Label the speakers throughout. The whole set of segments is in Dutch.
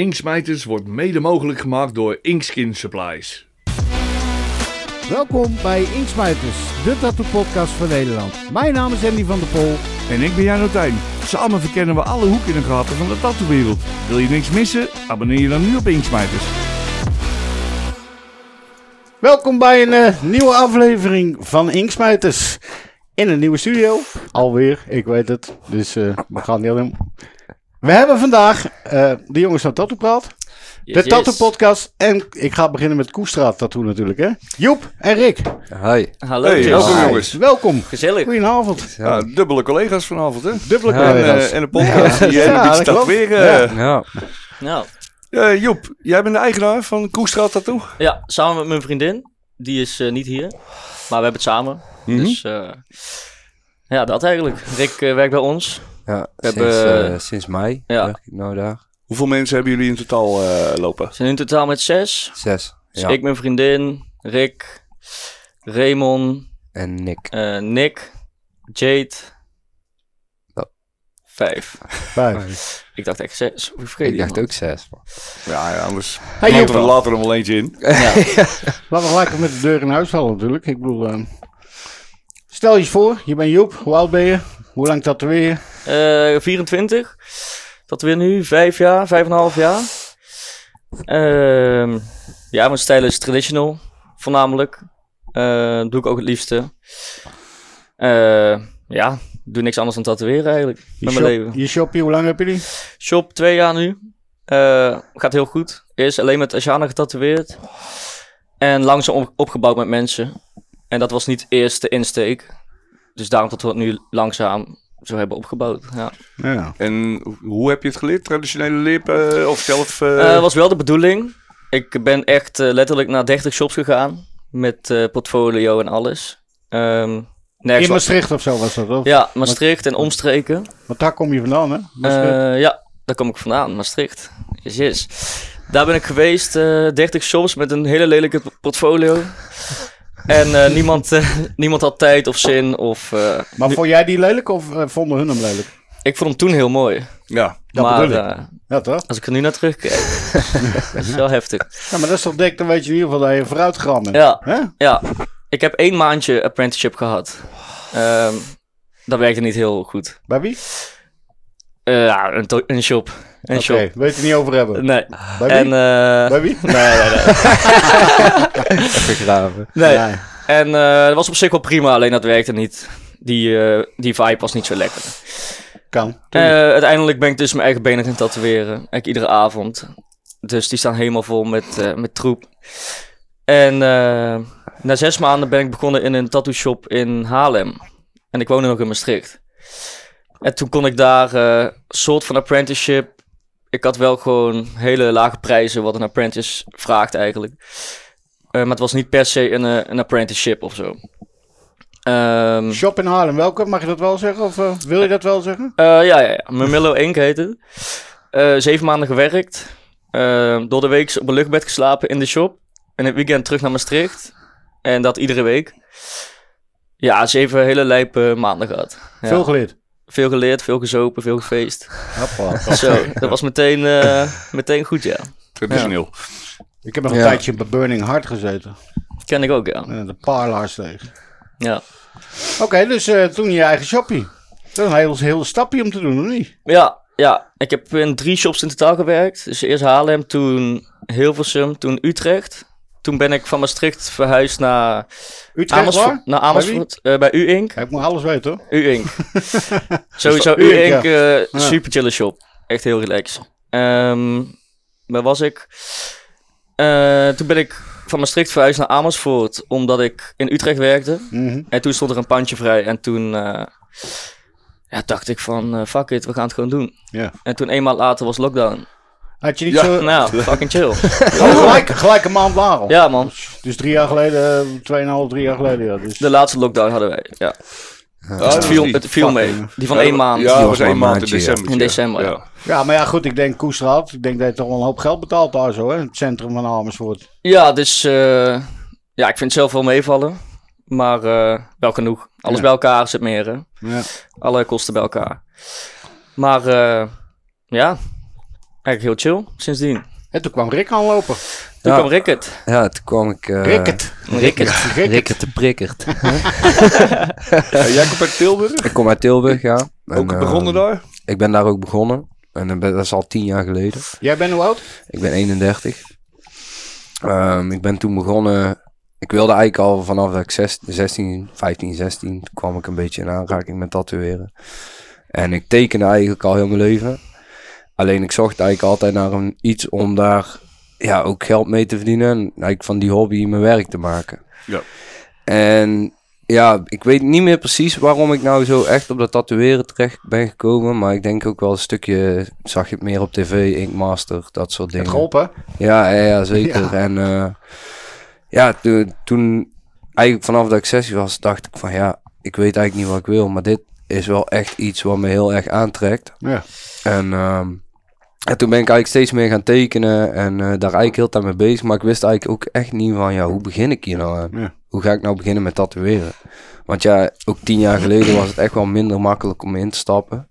Speaker 1: Inksmijters wordt mede mogelijk gemaakt door Inkskin Supplies.
Speaker 2: Welkom bij Inksmijters, de tattoo-podcast van Nederland. Mijn naam is Andy van der Pol.
Speaker 1: En ik ben Jan Tijn. Samen verkennen we alle hoeken en gaten van de tattoowereld. Wil je niks missen? Abonneer je dan nu op Inksmijters.
Speaker 2: Welkom bij een eh, nieuwe aflevering van Inksmijters. In een nieuwe studio. Alweer, ik weet het. Dus eh, we gaan niet alleen. We hebben vandaag eh, de jongens van Tattoo Praat. de Tattoo Podcast. En ik ga beginnen met Koestraat Tattoo natuurlijk. Hè? Joep en Rick.
Speaker 3: Hi.
Speaker 4: Hallo,
Speaker 1: Hey,
Speaker 4: Jess.
Speaker 1: welkom,
Speaker 2: Hi,
Speaker 1: jongens.
Speaker 2: Welkom.
Speaker 4: Gezellig.
Speaker 2: Goedenavond.
Speaker 5: Ah.
Speaker 1: Ja, dubbele collega's vanavond, hè?
Speaker 2: Dubbele
Speaker 3: Ja,
Speaker 1: En,
Speaker 2: collega's.
Speaker 1: eh, en de podcast. die
Speaker 2: Ja,
Speaker 1: ja,
Speaker 2: dat
Speaker 1: staat
Speaker 2: klopt.
Speaker 1: weer.
Speaker 2: Ja.
Speaker 1: eh,
Speaker 3: Ja.
Speaker 4: Nou,
Speaker 1: eh, Joep, jij bent de eigenaar van Koestraat Tattoo?
Speaker 4: ja, samen met mijn vriendin. Die is eh, niet hier, maar we hebben het samen.
Speaker 1: Mhm.
Speaker 4: Dus eh, ja, dat eigenlijk. Rick eh, werkt bij ons.
Speaker 3: ja
Speaker 4: We
Speaker 3: sinds,
Speaker 4: hebben-
Speaker 3: eh, sinds mei.
Speaker 4: Ja.
Speaker 3: Ja. Nou daar.
Speaker 1: Hoeveel mensen hebben jullie in totaal eh, lopen?
Speaker 4: We zijn in totaal met zes.
Speaker 3: Zes.
Speaker 4: Dus
Speaker 3: Ja.
Speaker 4: ik, mijn vriendin, Rick, Raymond,
Speaker 3: En Nick.
Speaker 4: eh, Nick, Jade.
Speaker 3: Oh.
Speaker 4: Vijf.
Speaker 2: Vijf.
Speaker 4: Ik dacht echt zes. Hoe vergeet
Speaker 3: Ik
Speaker 4: je
Speaker 3: dacht
Speaker 4: iemand?
Speaker 3: ook zes. man.
Speaker 1: Ja, ja anders
Speaker 2: Hey,
Speaker 1: laten we
Speaker 2: Joep.
Speaker 1: er later nog wel eentje in.
Speaker 2: Laten we gelijk met de deur in huis vallen natuurlijk. Ik bedoel, ehm, stel je eens voor, je bent Joep. Hoe oud ben je? Hoe lang tatoeëer je?
Speaker 4: Eh, 24. Dat weer nu, vijf jaar, vijf en een half jaar. Ehm, ja, mijn stijl is traditional, voornamelijk. Eh, doe ik ook het liefste. Eh, ja, doe niks anders dan tatoeëren eigenlijk,
Speaker 2: Je,
Speaker 4: met mijn leven.
Speaker 2: je shoppie, hoe lang heb je die?
Speaker 4: Shop twee jaar nu. Eh, gaat heel goed. Eerst alleen met Ashana getatoeëerd. En langzaam op- opgebouwd met mensen. En dat was niet eerst de insteek. Dus daarom dat we het nu langzaam zo hebben opgebouwd. Ja.
Speaker 2: Ja.
Speaker 1: En hoe heb je het geleerd? Traditionele lippen of zelf? eh,
Speaker 4: Eh, was wel de bedoeling. Ik ben echt eh, letterlijk naar 30 shops gegaan. Met eh, portfolio en alles. Ehm nergens
Speaker 2: In Maastricht of zo was dat, of?
Speaker 4: Ja, Maastricht en omstreken.
Speaker 2: Want daar kom je vandaan, hè? Maastricht.
Speaker 4: Eh, ja, daar kom ik vandaan, Maastricht. Yes, yes. Daar ben ik geweest, eh 30 shops met een hele lelijke p- portfolio. en eh, niemand, eh, niemand had tijd of zin. Of, eh,
Speaker 2: maar vond jij die lelijk of eh, vonden hun hem lelijk?
Speaker 4: ik vond hem toen heel mooi.
Speaker 1: ja.
Speaker 2: Dat
Speaker 4: maar
Speaker 2: bedoel ik.
Speaker 4: eh,
Speaker 2: Ja, toch?
Speaker 4: als ik er nu naar terugkijk, dat is wel heftig.
Speaker 2: Ja, maar dat is toch dik, dan weet je in ieder geval dat je vooruit gegaan bent.
Speaker 4: Ja,
Speaker 2: Hè?
Speaker 4: ja. Ik heb één maandje apprenticeship gehad. Ehm, dat werkte niet heel goed.
Speaker 2: Bij wie?
Speaker 4: Eh, ja, een, to- een shop. Een
Speaker 2: Oké, weet je het niet over hebben.
Speaker 4: shop. Nee.
Speaker 2: Bij wie?
Speaker 4: En, eh,
Speaker 2: Bij wie?
Speaker 4: nee, nee, nee.
Speaker 3: Begraven.
Speaker 4: nee.
Speaker 2: Nee.
Speaker 4: En eh, dat was op zich wel prima, alleen dat werkte niet. Die, eh, die vibe was niet zo lekker.
Speaker 2: Kan.
Speaker 4: Eh, uiteindelijk ben ik dus mijn eigen benen gaan tatoeëren. Eigenlijk iedere avond. Dus die staan helemaal vol met, eh, met troep. En eh, na zes maanden ben ik begonnen in een tattoo shop in Haarlem. En ik woonde nog in Maastricht. En toen kon ik daar eh soort van apprenticeship. Ik had wel gewoon hele lage prijzen, wat een apprentice vraagt eigenlijk. Eh, maar het was niet per se een, eh, een apprenticeship of zo. Ehm,
Speaker 2: Shop in Haarlem, welke? Mag je dat wel zeggen? Of eh, wil je dat wel zeggen?
Speaker 4: eh, ja, ja, ja. Mamillo Inc. heet het. Eh, zeven maanden gewerkt. Eh, door de week op een luchtbed geslapen in de shop. En het weekend terug naar Maastricht. En dat iedere week. Ja, zeven hele lijpe maanden gehad. Ja.
Speaker 2: Veel geleerd.
Speaker 4: Veel geleerd, veel gezopen, veel gefeest.
Speaker 2: Hoppa.
Speaker 4: Zo, dat was meteen, eh, meteen goed, ja.
Speaker 1: Traditioneel.
Speaker 2: Ik heb nog een
Speaker 3: Ja.
Speaker 2: tijdje bij Burning Hard gezeten.
Speaker 4: Ken ik ook, ja.
Speaker 2: Eh, De paarlaars tegen.
Speaker 4: Ja,
Speaker 2: Oké, dus eh, toen je eigen shoppie. Dat is een heel, heel stapje om te doen, of niet?
Speaker 4: ja, ja. ik heb in drie shops in totaal gewerkt. Dus eerst Haarlem, toen Hilversum, toen Utrecht. Toen ben ik van Maastricht verhuisd naar
Speaker 2: Utrecht
Speaker 4: Amersfoort,
Speaker 2: waar?
Speaker 4: Naar Amersfoort, eh, bij U-Ink.
Speaker 2: Ja, ik moet alles weten, hoor.
Speaker 4: U-Ink. Sowieso
Speaker 2: U-Ink,
Speaker 4: U-Ink, eh,
Speaker 2: Ja.
Speaker 4: super chille shop. Echt heel relaxed. Ehm, waar was ik? Eh, toen ben ik van Maastricht verhuisd naar Amersfoort, omdat ik in Utrecht werkte.
Speaker 2: Mhm.
Speaker 4: En toen stond er een pandje vrij en toen eh, ja, dacht ik van, eh, fuck it, we gaan het gewoon doen.
Speaker 2: Ja.
Speaker 4: En toen een maand later was lockdown.
Speaker 2: Had je niet
Speaker 1: Ja.
Speaker 2: zo...
Speaker 4: Nou, fucking chill.
Speaker 2: Oh, gelijk, gelijk een maand later al.
Speaker 4: Ja man,
Speaker 2: Dus drie jaar geleden, eh, tweeënhalf, drie jaar geleden, ja. Dus...
Speaker 4: de laatste lockdown hadden wij. Ja.
Speaker 1: Ja,
Speaker 4: Dus het viel, het viel
Speaker 2: fucking-
Speaker 4: mee. Die van één maand.
Speaker 5: Ah,
Speaker 1: Ja, dat
Speaker 3: Die
Speaker 1: was
Speaker 3: was maar
Speaker 1: één
Speaker 3: een
Speaker 1: maand in
Speaker 3: maandje, ja.
Speaker 1: december.
Speaker 4: In december, ja.
Speaker 2: Ja, maar ja, goed, ik denk Koestraat. Ik denk dat je toch wel een hoop geld betaalt daar zo, hè. Het centrum van Amersfoort.
Speaker 4: Ja, dus eh, ja, ik vind het zelf wel meevallen. Maar eh, wel genoeg. Alles
Speaker 2: Ja.
Speaker 4: bij elkaar is het meer. Hè?
Speaker 2: Ja.
Speaker 4: Alle kosten bij elkaar. Maar eh, ja, Eigenlijk heel chill sindsdien.
Speaker 2: En toen kwam Rick aanlopen.
Speaker 3: Eh,
Speaker 4: Toen
Speaker 3: Ja.
Speaker 4: kwam Rickert.
Speaker 3: Ja, toen kwam ik... eh
Speaker 2: Ricket.
Speaker 4: Rickert.
Speaker 3: Rickert de Prikkert.
Speaker 5: Ja, jij komt uit Tilburg,
Speaker 3: ik kom uit Tilburg, ja. En,
Speaker 5: ook
Speaker 3: eh,
Speaker 5: begonnen daar.
Speaker 3: Ik ben daar ook begonnen. En dat ben- dat is al tien jaar geleden.
Speaker 2: Jij bent hoe oud?
Speaker 3: Ik ben 31. Ehm, ik ben toen begonnen. Ik wilde eigenlijk al vanaf dat ik zes- 16, 15, 16 toen kwam ik een beetje in aanraking met tatoeëren. En ik tekende eigenlijk al heel mijn leven. Alleen ik zocht eigenlijk altijd naar een, iets om daar ja, ook geld mee te verdienen. En eigenlijk van die hobby mijn werk te maken.
Speaker 1: Ja.
Speaker 3: En ja, ik weet niet meer precies waarom ik nou zo echt op dat tatoeëren terecht ben gekomen. Maar ik denk ook wel een stukje, zag je het meer op tv, Inkmaster, dat soort dingen.
Speaker 2: Het geholpen.
Speaker 3: Ja, ja, ja, zeker.
Speaker 2: Ja.
Speaker 3: En eh, ja, toen, toen eigenlijk vanaf dat ik sessie was, dacht ik van ja, ik weet eigenlijk niet wat ik wil, maar dit is wel echt iets wat me heel erg aantrekt.
Speaker 2: Ja.
Speaker 3: En, ehm, en toen ben ik eigenlijk steeds meer gaan tekenen en eh, daar eigenlijk heel tijd mee bezig. Maar ik wist eigenlijk ook echt niet van, ja, hoe begin ik hier nou aan?
Speaker 2: Ja.
Speaker 3: Hoe ga ik nou beginnen met tatoeëren? Want ja, ook tien jaar geleden was het echt wel minder makkelijk om in te stappen.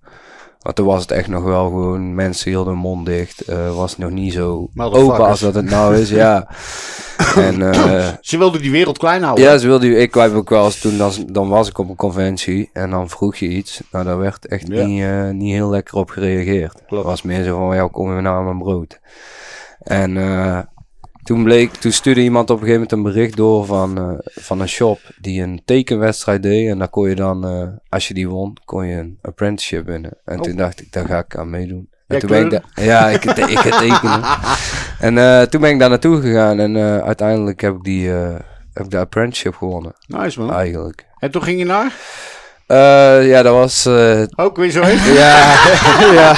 Speaker 3: Want toen was het echt nog wel gewoon, mensen hielden hun mond dicht. eh, was het nog niet zo
Speaker 2: Motherfuckers.
Speaker 3: open als dat het nou is, ja. En eh,
Speaker 2: Ze wilden die wereld klein houden.
Speaker 3: ja, ze wilde, ik kwam ook wel eens toen, dan, dan was ik op een conventie en dan vroeg je iets. Nou, daar werd echt
Speaker 2: Ja.
Speaker 3: niet, eh, niet heel lekker op gereageerd. Het was meer zo van, ja, kom je nou aan mijn brood? En eh, toen bleek, toen stuurde iemand op een gegeven moment een bericht door van, eh, van een shop die een tekenwedstrijd deed. En daar kon je dan, eh, als je die won, kon je een apprenticeship winnen. En toen dacht ik, daar ga ik aan meedoen. En
Speaker 2: Oh. Jij
Speaker 3: toen ben ik
Speaker 2: kleuren?
Speaker 3: da- ja, ik, ik ga tekenen. En eh, toen ben ik daar naartoe gegaan en eh, uiteindelijk heb ik, die, eh, heb ik de apprenticeship gewonnen,
Speaker 2: Nice man.
Speaker 3: eigenlijk.
Speaker 2: En toen ging je naar?
Speaker 3: Eh, ja, dat was... eh,
Speaker 2: Ook weer zo heen.
Speaker 3: ja, ja,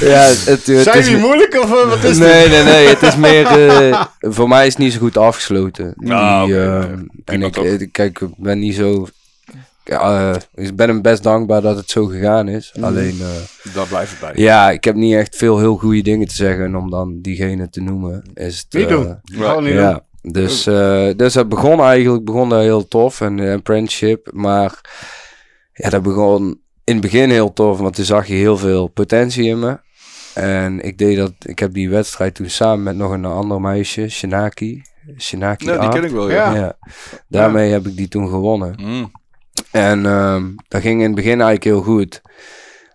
Speaker 3: ja, het, het, het
Speaker 2: Zijn
Speaker 3: is...
Speaker 2: die moeilijk of eh, wat is
Speaker 3: Nee, nee, nee. Het is meer... eh, voor mij is het niet zo goed afgesloten.
Speaker 1: Ah,
Speaker 3: Die,
Speaker 1: oké,
Speaker 3: eh,
Speaker 1: oké.
Speaker 3: en
Speaker 1: Prima
Speaker 3: ik,
Speaker 1: toch?
Speaker 3: eh, kijk, ik ben niet zo... ja, eh, ik ben hem best dankbaar dat het zo gegaan is.
Speaker 2: Mhm.
Speaker 3: Alleen... eh,
Speaker 5: Daar blijft het bij.
Speaker 3: ja, ik heb niet echt veel heel goede dingen te zeggen. En om dan diegene te noemen, is het...
Speaker 2: Niet
Speaker 3: eh,
Speaker 2: doen. Gewoon niet doen.
Speaker 3: ja, dus, eh, dus dat begon eigenlijk begon dat heel tof. En de apprenticeship. Maar ja, dat begon in het begin heel tof. Want toen zag je heel veel potentie in me. En ik deed dat. Ik heb die wedstrijd toen samen met nog een ander meisje, Shinaki. Shinaki
Speaker 5: Nou, die
Speaker 3: Aap.
Speaker 5: ken ik wel, ja.
Speaker 2: Ja.
Speaker 3: Ja. Daarmee heb ik die toen gewonnen.
Speaker 5: Mm.
Speaker 3: En ehm, dat ging in het begin eigenlijk heel goed.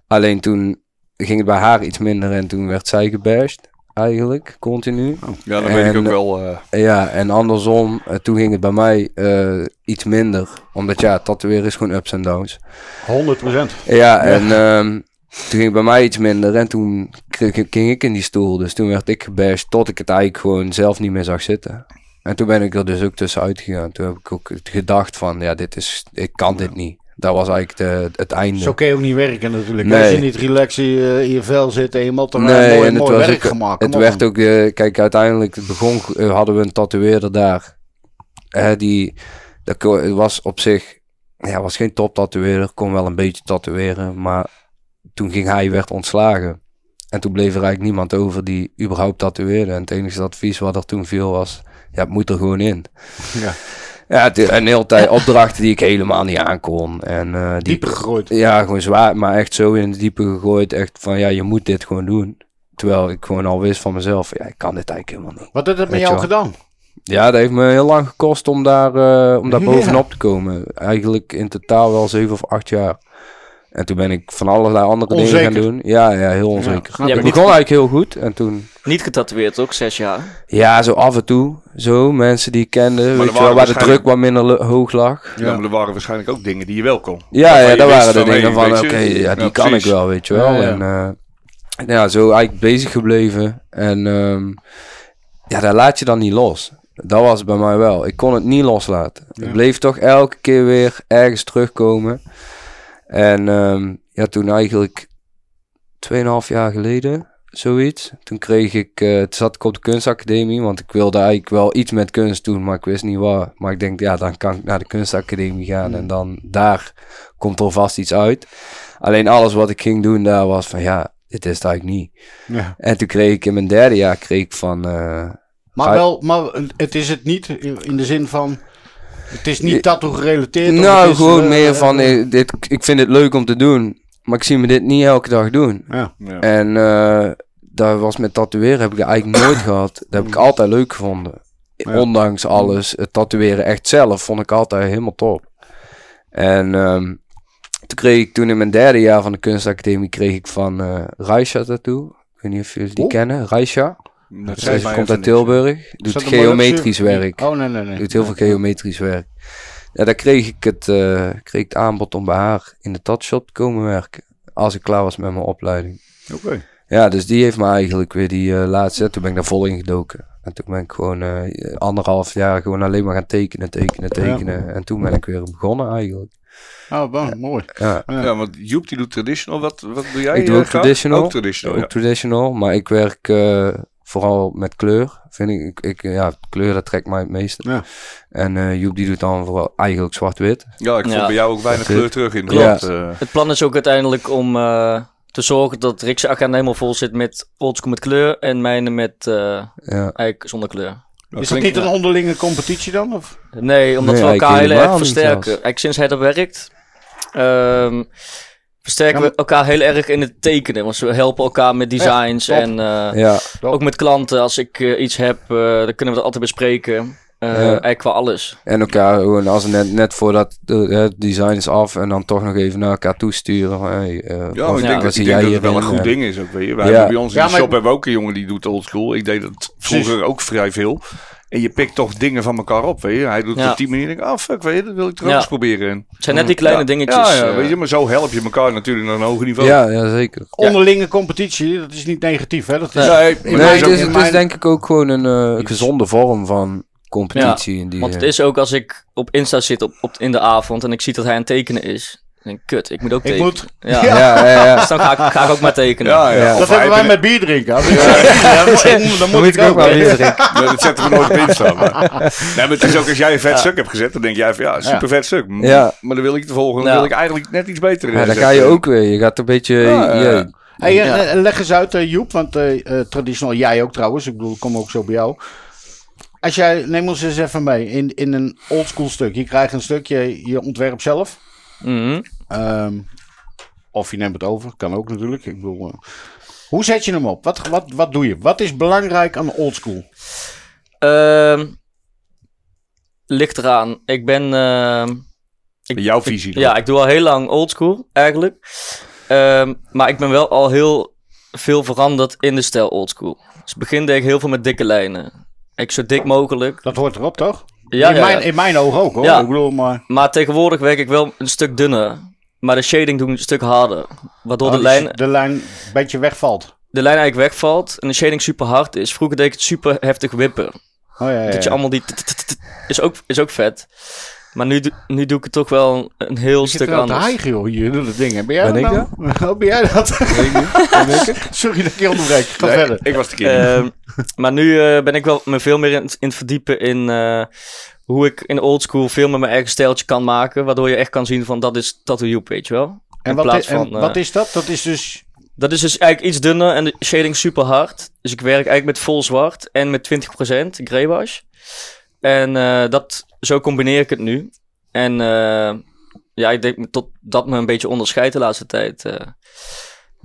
Speaker 3: Alleen toen ging het bij haar iets minder. En toen werd zij gebashed. Eigenlijk, continu.
Speaker 5: Ja, dan weet ik
Speaker 3: En-
Speaker 5: ook wel. eh,
Speaker 3: Ja, en andersom, eh, toen ging het bij mij eh, iets minder. Omdat ja, tatoeëren is gewoon ups en downs.
Speaker 2: 100%.
Speaker 3: Ja, en ehm, toen ging het bij mij iets minder. En toen kreeg- ging ik in die stoel. Dus toen werd ik gebashed tot ik het eigenlijk gewoon zelf niet meer zag zitten. En toen ben ik er dus ook tussenuit gegaan. Toen heb ik ook het gedacht van, ja, dit is, ik kan dit niet. Dat was eigenlijk de, het einde.
Speaker 2: Zo kan je ook niet werken natuurlijk.
Speaker 3: Nee.
Speaker 2: Als je niet relaxed in je, in je vel zit en je moet er eh,
Speaker 3: Nee,
Speaker 2: mooi,
Speaker 3: en het
Speaker 2: mooi
Speaker 3: was
Speaker 2: werk
Speaker 3: ook-
Speaker 2: gemaakt.
Speaker 3: Het werd ook, eh, kijk, uiteindelijk begon, eh, hadden we een tatoeëerder daar. Hè, die, dat ko- het was op zich, ja, was geen top tatoeëerder, kon wel een beetje tatoeëren, maar toen ging hij, werd ontslagen. En toen bleef er eigenlijk niemand over die überhaupt tatoeëerde. En het enige advies wat er toen viel was, ja, het moet er gewoon in.
Speaker 2: Ja.
Speaker 3: Ja, het- en heel tijd opdrachten die ik helemaal niet aankon. En, eh, die,
Speaker 2: dieper gegooid.
Speaker 3: ja, gewoon zwaar, maar echt zo in het diepe gegooid. Echt van, ja, je moet dit gewoon doen. Terwijl ik gewoon al wist van mezelf, ja, ik kan dit eigenlijk helemaal niet.
Speaker 2: Wat heeft dat met
Speaker 3: Weet
Speaker 2: jou
Speaker 3: je
Speaker 2: gedaan?
Speaker 3: Ja, dat heeft me heel lang gekost om daar, eh, om daar
Speaker 2: Ja.
Speaker 3: bovenop te komen. Eigenlijk in totaal wel zeven of acht jaar. En toen ben ik van allerlei andere dingen
Speaker 2: Onzeker.
Speaker 3: gaan doen. Ja, ja, heel onzeker.
Speaker 2: Ja,
Speaker 3: ik
Speaker 4: maar
Speaker 3: begon
Speaker 4: niet-
Speaker 3: eigenlijk heel goed. En toen,
Speaker 4: Niet getatoeëerd, ook zes jaar.
Speaker 3: ja, zo af en toe. Zo, mensen die ik kende. weet je
Speaker 5: waren
Speaker 3: wel, waar de
Speaker 5: waarschijnlijk-
Speaker 3: druk wat minder lo- hoog lag.
Speaker 5: ja, maar er waren waarschijnlijk ook dingen die je wel kon.
Speaker 3: Ja,
Speaker 5: Waarvan
Speaker 3: ja
Speaker 5: je
Speaker 3: daar
Speaker 5: wist
Speaker 3: waren de
Speaker 5: van,
Speaker 3: dingen
Speaker 5: hey,
Speaker 3: van,
Speaker 5: weet
Speaker 3: oké,
Speaker 5: je,
Speaker 3: ja, die
Speaker 5: ja,
Speaker 3: kan ik
Speaker 5: precies.
Speaker 3: wel, weet je wel.
Speaker 2: Ja, ja.
Speaker 3: En eh, ja, zo eigenlijk bezig gebleven. En ehm, ja, daar laat je dan niet los. Dat was het bij mij wel. Ik kon het niet loslaten.
Speaker 2: Ja.
Speaker 3: Ik bleef toch elke keer weer ergens terugkomen. En ehm, ja, toen eigenlijk 2,5 jaar geleden, zoiets. Toen kreeg ik, eh, toen zat ik op de kunstacademie, want ik wilde eigenlijk wel iets met kunst doen, maar ik wist niet waar. Maar ik denk, ja, dan kan ik naar de kunstacademie gaan en dan daar komt er vast iets uit. Alleen alles wat ik ging doen daar was van, ja, dit is het eigenlijk niet.
Speaker 2: Ja.
Speaker 3: En toen kreeg ik in mijn derde jaar, kreeg ik van... eh,
Speaker 2: Maar
Speaker 3: Hij-
Speaker 2: wel, maar het is het niet in de zin van... Het is niet tattoo gerelateerd. of het
Speaker 3: nou,
Speaker 2: is,
Speaker 3: gewoon
Speaker 2: eh,
Speaker 3: meer
Speaker 2: eh,
Speaker 3: van, eh, dit, ik vind het leuk om te doen, maar ik zie me dit niet elke dag doen.
Speaker 2: Ja.
Speaker 5: Ja.
Speaker 3: En eh, dat was met tatoeëren heb ik dat eigenlijk nooit gehad. Dat heb ik altijd leuk gevonden.
Speaker 2: Ja.
Speaker 3: Ondanks alles, het tatoeëren echt zelf vond ik altijd helemaal top. En ehm, toen kreeg ik toen in mijn derde jaar van de kunstacademie kreeg ik van eh Raisha tattoo. Ik weet niet of jullie die
Speaker 2: Oh.
Speaker 3: kennen. Raisha.
Speaker 5: Dat
Speaker 3: Zij
Speaker 5: mij
Speaker 3: Dus komt
Speaker 5: even
Speaker 3: uit
Speaker 5: niks.
Speaker 3: Tilburg.
Speaker 2: Is
Speaker 3: Doet
Speaker 2: dat een mooi
Speaker 3: geometrisch
Speaker 2: optie?
Speaker 3: werk.
Speaker 2: Oh, nee, nee, nee.
Speaker 3: Doet heel veel geometrisch werk. Ja, daar kreeg ik het, eh, kreeg ik het aanbod om bij haar in de tatshop te komen werken. Als ik klaar was met mijn opleiding.
Speaker 1: Oké.
Speaker 3: Ja, dus die heeft me eigenlijk weer die eh, laatste. Toen ben ik daar vol in gedoken. En toen ben ik gewoon eh, anderhalf jaar gewoon alleen maar gaan tekenen, tekenen, tekenen. En toen ben ik weer begonnen eigenlijk.
Speaker 2: Oh, wow, mooi.
Speaker 3: Ja.
Speaker 5: Ja, want Joep die doet traditional. Wat, wat doe jij?
Speaker 3: ik doe
Speaker 5: eh,
Speaker 3: ook
Speaker 5: Gaaf?
Speaker 3: traditional.
Speaker 5: Ook traditional,
Speaker 3: Ook
Speaker 5: ja.
Speaker 3: traditional, maar ik werk eh, vooral met kleur. Vind ik, ik, ik- ja, kleur dat trekt mij het meeste.
Speaker 2: Ja.
Speaker 3: En eh, Joep die doet dan vooral eigenlijk zwart-wit.
Speaker 5: Ja, ik vond
Speaker 4: Ja.
Speaker 5: bij jou ook weinig
Speaker 3: Klopt.
Speaker 5: kleur terug in de
Speaker 3: Klopt.
Speaker 5: kant, eh.
Speaker 4: Het plan is ook uiteindelijk om eh, te zorgen dat Rick's agenda helemaal vol zit met oldschool met kleur en mijne met eh,
Speaker 3: Ja.
Speaker 4: eigenlijk zonder kleur.
Speaker 2: Is dat niet een onderlinge competitie dan? Of?
Speaker 4: Nee, omdat
Speaker 3: Nee,
Speaker 4: we elkaar
Speaker 3: eigenlijk
Speaker 4: heel erg
Speaker 3: helemaal niet
Speaker 4: versterken.
Speaker 3: zelfs.
Speaker 4: Eigenlijk sinds hij er werkt, ehm, versterken
Speaker 2: Ja,
Speaker 4: we elkaar heel erg in het tekenen. Want we helpen elkaar met designs
Speaker 2: top.
Speaker 4: en eh,
Speaker 3: Ja,
Speaker 2: Top.
Speaker 4: ook met klanten. Als ik eh, iets heb, eh, dan kunnen we dat altijd bespreken. Eh, Eigenlijk qua alles.
Speaker 3: en elkaar gewoon als net, net voordat eh, het design is af en dan toch nog even naar elkaar toesturen. van, Hey, eh,
Speaker 5: Ja,
Speaker 3: wat-
Speaker 5: maar ik
Speaker 4: Ja,
Speaker 5: denk,
Speaker 3: wat
Speaker 5: dat,
Speaker 3: zie
Speaker 5: ik denk
Speaker 3: jij eh?
Speaker 5: dat het wel een
Speaker 3: hierin?
Speaker 5: goed
Speaker 3: En-
Speaker 5: ding is ook weer. Wij
Speaker 3: Ja.
Speaker 5: hebben bij ons in
Speaker 2: Ja,
Speaker 5: de
Speaker 2: maar
Speaker 5: shop
Speaker 2: ik-
Speaker 5: hebben we ook een jongen die doet oldschool. Ik deed dat vroeger ook vrij veel. En je pikt toch dingen van elkaar op, weet je. Hij doet
Speaker 4: Ja.
Speaker 5: het op die manier. Ik denk, ah fuck, weet je, dat wil ik er ook
Speaker 4: Ja.
Speaker 5: eens proberen. En-
Speaker 4: Het zijn net die kleine
Speaker 5: Ja.
Speaker 4: dingetjes.
Speaker 5: Ja, ja,
Speaker 4: eh,
Speaker 5: weet je, maar zo help je elkaar natuurlijk naar een hoger niveau.
Speaker 3: Ja, ja, zeker.
Speaker 2: Onderlinge competitie, dat is niet negatief, hè? Dat is,
Speaker 5: Nee,
Speaker 2: In
Speaker 3: nee, dus
Speaker 2: mijn-
Speaker 3: het is,
Speaker 2: in
Speaker 3: het is
Speaker 2: mijn-
Speaker 3: denk ik ook gewoon een eh, gezonde vorm van competitie. in die eh,
Speaker 4: Want het
Speaker 3: zin.
Speaker 4: is ook als ik op Insta zit op, op, in de avond en ik zie dat hij aan het tekenen is. Dan denk ik, kut, ik moet ook
Speaker 2: Ik
Speaker 4: tekenen.
Speaker 2: moet,
Speaker 4: Ja.
Speaker 3: ja, ja, ja.
Speaker 4: Dus dan ga ik, ga ik ook maar tekenen.
Speaker 5: Ja, ja.
Speaker 3: Ja.
Speaker 5: Of
Speaker 2: dat
Speaker 5: hij
Speaker 2: hebben wij
Speaker 5: ben-
Speaker 2: met bier drinken. Als ik- Ja, dan- Dan moet ik ook
Speaker 3: wel
Speaker 2: wel.
Speaker 3: weer drinken.
Speaker 5: Nee, dat zetten we nooit op Insta. Maar. Nee, maar het is ook als jij een vet stuk hebt gezet, dan denk jij van ja, super vet stuk. M-
Speaker 3: Ja.
Speaker 5: Maar dan wil ik de volgende,
Speaker 4: Ja.
Speaker 5: dan wil ik eigenlijk net iets beter.
Speaker 3: Ja,
Speaker 5: eh,
Speaker 3: dan ga
Speaker 5: zetten.
Speaker 3: je ook weer. Je gaat een beetje.
Speaker 5: Ja,
Speaker 3: je-
Speaker 5: ja.
Speaker 2: Hey, eh, eh, Leg eens uit, eh, Joep, want eh, eh, traditioneel jij ook trouwens. Ik bedoel, ik kom ook zo bij jou. Als jij, neem ons eens even mee in, in een oldschool stuk. Je krijgt een stukje, je ontwerpt zelf.
Speaker 4: Mhm.
Speaker 2: Ehm, of je neemt het over, kan ook natuurlijk. Ik bedoel, eh, hoe zet je hem op? Wat, wat, wat doe je? Wat is belangrijk aan oldschool?
Speaker 4: Ehm, ligt eraan. Ik ben. ehm,
Speaker 5: Jouw visie.
Speaker 4: ja, ik doe al heel lang oldschool eigenlijk. Ehm, maar ik ben wel al heel veel veranderd in de stijl oldschool. Dus begin deed ik heel veel met dikke lijnen. Ik zo dik mogelijk.
Speaker 2: Dat hoort erop, toch?
Speaker 4: Ja,
Speaker 2: in,
Speaker 4: ja,
Speaker 2: mijn, e-
Speaker 4: ja.
Speaker 2: in mijn ogen ook, hoor.
Speaker 4: Ja.
Speaker 2: Ik bedoel, maar...
Speaker 4: Maar tegenwoordig werk ik wel een stuk dunner. Maar de shading doe ik een stuk harder. Waardoor de
Speaker 2: Oh,
Speaker 4: lijn
Speaker 2: De lijn een beetje wegvalt.
Speaker 4: de lijn eigenlijk wegvalt en de shading super hard is. Vroeger deed ik het super heftig wippen.
Speaker 2: Oh, ja, ja, ja.
Speaker 4: Dat je allemaal die... t- t- t- t- Is ook, is ook vet. Maar nu, do- nu doe ik het toch wel een heel
Speaker 2: Je zit
Speaker 4: stuk
Speaker 2: er aan te
Speaker 4: anders.
Speaker 2: hijgen, joh, hier, dat ding. hè. Ben jij
Speaker 3: Ben
Speaker 2: dat
Speaker 3: ik
Speaker 2: nou? Hoe ben jij dat? Sorry dat ik je onderbreek. Ga
Speaker 5: Nee,
Speaker 2: verder.
Speaker 5: Ik was de kind.
Speaker 4: Ehm, maar nu eh, ben ik wel me veel meer in, het- in het verdiepen in eh, hoe ik in oldschool veel met mijn eigen stijltje kan maken. Waardoor je echt kan zien van dat is Tattoo Joep, weet je wel.
Speaker 2: En,
Speaker 4: in
Speaker 2: wat,
Speaker 4: plaats
Speaker 2: i- en
Speaker 4: van, eh,
Speaker 2: wat is dat? Dat is dus...
Speaker 4: Dat is dus eigenlijk iets dunner en de shading super hard. Dus ik werk eigenlijk met vol zwart en met 20% grey wash. En eh, dat, zo combineer ik het nu. En eh, ja, ik denk tot dat me een beetje onderscheidt de laatste tijd. eh.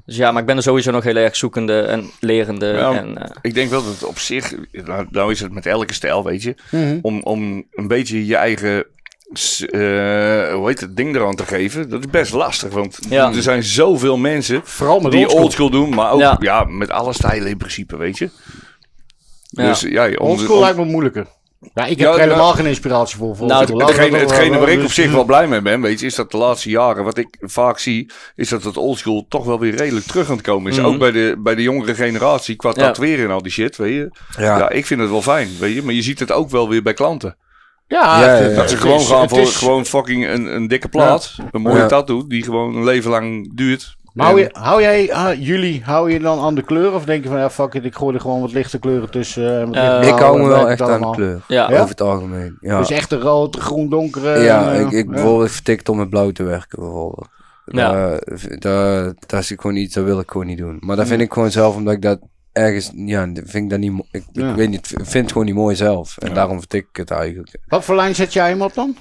Speaker 4: Dus ja, maar ik ben er sowieso nog heel erg zoekende en lerende.
Speaker 5: Ja.
Speaker 4: En, eh,
Speaker 5: Ik denk wel dat het op zich, nou, nou is het met elke stijl, weet je,
Speaker 2: Mhm.
Speaker 5: om, om een beetje je eigen, s- eh, hoe heet het, ding eraan te geven, dat is best lastig. Want
Speaker 4: Ja.
Speaker 5: er zijn zoveel mensen
Speaker 2: Vooral met
Speaker 5: die
Speaker 2: oldschool.
Speaker 5: oldschool doen, maar ook
Speaker 4: Ja.
Speaker 5: ja. met alle stijlen in principe, weet je.
Speaker 4: Ja.
Speaker 5: Dus ja, om-
Speaker 2: Oldschool
Speaker 5: om-
Speaker 2: lijkt me moeilijker. Ja, Nou, ik heb
Speaker 5: Ja,
Speaker 2: er helemaal
Speaker 5: ja.
Speaker 2: geen inspiratie voor. voor
Speaker 4: Nou,
Speaker 2: oldschool.
Speaker 4: het-
Speaker 2: Laten we
Speaker 5: Hetgene,
Speaker 2: dat wel-
Speaker 5: hetgene waar ik op
Speaker 2: dus-
Speaker 5: zich wel blij mee ben, weet je, is dat de laatste jaren, wat ik vaak zie, is dat het oldschool toch wel weer redelijk terug aan het komen is.
Speaker 4: Mhm.
Speaker 5: Ook bij de, bij de jongere generatie, qua
Speaker 4: Ja.
Speaker 5: tatoeëren en al die shit, weet je. Ja.
Speaker 3: Ja.
Speaker 5: ik vind het wel fijn, weet je. Maar je ziet het ook wel weer bij klanten.
Speaker 2: Ja,
Speaker 3: Ja,
Speaker 2: het-
Speaker 3: ja,
Speaker 2: het
Speaker 3: ja.
Speaker 5: Dat ze
Speaker 2: is-
Speaker 5: gewoon gaan
Speaker 2: het
Speaker 5: voor
Speaker 2: is-
Speaker 5: gewoon fucking een, een dikke plaat, een mooie
Speaker 3: Ja.
Speaker 5: tattoo, die gewoon een leven lang duurt.
Speaker 2: Maar hou,
Speaker 5: En-
Speaker 2: je, hou jij, ah, jullie, hou je dan aan de kleur? Of denk je van, ja, fuck it, ik gooi er gewoon wat lichte kleuren tussen. eh, en wat
Speaker 4: Eh,
Speaker 2: lichte
Speaker 3: Ik hou
Speaker 2: blauwe,
Speaker 3: me
Speaker 2: werkt
Speaker 3: wel
Speaker 2: het
Speaker 3: echt aan de
Speaker 2: allemaal?
Speaker 3: kleur.
Speaker 4: ja.
Speaker 2: Ja?
Speaker 3: Over het algemeen. Ja,
Speaker 2: Dus eh, echt een rood, groen, donker.
Speaker 3: ja ik, ik bijvoorbeeld vertikt om met blauw te werken, bijvoorbeeld.
Speaker 4: Ja.
Speaker 3: Ja. Daar, daar is ik gewoon niet, dat wil ik gewoon niet doen. Maar dat vind ik gewoon zelf, omdat ik dat ergens, ja, dat vind ik dat niet, mo- ik, ik
Speaker 2: Ja.
Speaker 3: weet niet, ik vind het gewoon niet mooi zelf. En daarom vertik ik het eigenlijk.
Speaker 2: Wat voor lijn zet jij hem op dan?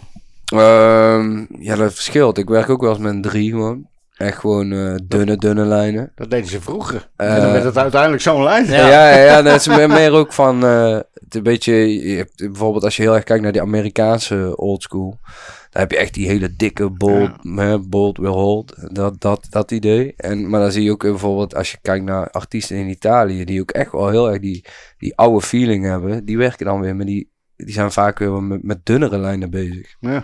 Speaker 3: Ehm, ja, dat verschilt. Ik werk ook wel eens met een drie gewoon. Echt gewoon eh, dunne, dunne lijnen.
Speaker 2: Dat deden ze vroeger.
Speaker 3: Eh,
Speaker 2: en dan werd het uiteindelijk zo'n lijn.
Speaker 3: Ja, ja, ja dat is meer, meer ook van eh, het een beetje. je hebt bijvoorbeeld als je heel erg kijkt naar die Amerikaanse oldschool, dan heb je echt die hele dikke bold, hè, bold will hold, dat, dat, dat idee. En, maar dan zie je ook eh, bijvoorbeeld als je kijkt naar artiesten in Italië, die ook echt wel heel erg die, die oude feeling hebben, die werken dan weer, maar die, die zijn vaak weer met, met dunnere lijnen bezig.
Speaker 2: Ja.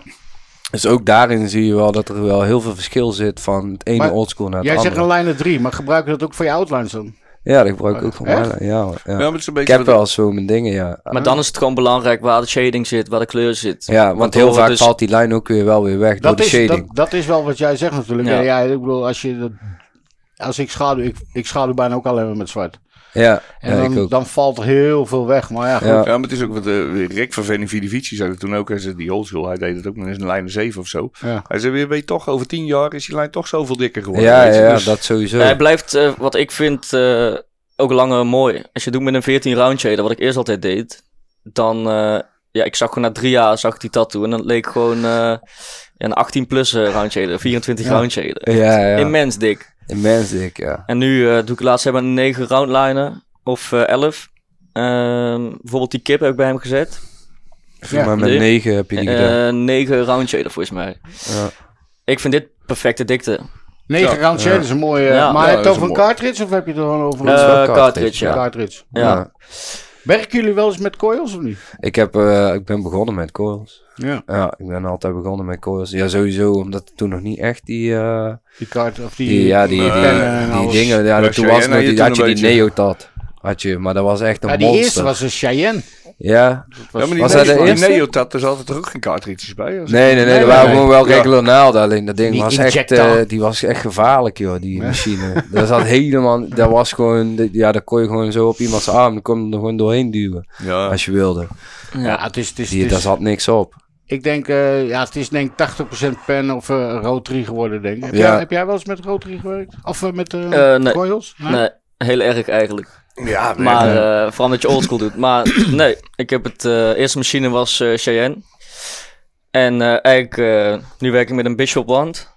Speaker 3: Dus ook daarin zie je wel dat er wel heel veel verschil zit van het ene
Speaker 2: Maar
Speaker 3: oldschool naar het
Speaker 2: Jij zegt
Speaker 3: andere.
Speaker 2: een lijnen 3, maar gebruik je dat ook voor je outlines dan?
Speaker 3: Ja, dat gebruik ik ook voor mij.
Speaker 2: Oh, Echt?
Speaker 3: Ja, hoor, ja.
Speaker 5: Ja, maar het is een
Speaker 3: Ik
Speaker 5: beetje...
Speaker 3: heb wel zo mijn dingen, ja.
Speaker 4: Maar dan is het gewoon belangrijk waar de shading zit, waar de kleur zit.
Speaker 3: Ja, want, heel
Speaker 4: horen
Speaker 3: vaak
Speaker 4: dus-
Speaker 3: valt die lijn ook weer wel weer weg door
Speaker 2: Dat
Speaker 3: de
Speaker 2: is, dat,
Speaker 3: shading.
Speaker 2: dat is wel wat jij zegt natuurlijk. Ja. ja,
Speaker 4: Ja.
Speaker 2: ik bedoel, als je dat... Als ik schaduw, ik, ik schaduw bijna ook alleen maar met zwart.
Speaker 3: Ja,
Speaker 2: En
Speaker 3: ja, ik
Speaker 2: dan,
Speaker 3: ook.
Speaker 2: dan valt er heel veel weg. Maar ja, goed.
Speaker 3: Ja.
Speaker 5: Ja, maar het is ook wat eh, Rick van Venivici zei dat toen ook. Hij zei, die oldschool, hij deed het ook met een lijn 7 of zo.
Speaker 2: Ja.
Speaker 5: Hij zei, weer weet je toch, over 10 jaar is die lijn toch zoveel dikker geworden.
Speaker 3: Ja,
Speaker 5: weet je.
Speaker 3: ja,
Speaker 5: Dus-
Speaker 3: dat sowieso.
Speaker 4: Hij blijft, eh, wat ik vind, eh, ook langer mooi. Als je het doet met een 14 round shader, wat ik eerst altijd deed, dan... eh, ja, ik zag gewoon na drie jaar zag ik die tattoo en dat leek gewoon eh, ja, een 18 plus eh, round shader, 24 round shader.
Speaker 3: ja, ja.
Speaker 4: Immens dik.
Speaker 3: Immens dik, ja.
Speaker 4: En nu eh, doe ik laatst hebben een 9 roundliner of eh, 11. Ehm, bijvoorbeeld die kip heb ik bij hem gezet.
Speaker 3: Volgens mij
Speaker 4: Nee.
Speaker 3: met 9 heb je die gedaan.
Speaker 4: Eh 9 round shader volgens mij.
Speaker 3: Ja.
Speaker 4: Ik vind dit perfecte dikte.
Speaker 2: 9
Speaker 5: Ja.
Speaker 2: round shade is een mooie...
Speaker 4: Ja.
Speaker 2: maar
Speaker 5: Ja,
Speaker 2: heb je
Speaker 5: dat
Speaker 2: het
Speaker 5: is
Speaker 2: over een
Speaker 5: mooi.
Speaker 2: cartridge of heb je het gewoon over
Speaker 4: Eh,
Speaker 2: een
Speaker 3: is wel cartridge,
Speaker 4: cartridge, ja.
Speaker 2: cartridge?
Speaker 4: Ja.
Speaker 2: Werken jullie wel eens met coils of niet?
Speaker 3: Ik, heb, eh, ik ben begonnen met coils.
Speaker 2: Ja.
Speaker 3: Ja, ik ben altijd begonnen met coils. Ja, sowieso, omdat toen nog niet echt die... eh,
Speaker 2: Die kaart of die...
Speaker 3: die ja, die, die,
Speaker 5: Nee,
Speaker 2: en
Speaker 3: die
Speaker 2: alles.
Speaker 3: dingen. Ja,
Speaker 5: Ja,
Speaker 3: toen was
Speaker 5: Cheyenne
Speaker 3: nog
Speaker 5: had je
Speaker 3: die,
Speaker 5: toen
Speaker 3: had je
Speaker 5: een
Speaker 3: die
Speaker 5: beetje.
Speaker 3: Neotat. Had je, maar dat was echt een
Speaker 2: Ja, die
Speaker 3: monster.
Speaker 2: eerste was een Cheyenne.
Speaker 3: Ja,
Speaker 5: Ja, maar die,
Speaker 3: Was
Speaker 5: Neo-
Speaker 3: hij de
Speaker 5: die
Speaker 3: eerste?
Speaker 5: Neotat, daar zaten toch ook geen cartridges bij? Als-
Speaker 3: Nee, nee, nee,
Speaker 2: Nee,
Speaker 3: er
Speaker 2: nee,
Speaker 3: waren
Speaker 2: nee.
Speaker 3: gewoon wel
Speaker 5: Ja.
Speaker 3: enkele naalden. Alleen dat ding
Speaker 2: Die
Speaker 3: was echt,
Speaker 2: injector.
Speaker 3: eh, die was echt gevaarlijk, joh, die machine. Daar zat helemaal, daar was gewoon, dit- ja, daar kon je gewoon zo op iemands arm, dan kon je er gewoon doorheen duwen,
Speaker 5: Ja.
Speaker 3: als je wilde.
Speaker 2: Ja, het is... Het is,
Speaker 3: Die,
Speaker 2: het
Speaker 3: daar
Speaker 2: is
Speaker 3: zat niks op.
Speaker 2: ik denk, eh, ja, het is denk ik 80% pen of eh, rotary geworden, denk ik. Heb,
Speaker 3: Ja.
Speaker 2: jij, heb jij wel eens met rotary gewerkt? Of eh, met eh
Speaker 4: Eh, nee.
Speaker 2: coils? Nee.
Speaker 4: Nee, heel erg eigenlijk.
Speaker 5: Ja, nee.
Speaker 4: Maar eh, vooral dat je oldschool doet. Maar nee, ik heb het. eh, eerste machine was eh, Cheyenne. En eh, eigenlijk, eh, nu werk ik met een Bishop wand.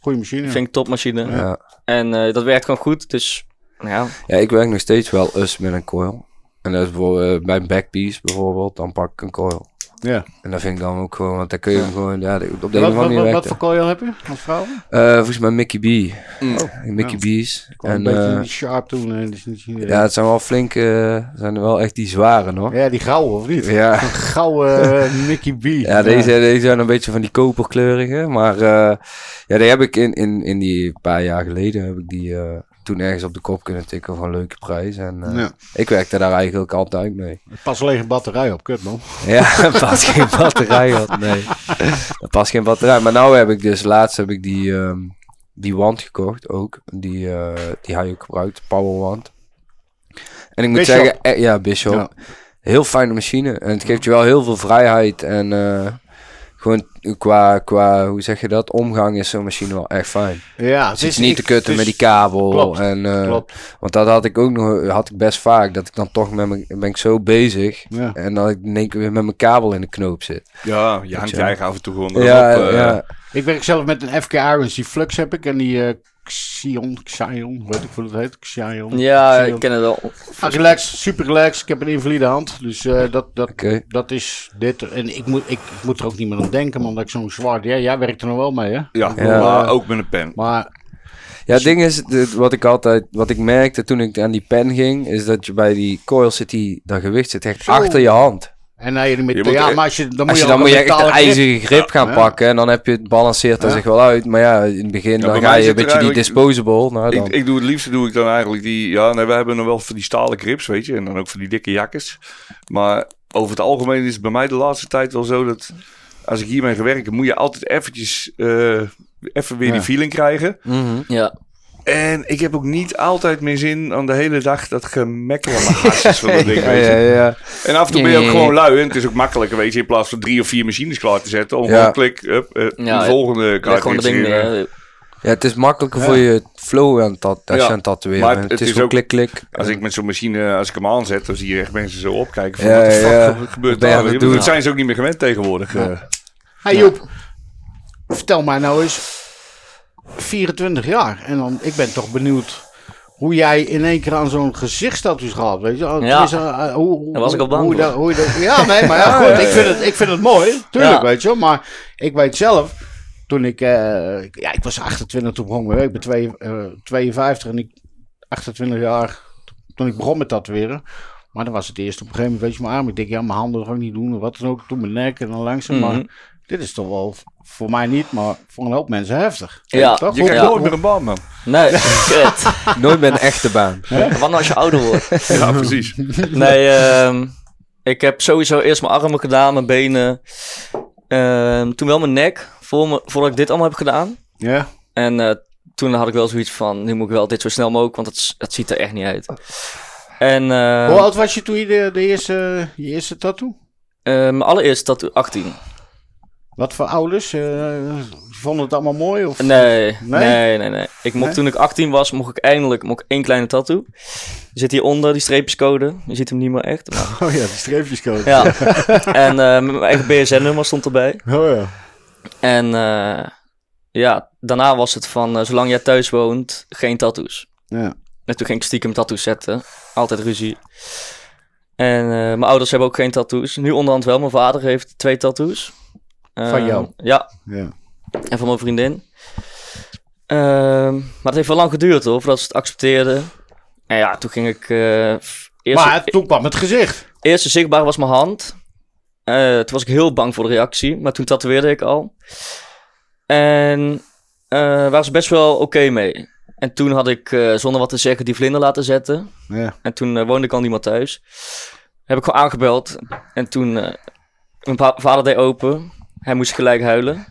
Speaker 2: Goeie machine.
Speaker 4: Vind ik topmachine.
Speaker 3: Ja.
Speaker 4: En eh, dat werkt gewoon goed. Dus ja,
Speaker 3: ja, ik werk nog steeds wel us met een coil. En dat is bijvoorbeeld, eh, bij een backpiece bijvoorbeeld, dan pak ik een coil.
Speaker 2: Ja.
Speaker 3: En dat vind ik dan ook gewoon, want dan kun je hem gewoon, ja, op de
Speaker 2: Wat,
Speaker 3: ene
Speaker 2: wat,
Speaker 3: manier
Speaker 2: wat,
Speaker 3: werkt
Speaker 2: wat
Speaker 3: het.
Speaker 2: voor coil heb je als vrouw?
Speaker 3: Eh, Volgens mij Mickey B.
Speaker 2: Mm.
Speaker 3: Mickey B's.
Speaker 2: Gewoon een
Speaker 3: En,
Speaker 2: beetje
Speaker 3: eh,
Speaker 2: die sharp toen. eh, die- die- die-
Speaker 3: ja, het zijn wel flinke, eh, zijn wel echt die zware, hoor.
Speaker 2: ja, die gouden of niet?
Speaker 3: Ja.
Speaker 2: Een gouden eh, Mickey B.
Speaker 3: Ja, deze, deze zijn een beetje van die koperkleurige. Maar eh, ja, die heb ik in, in, in die paar jaar geleden heb ik die eh, toen ergens op de kop kunnen tikken van een leuke prijs. En eh,
Speaker 2: Ja.
Speaker 3: ik werkte daar eigenlijk altijd mee.
Speaker 2: Pas alleen een batterij op, kut man.
Speaker 3: Ja, er past geen batterij op. Nee, er past geen batterij. Maar nou heb ik dus laatst heb ik die, ehm, die wand gekocht ook. Die, eh, die hij ook gebruikt, powerwand. En ik moet
Speaker 2: Bishop.
Speaker 3: zeggen, eh, ja, Bishop.
Speaker 2: Ja.
Speaker 3: Heel fijne machine. En het geeft je wel heel veel vrijheid. En eh, gewoon qua, qua, hoe zeg je dat, omgang is zo'n machine wel echt fijn.
Speaker 2: Ja,
Speaker 3: Het is niet te kutten met die kabel.
Speaker 2: Dus klopt,
Speaker 3: en, eh,
Speaker 2: klopt.
Speaker 3: Want dat had ik ook nog, had ik best vaak. Dat ik dan toch met mijn, ben ik zo bezig.
Speaker 2: Ja.
Speaker 3: En dat ik in één keer weer met mijn kabel in de knoop zit.
Speaker 5: ja, je hangt je
Speaker 3: Ja.
Speaker 5: eigen af en toe gewoon erop.
Speaker 3: Ja,
Speaker 5: eh,
Speaker 3: ja.
Speaker 2: Ik werk zelf met een FK Irons. Die Flux heb ik en die eh, Xion, Xion, weet ik hoe dat heet. Xion.
Speaker 4: ja
Speaker 2: Xion.
Speaker 4: ik ken het wel.
Speaker 2: Ah, relaxed, super relaxed. Ik heb een invalide hand. Dus eh, dat, dat,
Speaker 3: Oké.
Speaker 2: dat is dit. En ik moet, ik, ik moet er ook niet meer aan denken, man. Dat ik zo'n zwaard... Ja, jij werkt er nog wel mee, hè?
Speaker 5: Ja,
Speaker 3: Ja.
Speaker 5: maar ook met een pen.
Speaker 2: Maar
Speaker 3: Ja, het ding is, dit- wat ik altijd, wat ik merkte toen ik aan die pen ging, is dat je bij die coil zit, die, dat gewicht zit echt
Speaker 2: Zo.
Speaker 3: achter je hand.
Speaker 2: En nou, jullie met,
Speaker 5: Je moet-
Speaker 2: ja, maar als je, dan moet
Speaker 3: Als je
Speaker 2: je,
Speaker 3: dan
Speaker 2: ook
Speaker 3: moet je
Speaker 2: een
Speaker 3: echt de
Speaker 2: metalen grip-
Speaker 3: ijzige grip gaan
Speaker 2: Ja.
Speaker 3: pakken en dan heb je het balanceert er zich wel uit. Maar ja, in het begin
Speaker 5: Ja,
Speaker 3: dan
Speaker 5: bij
Speaker 3: ga
Speaker 5: mij
Speaker 3: je een
Speaker 5: zit er
Speaker 3: beetje die
Speaker 5: eigenlijk-
Speaker 3: disposable. Nou, dan.
Speaker 5: Ik, ik doe het liefste doe ik dan eigenlijk die... Ja, nee, we hebben nog wel van die stalen grips, weet je. En dan ook van die dikke jakkes. Maar over het algemeen is het bij mij de laatste tijd wel zo dat... Als ik hiermee ga werken, moet je altijd eventjes... eh, even weer die feeling krijgen.
Speaker 3: Mhm.
Speaker 4: Ja.
Speaker 5: En ik heb ook niet altijd meer zin aan de hele dag dat gemekker aan mijn hasses van dat ding,
Speaker 3: Ja,
Speaker 5: weet
Speaker 3: ja,
Speaker 5: je.
Speaker 3: ja.
Speaker 5: En af en toe ben je
Speaker 3: Ja, ja,
Speaker 5: ook
Speaker 3: ja.
Speaker 5: gewoon lui. En het is ook makkelijker, weet je, in plaats van drie of vier machines klaar te zetten. Om
Speaker 3: Ja.
Speaker 5: gewoon klik, up, eh,
Speaker 4: Ja,
Speaker 5: de volgende eh.
Speaker 4: Leg gewoon
Speaker 5: kaart
Speaker 4: dat ding eh, neer.
Speaker 3: ja, het is makkelijker voor je flow aan het tat, als
Speaker 5: Ja,
Speaker 3: je aan het tatoeëren
Speaker 5: maar
Speaker 3: bent.
Speaker 5: het
Speaker 3: Het is
Speaker 5: is
Speaker 3: gewoon
Speaker 5: ook-
Speaker 3: klik, klik.
Speaker 5: Als ik met zo'n machine, eh, als ik hem aanzet, dan zie je echt mensen zo opkijken. Van,
Speaker 3: Ja,
Speaker 5: wat de
Speaker 3: ja,
Speaker 5: fuck
Speaker 3: ja.
Speaker 5: gebeurt
Speaker 3: Ben je
Speaker 5: daar?
Speaker 3: aan het
Speaker 5: weet je? Want
Speaker 3: doen?
Speaker 5: Dat zijn ze ook niet meer gewend tegenwoordig. eh.
Speaker 2: Hey Joep, vertel mij nou eens. 24 jaar. En dan, ik ben toch benieuwd hoe jij in één keer aan zo'n gezichtstatus gaat. Weet je? Ah,
Speaker 4: Ja.
Speaker 2: is, eh, eh, hoe, hoe,
Speaker 4: Daar was ik al bang
Speaker 2: hoe,
Speaker 4: voor.
Speaker 2: dat- hoe dat- Ja, nee, maar ja, goed. Ik vind het, ik vind het mooi. Tuurlijk,
Speaker 4: Ja.
Speaker 2: weet je wel. Maar ik weet zelf, toen ik... eh, ik- ja, ik was 28 toen begon ik. Ik ben twee, eh, 52 en ik... 28 jaar toen ik begon met tatoeëren. Maar dan was het eerst op een gegeven moment, weet je, mijn arm. Ik denk, ja, mijn handen ga ik niet doen. of Wat dan ook. Toen mijn nek en dan langzaam.
Speaker 4: Mhm.
Speaker 2: Maar dit is toch wel, voor mij niet, maar voor een hoop mensen heftig.
Speaker 4: Ja,
Speaker 2: toch?
Speaker 5: Je krijgt
Speaker 4: Ja.
Speaker 5: nooit meer een baan, man.
Speaker 4: Nee, kut.
Speaker 3: Nooit met een echte baan.
Speaker 4: Wanneer als je ouder wordt?
Speaker 5: Ja, precies.
Speaker 4: Nee, ehm, ik heb sowieso eerst mijn armen gedaan, mijn benen. Ehm, toen wel mijn nek, voor me, voordat ik dit allemaal heb gedaan.
Speaker 2: Ja.
Speaker 4: En eh, toen had ik wel zoiets van, nu moet ik wel dit zo snel mogelijk, want het, s- het ziet er echt niet uit. En eh,
Speaker 2: Hoe oud was je toen je de, de eerste, je eerste tattoo?
Speaker 4: eh, mijn allereerste tattoo, 18.
Speaker 2: Wat voor ouders? eh, vonden het allemaal mooi? Of?
Speaker 4: Nee, nee,
Speaker 2: Nee?
Speaker 4: nee, nee. Ik mocht,
Speaker 2: Nee?
Speaker 4: Toen ik 18 was, mocht ik eindelijk mocht ik één kleine tattoo. Zit hieronder, die streepjescode. Je ziet hem niet meer echt. maar-
Speaker 2: Oh ja, die streepjescode.
Speaker 4: ja. en eh, mijn eigen BSN-nummer stond erbij.
Speaker 2: Oh ja.
Speaker 4: En eh, ja, daarna was het van, eh, zolang jij thuis woont, geen tattoos.
Speaker 2: Ja.
Speaker 4: En toen ging ik stiekem tattoos zetten. Altijd ruzie. En eh, mijn ouders hebben ook geen tattoos. Nu onderhand wel. Mijn vader heeft twee tattoos.
Speaker 2: Van
Speaker 4: Eh,
Speaker 2: jou?
Speaker 4: Ja,
Speaker 2: ja.
Speaker 4: en van mijn vriendin. Ehm, maar het heeft wel lang geduurd hoor, voordat ze het accepteerden. En ja, toen ging ik... eh, f- eerst,
Speaker 2: Maar toen kwam het gezicht.
Speaker 4: eerste zichtbaar was mijn hand. Eh, toen was ik heel bang voor de reactie, maar toen tatoeëerde ik al. En eh waren ze best wel oké mee. En toen had ik, eh, zonder wat te zeggen, die vlinder laten zetten.
Speaker 2: Ja.
Speaker 4: En toen eh, woonde ik al niet meer thuis. Heb ik gewoon aangebeld. En toen, eh, mijn pa- vader deed open. Hij moest gelijk huilen.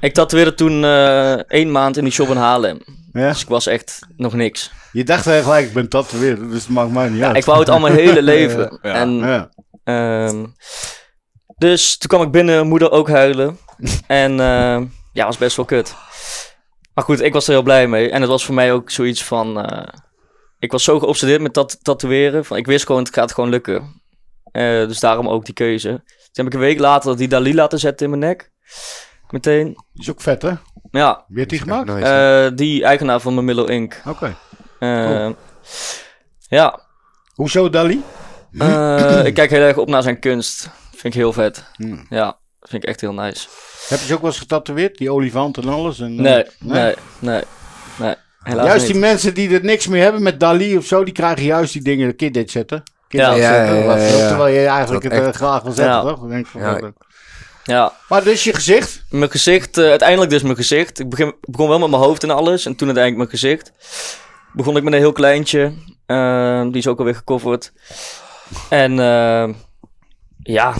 Speaker 4: ik tatoeëerde toen eh, één maand in die shop in Haarlem.
Speaker 2: ja.
Speaker 4: Dus ik was echt nog niks.
Speaker 2: Je dacht eigenlijk, ik ben tatoeëerder, dus het maakt mij niet uit.
Speaker 4: Ik wou het al mijn hele leven.
Speaker 5: Ja.
Speaker 4: En
Speaker 2: Ja.
Speaker 4: Ehm, dus toen kwam ik binnen, moeder ook huilen. en ehm, ja, was best wel kut. Maar goed, ik was er heel blij mee. En het was voor mij ook zoiets van... eh, ik was zo geobsedeerd met dat tatoeëren. Van, ik wist gewoon, het gaat gewoon lukken. Eh, dus daarom ook die keuze. Toen heb ik een week later die Dali laten zetten in mijn nek. Meteen.
Speaker 2: Is ook vet, hè?
Speaker 4: Ja,
Speaker 2: Wie heeft die gemaakt?
Speaker 3: Nice.
Speaker 4: eh, die eigenaar van mijn Milo Inc.
Speaker 2: Oké.
Speaker 4: Eh, Ja,
Speaker 2: Hoezo Dali?
Speaker 4: eh, ik kijk heel erg op naar zijn kunst. Vind ik heel vet.
Speaker 2: Hmm.
Speaker 4: Ja, vind ik echt heel nice.
Speaker 2: Heb je ze ook wel eens getatoeëerd? Die olifant en alles? En, eh,
Speaker 4: Nee, nee, nee, nee. Helaas
Speaker 2: juist
Speaker 4: niet.
Speaker 2: die mensen die er niks meer hebben met Dali of zo, die krijgen juist die dingen een keer dit zetten. Keer
Speaker 4: Ja.
Speaker 2: dat
Speaker 3: Ja,
Speaker 2: zetten,
Speaker 3: ja, ja,
Speaker 2: wat dan ook,
Speaker 3: ja.
Speaker 2: Terwijl je eigenlijk
Speaker 3: Dat
Speaker 2: het eh,
Speaker 3: echt-
Speaker 2: graag wil zetten,
Speaker 4: Ja.
Speaker 2: toch? Dan Denk ik van,
Speaker 3: Ja.
Speaker 2: wat ook.
Speaker 4: Ja,
Speaker 2: Maar dus je gezicht.
Speaker 4: mijn gezicht, eh, uiteindelijk dus mijn gezicht. Ik begin, begon wel met mijn hoofd en alles en toen uiteindelijk mijn gezicht. Begon ik met een heel kleintje, ehm, die is ook alweer gecoverd. En ehm, ja,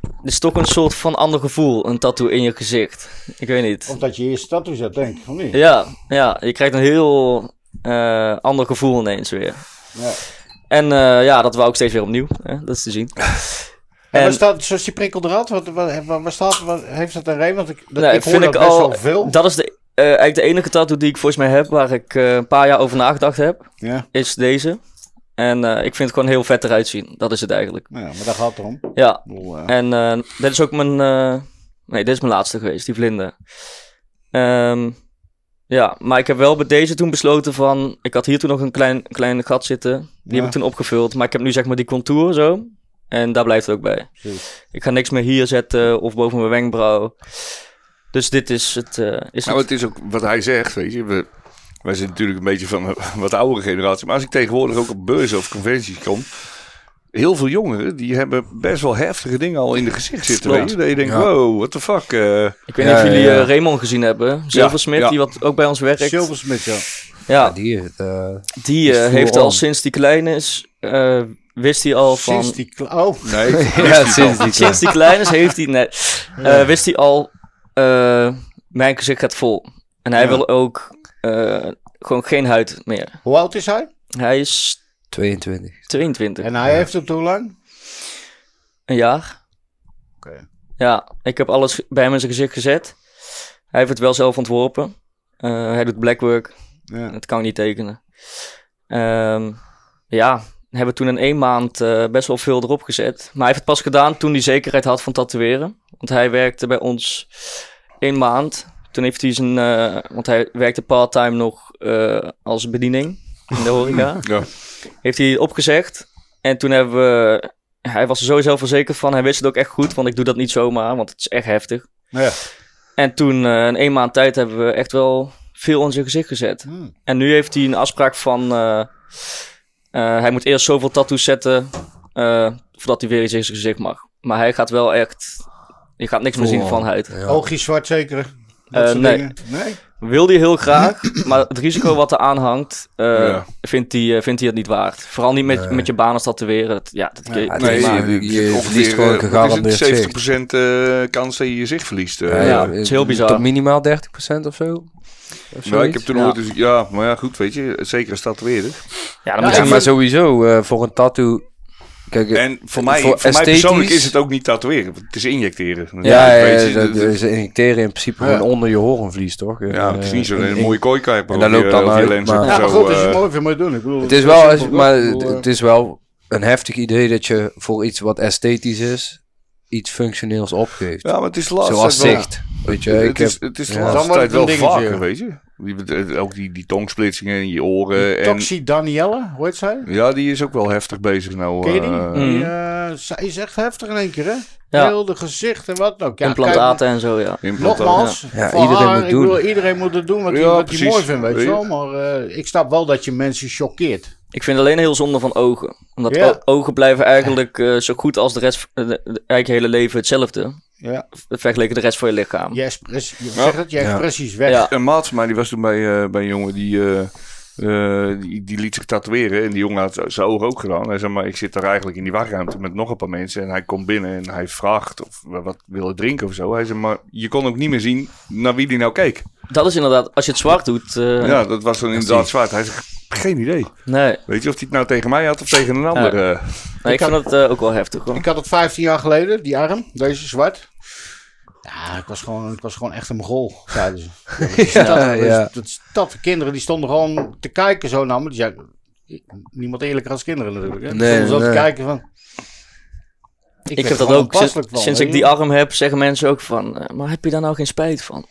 Speaker 4: het is toch een soort van ander gevoel, een tattoo in je gezicht. Ik weet niet.
Speaker 2: Omdat je eerst tattoo zet, denk ik. Of niet?
Speaker 4: Ja, ja, je krijgt een heel eh, ander gevoel ineens weer.
Speaker 2: Ja.
Speaker 4: En eh, ja, dat wou ik steeds weer opnieuw, hè, dat is te zien.
Speaker 2: En, waar
Speaker 4: En-
Speaker 2: staat, zoals die prikkel eruit, wat, wat, wat, wat staat, wat, heeft dat een reden? Want ik, dat,
Speaker 4: Nee,
Speaker 2: ik hoor dat best wel veel.
Speaker 4: Dat is de, eh, eigenlijk de enige tattoo die ik volgens mij heb waar ik eh, een paar jaar over nagedacht heb,
Speaker 2: ja.
Speaker 4: is deze. En eh, ik vind het gewoon heel vet eruit zien. Dat is het eigenlijk.
Speaker 2: Nou ja, maar daar gaat het om. Ik
Speaker 4: Ja.
Speaker 2: bedoel, eh,
Speaker 4: En eh, dit is ook mijn. eh, nee, dit is mijn laatste geweest, die vlinder. Ehm, ja, maar ik heb wel bij deze toen besloten van. Ik had hier toen nog een klein, klein gat zitten.
Speaker 2: Ja.
Speaker 4: Die heb ik toen opgevuld. Maar ik heb nu zeg maar die contour zo. En daar blijft het ook bij.
Speaker 2: precies.
Speaker 4: Ik ga niks meer hier zetten of boven mijn wenkbrauw. Dus dit is het. eh, is
Speaker 5: Nou,
Speaker 4: het...
Speaker 5: het is ook wat hij zegt, weet je. We, wij zijn natuurlijk een beetje van een wat oudere generatie. Maar als ik tegenwoordig ook op beurzen of conventies kom... Heel veel jongeren, die hebben best wel heftige dingen al in de gezicht zitten.
Speaker 4: Klopt.
Speaker 5: Weet je? Dat je denkt,
Speaker 3: Ja.
Speaker 5: wow, what the fuck. eh.
Speaker 4: Ik weet
Speaker 3: Ja,
Speaker 4: niet of jullie
Speaker 3: ja, ja.
Speaker 4: eh, Raymond gezien hebben. Zilversmith,
Speaker 5: ja.
Speaker 4: die wat ook bij ons werkt.
Speaker 2: Silversmith, ja.
Speaker 4: Ja,
Speaker 3: Die, is, eh,
Speaker 4: die eh,
Speaker 3: is
Speaker 4: heeft
Speaker 3: full
Speaker 4: al
Speaker 3: on.
Speaker 4: sinds die klein is, eh, wist hij al van...
Speaker 2: Sinds die... kla- Oh,
Speaker 5: Nee,
Speaker 3: ja, sinds die
Speaker 4: Sinds die klein is, heeft hij... Nee, eh, wist hij al, eh, mijn gezicht gaat vol. En hij
Speaker 2: Ja.
Speaker 4: wil ook eh, gewoon geen huid meer.
Speaker 2: hoe oud is hij?
Speaker 4: Hij is
Speaker 3: 22.
Speaker 4: 22,
Speaker 2: En hij heeft het hoe lang?
Speaker 4: een jaar.
Speaker 2: Oké.
Speaker 4: Ja, ik heb alles bij hem in zijn gezicht gezet. Hij heeft het wel zelf ontworpen. Eh, hij doet blackwork.
Speaker 2: Ja.
Speaker 4: Dat kan ik niet tekenen. Ehm, ja, hebben toen in één maand eh, best wel veel erop gezet. Maar hij heeft het pas gedaan toen hij zekerheid had van tatoeëren. Want hij werkte bij ons één maand. Toen Toen heeft hij zijn, eh, want hij werkte part-time nog eh, als bediening in de horeca.
Speaker 5: Ja.
Speaker 4: Heeft hij opgezegd. En toen hebben we, hij was er sowieso verzekerd van. Hij wist het ook echt goed, want ik doe dat niet zomaar, want het is echt heftig.
Speaker 2: Ja.
Speaker 4: En toen, eh, in één maand tijd, hebben we echt wel veel in zijn gezicht gezet.
Speaker 2: Hmm.
Speaker 4: En nu heeft hij een afspraak van, eh, eh, hij moet eerst zoveel tattoos zetten, eh, voordat hij weer iets in zijn gezicht mag. Maar hij gaat wel echt, je gaat niks meer zien
Speaker 5: Oh.
Speaker 4: van huid.
Speaker 3: Ja.
Speaker 2: Oogjes zwart zeker? Dat
Speaker 4: Eh,
Speaker 2: soort
Speaker 4: nee.
Speaker 2: dingen. nee.
Speaker 4: Wil hij heel graag, maar het risico wat er aan hangt, eh,
Speaker 5: Ja.
Speaker 4: vindt, hij, eh, vindt hij het niet waard. Vooral niet met,
Speaker 3: Nee.
Speaker 4: met je banen tatoeëren. Dat, ja, dat kun je-
Speaker 3: Ja, het
Speaker 5: Nee,
Speaker 3: is-
Speaker 5: maar
Speaker 3: je-
Speaker 5: je,
Speaker 3: je
Speaker 5: ongeveer,
Speaker 3: verliest gewoon
Speaker 5: eh, wat is
Speaker 3: gegarandeerd
Speaker 5: het? 70% eh, kans dat je je zicht verliest. eh.
Speaker 4: ja, het is heel bizar.
Speaker 3: Tot minimaal 30% of zo? Of
Speaker 5: Ja, Nou, ik
Speaker 3: zoiets?
Speaker 5: heb toen
Speaker 4: Ja.
Speaker 5: ooit eens- ja, maar ja, goed, weet je, zeker als tatoeëerder.
Speaker 4: ja, dan
Speaker 2: Ja,
Speaker 4: moet
Speaker 3: Ja,
Speaker 4: je
Speaker 3: maar sowieso, eh, voor een tattoo... Kijk, eh,
Speaker 5: En voor mij,
Speaker 3: Voor
Speaker 5: voor mij persoonlijk
Speaker 3: esthetisch-
Speaker 5: is het ook niet tatoeëren, want het is injecteren.
Speaker 3: ja, ja,
Speaker 5: weet je,
Speaker 3: dat-
Speaker 5: dat- dat-
Speaker 3: ze injecteren in principe
Speaker 2: Ja.
Speaker 3: gewoon onder je horenvlies, toch?
Speaker 5: ja, het is niet
Speaker 3: Eh,
Speaker 5: zo'n
Speaker 3: in-
Speaker 5: mooie kooikaart.
Speaker 3: en daar loopt dan uit, maar-
Speaker 2: Ja, maar
Speaker 5: eh, zo,
Speaker 2: goed, dus als je
Speaker 5: eh,
Speaker 2: het mooi vindt, moet je het doen. Ik bedoel,
Speaker 3: Het is
Speaker 2: heel
Speaker 3: wel,
Speaker 2: simpel,
Speaker 3: maar
Speaker 2: toch? Ik bedoel,
Speaker 3: het is wel een heftig idee dat je voor iets wat esthetisch is, iets functioneels opgeeft.
Speaker 5: Ja, maar het is lastig.
Speaker 3: Zoals zicht. Weet je, ik
Speaker 5: het,
Speaker 3: heb,
Speaker 5: is, het is de
Speaker 3: ja.
Speaker 5: laatste
Speaker 2: Dan wordt
Speaker 5: tijd
Speaker 2: het een
Speaker 5: wel
Speaker 2: dingetje.
Speaker 5: vaker, weet je. Die- eh, Ook die, die tongsplitsingen in je
Speaker 2: eh,
Speaker 5: oren. En,
Speaker 2: Toxie Danielle, hoe heet zij?
Speaker 5: ja, die is ook wel heftig bezig nou.
Speaker 2: Ken je die?
Speaker 5: eh,
Speaker 2: Die, eh, zij is echt heftig in één keer, hè?
Speaker 4: Ja.
Speaker 2: Heel de gezicht en wat dan ook. Ja,
Speaker 4: implantaten en zo, ja.
Speaker 5: implantaat.
Speaker 2: kijk, nogmaals,
Speaker 3: Ja,
Speaker 2: voor
Speaker 3: iedereen
Speaker 2: haar,
Speaker 3: moet
Speaker 2: ik
Speaker 3: doen.
Speaker 2: bedoel, iedereen moet het doen wat hij
Speaker 5: Ja,
Speaker 2: wat hij
Speaker 5: precies.
Speaker 2: mooi vindt, weet je
Speaker 5: Weet
Speaker 2: wel. Maar eh, ik snap wel dat je mensen choqueert.
Speaker 4: Ik vind alleen heel zonde van ogen. Omdat
Speaker 2: Ja.
Speaker 4: o- ogen blijven eigenlijk eh, zo goed als de rest, eh, de- de- eigenlijk je hele leven hetzelfde.
Speaker 2: Ja.
Speaker 4: Vergeleken de rest van je lichaam.
Speaker 2: Je, express, je,
Speaker 5: Ja.
Speaker 2: zegt het, je expressie is weg.
Speaker 4: Ja.
Speaker 5: Een maat van mij die was toen bij, eh, bij een jongen die, eh, eh, die, die liet zich tatoeëren. En die jongen had zijn ogen ook gedaan. Hij zei, maar ik zit daar eigenlijk in die wachtruimte met nog een paar mensen. En hij komt binnen en hij vraagt of we wat willen drinken of zo. Hij zei, maar je kon ook niet meer zien naar wie die nou keek.
Speaker 4: Dat is inderdaad, als je het zwart doet. eh,
Speaker 5: Ja, dat was dan inderdaad zwart. Hij zei, geen idee.
Speaker 4: Nee,
Speaker 5: Weet je of hij het nou tegen mij had of tegen een ander? eh.
Speaker 4: Nee, ik
Speaker 2: had-
Speaker 4: vind dat eh, ook wel heftig hoor.
Speaker 2: Ik had het 15 jaar geleden, die arm, deze zwart. Ja, ik was gewoon, ik was gewoon echt een mogol, zeiden ze.
Speaker 3: ja, ja.
Speaker 2: Dat is dat. De kinderen die stonden gewoon te kijken zo naar me. Die zeiden, niemand eerlijker als kinderen natuurlijk. Hè? Die
Speaker 3: Nee,
Speaker 2: stonden zo
Speaker 3: nee.
Speaker 2: te kijken van...
Speaker 4: Ik,
Speaker 2: werd
Speaker 4: heb dat
Speaker 2: gewoon
Speaker 4: ook. Sinds,
Speaker 2: onpasselijk van,
Speaker 4: sinds
Speaker 2: weet
Speaker 4: ik
Speaker 2: je.
Speaker 4: die arm heb, zeggen mensen ook van, eh, maar heb je daar nou geen spijt van?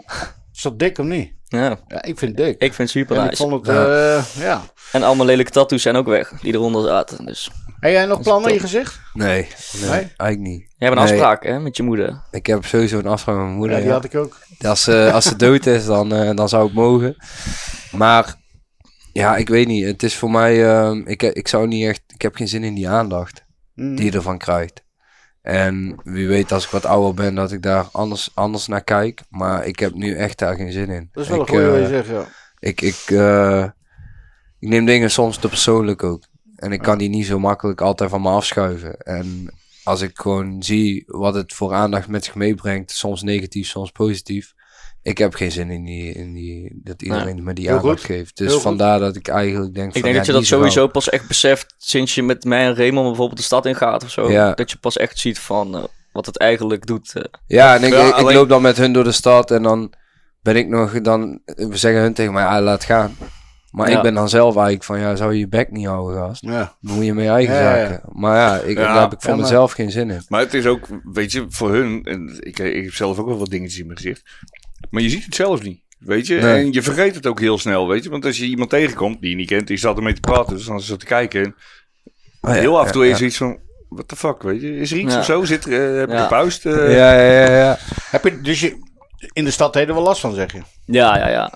Speaker 2: Zo dik hem niet.
Speaker 4: Ja,
Speaker 2: Ja, ik vind het dik.
Speaker 4: ik vind het super
Speaker 2: en ik
Speaker 4: nice.
Speaker 2: vond het, eh, ja.
Speaker 4: En allemaal lelijke tattoos zijn ook weg, die eronder zaten. Dus
Speaker 2: Heb jij nog plannen in je gezicht?
Speaker 3: nee,
Speaker 2: Nee?
Speaker 3: nee, eigenlijk niet.
Speaker 4: jij hebt een
Speaker 3: Nee.
Speaker 4: afspraak hè, met je moeder.
Speaker 3: Ik heb sowieso een afspraak met mijn moeder.
Speaker 2: Ja, die
Speaker 3: ja.
Speaker 2: had ik ook.
Speaker 3: Als, ze- als ze dood is, dan, eh, dan zou het mogen. Maar ja, ik weet niet. Het is voor mij. ehm, ik, ik zou niet echt. Ik heb geen zin in die aandacht
Speaker 2: Mm.
Speaker 3: die je ervan krijgt. En wie weet, als ik wat ouder ben, dat ik daar anders, anders naar kijk. Maar ik heb nu echt daar geen zin in.
Speaker 2: Dat is wel een
Speaker 3: Ik,
Speaker 2: goede
Speaker 3: eh,
Speaker 2: wat je zegt, ja.
Speaker 3: ik, ik, eh, ik neem dingen soms te persoonlijk ook. En ik kan die niet zo makkelijk altijd van me afschuiven. En als ik gewoon zie wat het voor aandacht met zich meebrengt, soms negatief, soms positief. Ik heb geen zin in, die, in die, dat iedereen me die
Speaker 2: Heel
Speaker 3: aandacht
Speaker 2: goed.
Speaker 3: geeft. Dus
Speaker 2: Heel goed.
Speaker 3: vandaar dat ik eigenlijk denk
Speaker 4: Ik
Speaker 3: van,
Speaker 4: denk
Speaker 3: ja,
Speaker 4: dat je dat
Speaker 3: niet zo
Speaker 4: sowieso pas echt beseft sinds je met mij en Raymond bijvoorbeeld de stad ingaat of zo.
Speaker 3: Ja.
Speaker 4: Dat je pas echt ziet van eh, wat het eigenlijk doet. eh.
Speaker 3: Ja, en ik,
Speaker 5: Ja,
Speaker 3: ik- ik
Speaker 5: alleen-
Speaker 3: loop dan met hun door de stad en dan ben ik nog, dan we zeggen hun tegen mij, ah, laat gaan. Maar
Speaker 4: Ja.
Speaker 3: ik ben dan zelf eigenlijk van, ja, zou je je bek niet houden, gast?
Speaker 2: Ja.
Speaker 3: Dan moet je met je eigen
Speaker 2: Ja, ja, ja.
Speaker 3: zaken. Maar ja, ik,
Speaker 5: Ja,
Speaker 3: daar heb ik voor
Speaker 2: ja, maar-
Speaker 3: mezelf geen zin in.
Speaker 5: Maar het is ook, weet je, voor hun, en ik, ik heb zelf ook wel wat dingetjes in mijn gezicht, maar je ziet het zelf niet. Weet je,
Speaker 3: Nee.
Speaker 5: en je vergeet het ook heel snel, weet je. Want als je iemand tegenkomt die je niet kent, die staat ermee te praten, dus dan is het te kijken. En heel af en toe is er iets van, what the fuck, weet je. Is er iets
Speaker 4: Ja.
Speaker 5: of zo? Zit er, eh, heb ik
Speaker 4: Ja.
Speaker 5: een puist? eh?
Speaker 3: Ja, ja, ja. ja.
Speaker 2: Heb je, dus je, in de stad heb je er wel last van, zeg je?
Speaker 4: Ja, ja, ja.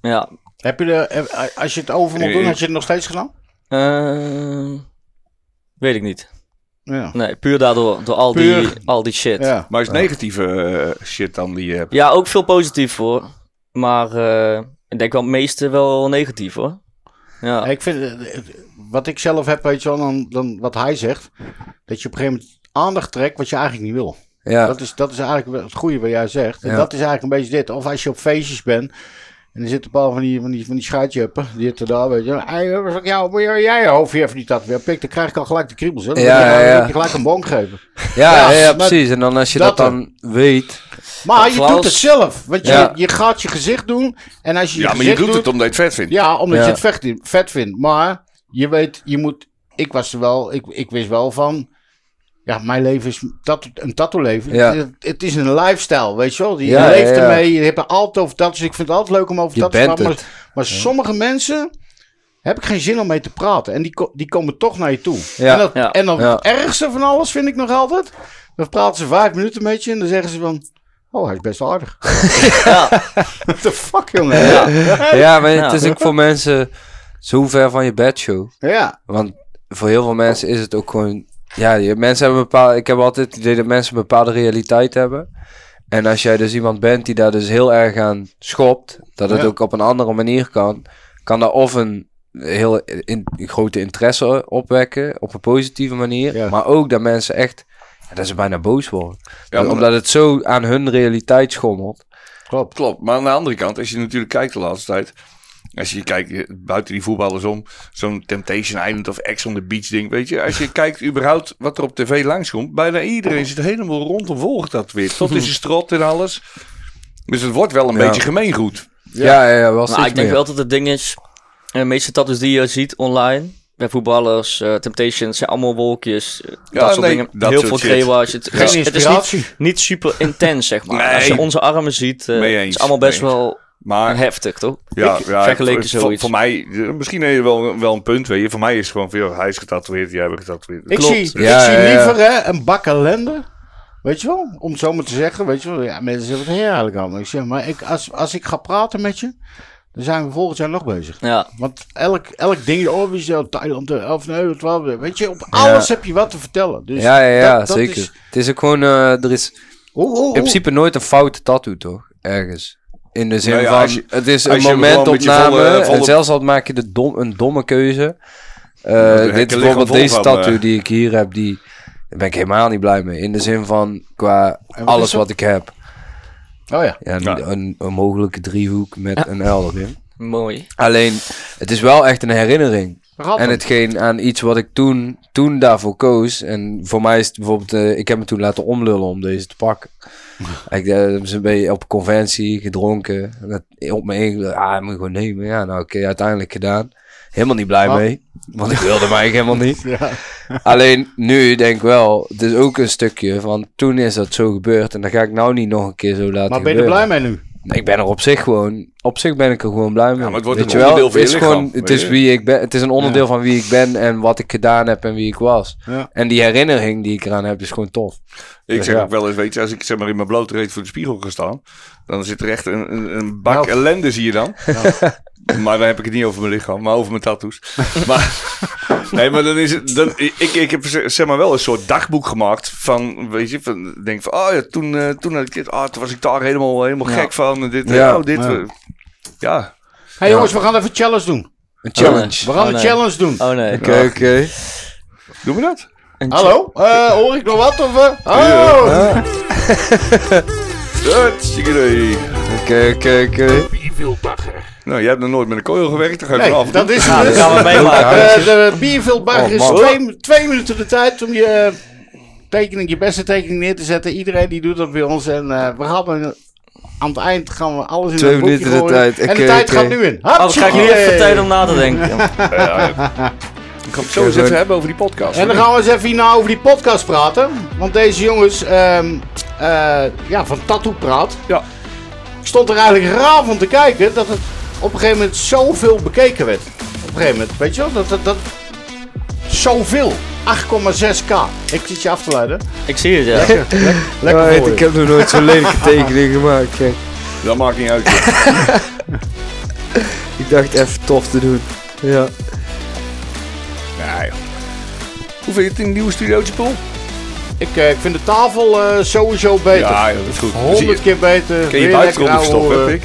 Speaker 4: Ja.
Speaker 2: Heb je er, heb- als je het over
Speaker 5: Eh,
Speaker 2: moet doen, had je het nog steeds gedaan?
Speaker 4: Eh, weet ik niet.
Speaker 2: Ja.
Speaker 4: Nee, puur daardoor. Door al, die,
Speaker 2: Puur.
Speaker 4: al die shit. Ja.
Speaker 2: Ja.
Speaker 5: Maar is negatieve eh, shit dan die je hebt?
Speaker 4: ook veel positief hoor. Maar eh, ik denk wel het meeste wel negatief hoor. Ja.
Speaker 2: Ja, Ik vind, eh, eh, wat ik zelf heb, weet je wel, dan, dan wat hij zegt, dat je op een gegeven moment aandacht trekt wat je eigenlijk niet wil.
Speaker 3: Ja,
Speaker 2: Dat, is, dat is eigenlijk wel het goede wat jij zegt. En
Speaker 3: Ja.
Speaker 2: dat is eigenlijk een beetje dit. Of als je op feestjes bent en er zitten een paar van die, van die, van die schuitjeppen, die zitten daar, weet je wel. Hey, eh, wat zeg ik, ja, moet jij jij je hoofd hier even niet dat weer pikt, dan krijg ik al gelijk de kriebels. Hè? Dan
Speaker 3: Ja,
Speaker 2: wil je-
Speaker 3: ja,
Speaker 2: dan
Speaker 3: ja.
Speaker 2: wil je gelijk een bonk geven.
Speaker 3: ja, ja,
Speaker 2: Ja, maar-
Speaker 3: precies. En dan als je dat,
Speaker 2: dat
Speaker 3: dan weet.
Speaker 2: Maar
Speaker 4: Dat
Speaker 2: je
Speaker 4: was-
Speaker 2: doet het zelf. Want je,
Speaker 3: Ja.
Speaker 2: je gaat je gezicht doen. En als je je
Speaker 5: Ja, maar je
Speaker 2: gezicht
Speaker 5: doet
Speaker 2: doet,
Speaker 5: het omdat je het vet vindt.
Speaker 2: Ja, omdat
Speaker 3: Ja.
Speaker 2: je het vet, in- vet vindt. Maar je weet, je moet. Ik was er wel. Ik, ik wist wel van. Ja, mijn leven is tattoo- een tattoo-leven.
Speaker 3: Ja.
Speaker 2: Het, het is een lifestyle, weet je wel. Je
Speaker 3: Ja,
Speaker 2: leeft
Speaker 3: ja, ja.
Speaker 2: ermee, je hebt er altijd over tattoos. Ik vind het altijd leuk om over
Speaker 3: Je
Speaker 2: tattoos te
Speaker 3: bent
Speaker 2: praten. Maar, maar sommige mensen heb ik geen zin om mee te praten. En die, ko- die komen toch naar je toe.
Speaker 3: Ja,
Speaker 2: en, dat,
Speaker 4: ja,
Speaker 2: en dan
Speaker 3: ja.
Speaker 2: het ergste van alles vind ik nog altijd. Dan praten ze vijf minuten met je en dan zeggen ze van... Oh, hij is best aardig.
Speaker 4: Ja.
Speaker 2: What the fuck, jongen?
Speaker 4: Ja.
Speaker 3: Ja, maar het
Speaker 4: Ja.
Speaker 3: is ook voor mensen zo ver van je bedshow.
Speaker 2: Ja.
Speaker 3: Want voor heel veel mensen is het ook gewoon... Ja, je, mensen hebben een bepaalde... Ik heb altijd het idee dat mensen een bepaalde realiteit hebben. En als jij dus iemand bent die daar dus heel erg aan schopt... Dat het
Speaker 2: Ja.
Speaker 3: ook op een andere manier kan... Kan daar of een heel in, grote interesse opwekken... Op een positieve manier.
Speaker 2: Ja.
Speaker 3: Maar ook dat mensen echt... ja, dat ze bijna boos worden.
Speaker 5: Ja, maar-
Speaker 3: Omdat het zo aan hun realiteit schommelt.
Speaker 2: Klopt.
Speaker 5: Klopt, maar aan de andere kant, als je natuurlijk kijkt de laatste tijd. Als je kijkt eh, buiten die voetballers om, zo'n Temptation Island of Ex on the Beach ding, weet je. Als je kijkt überhaupt wat er op tv langskomt, bijna iedereen zit helemaal rondom volgt dat weer. Tot in zijn strot en alles. Dus het wordt wel een
Speaker 3: Ja.
Speaker 5: beetje gemeengoed.
Speaker 3: Ja, ja, ja, wel
Speaker 4: Maar
Speaker 3: steeds
Speaker 4: ik denk
Speaker 3: meer.
Speaker 4: wel dat het ding is, eh, de meeste tattoos die je ziet online, bij voetballers, eh, Temptations, zijn allemaal wolkjes, eh, dat soort
Speaker 5: nee,
Speaker 4: dingen.
Speaker 5: dat
Speaker 4: Heel
Speaker 5: soort
Speaker 4: veel
Speaker 5: shit.
Speaker 4: crewa's. Het,
Speaker 2: Geen
Speaker 4: het is- het is niet,
Speaker 2: inspiratie.
Speaker 4: niet super intens, zeg maar.
Speaker 5: Nee.
Speaker 4: Als je onze armen ziet, eh,
Speaker 5: Mee
Speaker 4: het
Speaker 5: eens,
Speaker 4: is allemaal best
Speaker 5: mee
Speaker 4: wel
Speaker 5: Maar
Speaker 4: heftig, toch?
Speaker 5: ja, ja
Speaker 4: vergeleken
Speaker 5: voor- voor,
Speaker 4: zoiets.
Speaker 5: voor mij, eh, misschien heb je wel, wel een punt, weet je. Voor mij is het gewoon veel, hij is getatoeëerd, jij bent getatoeëerd.
Speaker 2: Ik
Speaker 4: Klopt.
Speaker 2: zie,
Speaker 3: Ja,
Speaker 2: ik zie
Speaker 3: ja, ja.
Speaker 2: liever hè, een bak ellende. Weet je wel? Om het zo maar te zeggen. Weet je wel? Ja, mensen zeggen het heerlijk allemaal. Ik zeg, maar ik, als, als ik ga praten met je, dan zijn we volgend jaar nog bezig.
Speaker 4: Ja,
Speaker 2: Want elk, elk ding, oh, wie is dat? Thailand, eh, of nee, wat, wat, weet je, op alles heb je wat te vertellen. Dus
Speaker 3: ja, ja, ja
Speaker 2: dat- dat
Speaker 3: zeker.
Speaker 2: is- Oh,
Speaker 3: Het is ook gewoon, eh, er is in
Speaker 2: hoe, hoe, hoe-
Speaker 3: principe nooit een foute tattoo, toch? Ergens. In de zin
Speaker 5: Nou ja,
Speaker 3: van,
Speaker 5: als je-
Speaker 3: het is
Speaker 5: als
Speaker 3: een
Speaker 5: je hem gewoon met je
Speaker 3: momentopname.
Speaker 5: volle- volle-
Speaker 3: En zelfs al maak je de dom, een domme keuze. Eh, dit
Speaker 5: hekken
Speaker 3: is
Speaker 5: liggen
Speaker 3: bijvoorbeeld
Speaker 5: vol
Speaker 3: deze
Speaker 5: van,
Speaker 3: tattoo
Speaker 5: eh.
Speaker 3: die ik hier heb, die daar ben ik helemaal niet blij mee. In de zin van, qua
Speaker 2: is
Speaker 3: alles
Speaker 2: dat?
Speaker 3: wat ik heb.
Speaker 2: Oh ja.
Speaker 3: Ja,
Speaker 5: Ja.
Speaker 3: Een, een mogelijke driehoek met een L erin.
Speaker 4: mooi.
Speaker 3: Alleen, het is wel echt een herinnering.
Speaker 2: Ratten.
Speaker 3: En hetgeen aan iets wat ik toen, toen daarvoor koos. En voor mij is het bijvoorbeeld, eh, ik heb me toen laten omlullen om deze te pakken. ik eh, ze een beetje op conventie gedronken. En dat- op me heen, ah, dat moet je gewoon nemen. Ja, nou oké, uiteindelijk gedaan. Helemaal niet blij
Speaker 2: Wat?
Speaker 3: mee. Want ik wilde mij helemaal niet.
Speaker 2: Ja.
Speaker 3: Alleen nu denk ik wel, het is ook een stukje van toen is dat zo gebeurd. En dat ga ik nou niet nog een keer zo laten
Speaker 2: Maar ben je er
Speaker 3: gebeuren.
Speaker 2: blij mee nu?
Speaker 3: Ik ben er op zich gewoon, op zich ben ik er gewoon blij mee.
Speaker 5: maar het wordt
Speaker 3: Weet
Speaker 5: een
Speaker 3: je wel?
Speaker 5: onderdeel van je
Speaker 3: het is
Speaker 5: lichaam,
Speaker 3: gewoon, het
Speaker 5: weet
Speaker 3: is
Speaker 5: je?
Speaker 3: wie ik ben, het is een onderdeel van wie ik ben en wat ik gedaan heb en wie ik was.
Speaker 2: Ja.
Speaker 3: En die herinnering die ik eraan heb is gewoon tof.
Speaker 5: Ik zeg
Speaker 3: Ja.
Speaker 5: ook wel eens, weet je, als ik zeg maar in mijn blote reet voor de spiegel ga staan, dan zit er echt een, een, een bak
Speaker 2: Nou.
Speaker 5: ellende, zie je dan. Maar dan heb ik het niet over mijn lichaam, maar over mijn tattoos. maar, nee, maar dan is het, dan, ik, ik heb zeg zeg maar wel een soort dagboek gemaakt van, weet je, van, denk van, oh ja, toen, eh, toen had ik dit, ah, toen was ik daar helemaal, helemaal gek van, en dit, eh,
Speaker 3: Ja.
Speaker 5: oh, dit.
Speaker 2: Ja.
Speaker 5: eh, ja.
Speaker 2: Hé hey, jongens, we gaan even een challenge doen.
Speaker 3: Een
Speaker 2: We
Speaker 3: challenge.
Speaker 2: gaan
Speaker 4: Oh,
Speaker 2: een
Speaker 4: nee.
Speaker 2: challenge doen.
Speaker 4: Oh nee.
Speaker 3: Oké, oké.
Speaker 5: doen we dat?
Speaker 4: Een
Speaker 2: Hallo? Eh, hoor ik nog wat? Of, eh? Oh!
Speaker 5: Hutsikidee.
Speaker 3: Oké, oké, oké.
Speaker 5: Nou, jij hebt nog nooit met een koil gewerkt, Nou, dan ga
Speaker 2: Nee,
Speaker 5: je vanaf.
Speaker 2: dat is
Speaker 4: Ja,
Speaker 2: het. dus.
Speaker 4: dat gaan we meemaken.
Speaker 2: Eh, de bierveelbar
Speaker 3: Oh,
Speaker 2: is
Speaker 3: man.
Speaker 2: twee, twee minuten de tijd om je eh, tekening, je beste tekening neer te zetten. Iedereen die doet dat bij ons. En eh, we gaan er- aan het eind gaan we alles in
Speaker 3: Twee
Speaker 2: een boekje
Speaker 3: minuten de
Speaker 2: gooien.
Speaker 3: tijd.
Speaker 2: En de
Speaker 3: Oké,
Speaker 2: tijd
Speaker 3: oké.
Speaker 2: gaat nu in.
Speaker 4: Oh, dat krijg ik nu even
Speaker 2: Hartstikke.
Speaker 4: tijd om na te denken.
Speaker 5: Ja, ja. Ik ga het zo eens even hebben over die podcast.
Speaker 2: En dan gaan we eens even hierna over die podcast praten. Want deze jongens, ehm, eh, ja, van Tattoo Praat.
Speaker 5: Ja.
Speaker 2: Ik stond er eigenlijk raar van te kijken dat het op een gegeven moment zoveel bekeken werd. Op een gegeven moment, weet je wel, dat, dat, dat zoveel. 8,6k. Ik zit je af te leiden.
Speaker 4: Ik zie het, ja.
Speaker 2: Lekker
Speaker 3: Ah,
Speaker 2: voor
Speaker 3: Ik
Speaker 2: je.
Speaker 3: heb nog nooit zo'n lelijke tekening gemaakt. Kijk,
Speaker 5: Dat maakt niet uit. joh.
Speaker 3: ik dacht even tof te doen. Ja.
Speaker 5: Nee, joh. Hoe vind je het in de nieuwe studiootje, Paul?
Speaker 2: Ik, eh, ik vind de tafel eh, sowieso beter.
Speaker 5: Ja, joh, dat is goed. Zie
Speaker 2: 100 keer beter.
Speaker 5: Kun je
Speaker 2: Weer
Speaker 5: je buik eronder
Speaker 2: lekker ouwe, eh,
Speaker 5: stoppen, heb ik?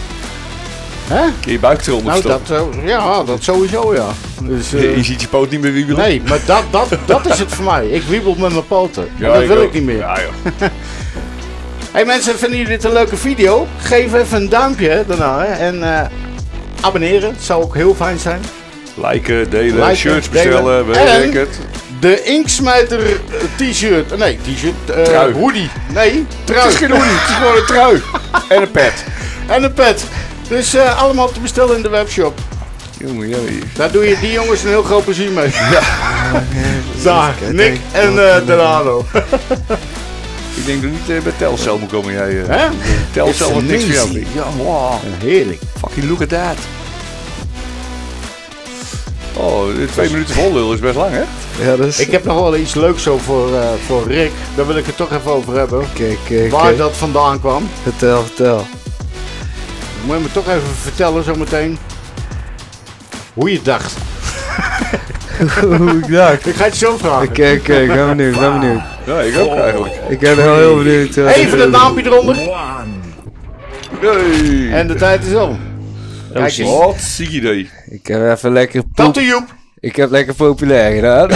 Speaker 2: Hè?
Speaker 5: Kun je je buik eronder
Speaker 2: Nou,
Speaker 5: stoppen?
Speaker 2: dat, eh, ja, dat sowieso, ja. Dus, eh,
Speaker 5: Je ziet je poot niet meer wiebelen.
Speaker 2: Nee, maar dat, dat, dat is het voor mij. Ik wiebel met mijn poten.
Speaker 5: Ja,
Speaker 2: En dat wil
Speaker 5: ook.
Speaker 2: ik niet meer.
Speaker 5: Ja, joh.
Speaker 2: Hey mensen, vinden jullie dit een leuke video? Geef even een duimpje daarna. hè. En eh, abonneren, het zou ook heel fijn zijn.
Speaker 5: Liken, delen,
Speaker 2: Liken,
Speaker 5: shirts
Speaker 2: delen.
Speaker 5: bestellen,
Speaker 2: En-
Speaker 5: weet ik het.
Speaker 2: De Inksmijter eh, t-shirt. Nee, t-shirt. eh,
Speaker 5: Trui.
Speaker 2: Hoodie. Nee,
Speaker 5: Het
Speaker 2: trui.
Speaker 5: is geen hoedie, het is gewoon een trui. En een pet.
Speaker 2: En een pet. Dus eh, allemaal te bestellen in de webshop.
Speaker 5: Jongen, jongen.
Speaker 2: Daar doe je die jongens een heel groot plezier mee. Daar, Nick en eh Delano.
Speaker 5: Ik denk dat niet eh, bij Telcel moet komen jij. eh.
Speaker 2: Hè?
Speaker 5: Telcel was niks voor jou.
Speaker 2: Amazing. Oh,
Speaker 5: Ja, wow.
Speaker 2: Heerlijk.
Speaker 5: Fucking look at that. Oh, de twee minuten vol lul is best lang, hè?
Speaker 6: Ja, dat is...
Speaker 2: Ik heb nog wel iets leuks zo voor, eh, voor Rick. Daar wil ik het toch even over hebben.
Speaker 6: Kijk, kijk,
Speaker 2: Waar
Speaker 6: kijk.
Speaker 2: dat vandaan kwam.
Speaker 6: Vertel, vertel.
Speaker 2: Moet je me toch even vertellen zometeen. Hoe je het dacht.
Speaker 6: Hoe ik dacht.
Speaker 2: Ik ga het zo vragen.
Speaker 6: Oké, oké, ik ben benieuwd, ben benieuwd.
Speaker 5: Ja, ik
Speaker 2: Oh.
Speaker 5: ook eigenlijk.
Speaker 6: Ik ben wel heel benieuwd. eh,
Speaker 2: Even het naampje eronder.
Speaker 5: Hey.
Speaker 2: En de tijd is om.
Speaker 4: Oh,
Speaker 2: Kijk eens.
Speaker 5: Wat zie je die?
Speaker 3: Ik heb even lekker poep.
Speaker 2: Tante Joep.
Speaker 3: Ik heb lekker populair gedaan.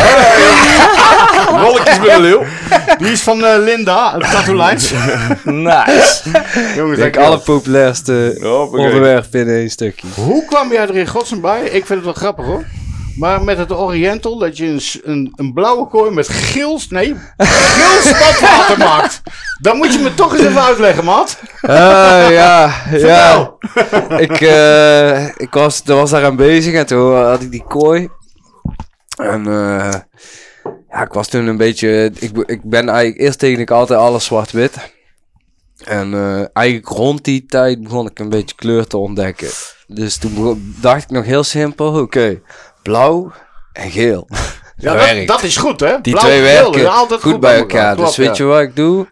Speaker 5: Rolletjes met een leeuw.
Speaker 2: Die is van eh, Linda. Tattoo Lines.
Speaker 4: Nice.
Speaker 2: Jongens,
Speaker 3: Ik denk
Speaker 2: dankjewel.
Speaker 3: alle populairste
Speaker 5: Hoppakee.
Speaker 3: onderwerpen in één stukje.
Speaker 2: Hoe kwam jij er in godsnaam bij? Ik vind het wel grappig hoor. Maar met het Oriental, dat je een, s- een, een blauwe kooi met geel, nee, geel spatwater maakt. Dan moet je me toch eens even uitleggen, Matt.
Speaker 3: Ah, ja, ja.
Speaker 2: Vertel.
Speaker 3: ik, eh, ik was, er was daar aan bezig en toen had ik die kooi. En eh, ja, ik was toen een beetje. Ik, be- ik ben eigenlijk eerst tegen ik altijd alles zwart-wit. En eh, eigenlijk rond die tijd begon ik een beetje kleur te ontdekken. Dus toen begon- dacht ik nog heel simpel: oké, blauw en geel.
Speaker 2: Ja,
Speaker 3: Dat
Speaker 2: dat,
Speaker 3: werkt.
Speaker 2: dat is goed hè.
Speaker 3: Die
Speaker 2: Blauw
Speaker 3: twee
Speaker 2: en geel, dat
Speaker 3: werken
Speaker 2: is altijd
Speaker 3: goed, bij elkaar.
Speaker 2: Klopt,
Speaker 3: dus weet
Speaker 2: ja.
Speaker 3: je wat ik doe?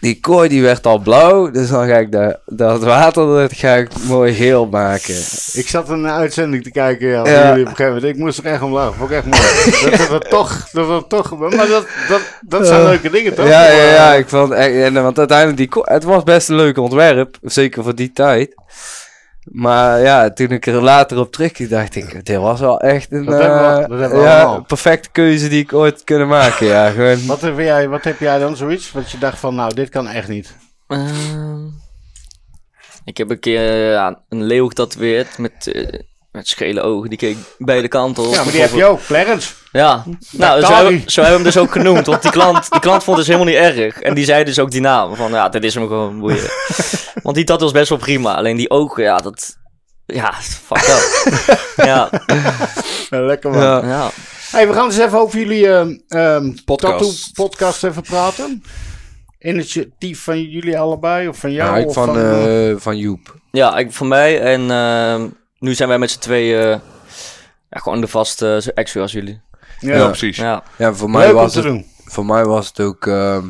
Speaker 3: die kooi die werd al blauw, dus dan ga ik da- dat water dat ga ik mooi geel maken.
Speaker 2: Ik zat een uitzending te kijken ja, van
Speaker 3: Ja.
Speaker 2: jullie op een gegeven moment. Ik moest er echt om lachen. Vond ik echt mooi. dat, dat, dat toch, dat dat toch. Maar dat, dat, dat zijn
Speaker 3: Eh,
Speaker 2: leuke dingen toch?
Speaker 3: Ja, ja, ja,
Speaker 2: eh,
Speaker 3: ik vond echt, en, eh, want uiteindelijk, die, ko- het was best een leuk ontwerp, zeker voor die tijd. Maar ja, toen ik er later op terugkeek, dacht ik, dit was wel echt een
Speaker 2: Dat hebben we-
Speaker 3: eh,
Speaker 2: dat hebben we allemaal.
Speaker 3: ja, perfecte keuze die ik ooit kunnen maken. Ja, gewoon,
Speaker 2: Wat heb, jij, wat heb jij dan zoiets? Wat je dacht van, nou, dit kan echt niet.
Speaker 4: Ehm, ik heb een keer eh, ja, een leeuw getatoeëerd met, eh, met schele ogen. Die keek beide kanten op.
Speaker 2: Ja, maar die heb je ook. Clarence.
Speaker 4: Ja, nou, zo,
Speaker 2: Natali.
Speaker 4: hebben- zo hebben we hem dus ook genoemd. Want die klant, die klant vond het dus helemaal niet erg. En die zei dus ook die naam. Van ja, dit is hem gewoon boeien. Want die dat was best wel prima. Alleen die ogen, ja, dat... Ja, fuck up. ja,
Speaker 2: Ja, lekker man.
Speaker 3: ja.
Speaker 4: ja.
Speaker 2: Hey, we gaan eens even over jullie ehm, ehm,
Speaker 5: Podcast.
Speaker 2: podcast even praten. Initiatief van jullie allebei of van jou?
Speaker 3: Ja, ik
Speaker 2: of
Speaker 3: van,
Speaker 2: eh,
Speaker 3: eh, van Joep.
Speaker 4: ja ik, voor mij. En ehm, nu zijn wij met z'n tweeën... eh, ja, gewoon de vaste uh, ex als jullie.
Speaker 2: ja.
Speaker 5: Ja, precies.
Speaker 4: Ja.
Speaker 3: Ja, voor mij
Speaker 2: Leuk om
Speaker 3: was
Speaker 2: te
Speaker 3: het
Speaker 2: doen.
Speaker 3: voor mij was het ook. ehm,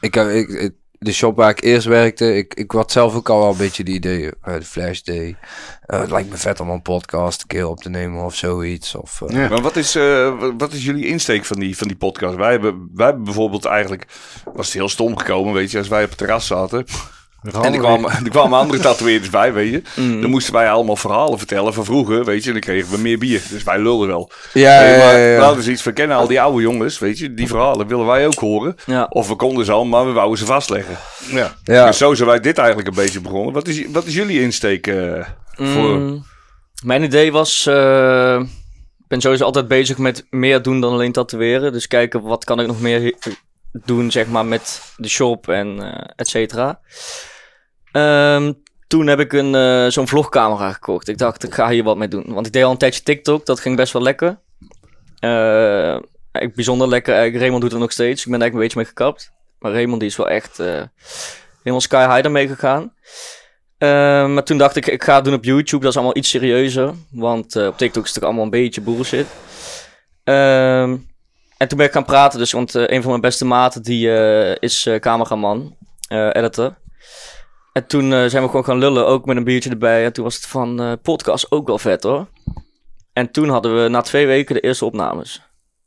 Speaker 3: ik, heb- ik, ik- de shop waar ik eerst werkte, ik, ik had zelf ook al wel een beetje die ideeën. eh, de Flash Day. Eh, het lijkt me vet om een podcast een keer op te nemen of zoiets. Of, eh,
Speaker 2: Ja.
Speaker 5: Maar wat is, eh, wa- wat is jullie insteek van die, van die podcast? Wij hebben, wij hebben bijvoorbeeld eigenlijk... Was het heel stom gekomen, weet je, als wij op het terras zaten. En er kwamen, er kwamen andere tatoeëerders bij, weet je. Dan moesten wij allemaal verhalen vertellen van vroeger, weet je. En dan kregen we meer bier, dus wij lulden wel.
Speaker 3: Ja,
Speaker 5: Nee,
Speaker 3: ja,
Speaker 5: maar
Speaker 3: ja, ja.
Speaker 5: we hadden zoiets van, kennen al die oude jongens, weet je. Die verhalen willen wij ook horen.
Speaker 4: Ja.
Speaker 5: Of we konden ze al, maar we wouden ze vastleggen.
Speaker 2: Ja.
Speaker 3: ja.
Speaker 5: Dus zo zijn wij dit eigenlijk een beetje begonnen. Wat is, wat is jullie insteek eh, voor...
Speaker 4: Mm, Mijn idee was... eh, ik ben sowieso altijd bezig met meer doen dan alleen tatoeëren. Dus kijken wat kan ik nog meer he- doen, zeg maar, met de shop en eh et cetera. Ehm, toen heb ik een, eh, zo'n vlogcamera gekocht. Ik dacht, ik ga hier wat mee doen. Want ik deed al een tijdje TikTok, dat ging best wel lekker. Eh, eigenlijk bijzonder lekker. Eigenlijk, Raymond doet het nog steeds. Ik ben er eigenlijk een beetje mee gekapt. Maar Raymond die is wel echt eh, helemaal sky high daarmee gegaan. Ehm, maar toen dacht ik, ik ga het doen op YouTube. Dat is allemaal iets serieuzer. Want eh, op TikTok is het toch allemaal een beetje bullshit. Ehm, en toen ben ik gaan praten. Dus, want eh, een van mijn beste maten die, eh, is eh, cameraman, eh, editor. En toen eh, zijn we gewoon gaan lullen, ook met een biertje erbij. En toen was het van eh, podcast ook wel vet hoor. En toen hadden we na twee weken de eerste opnames.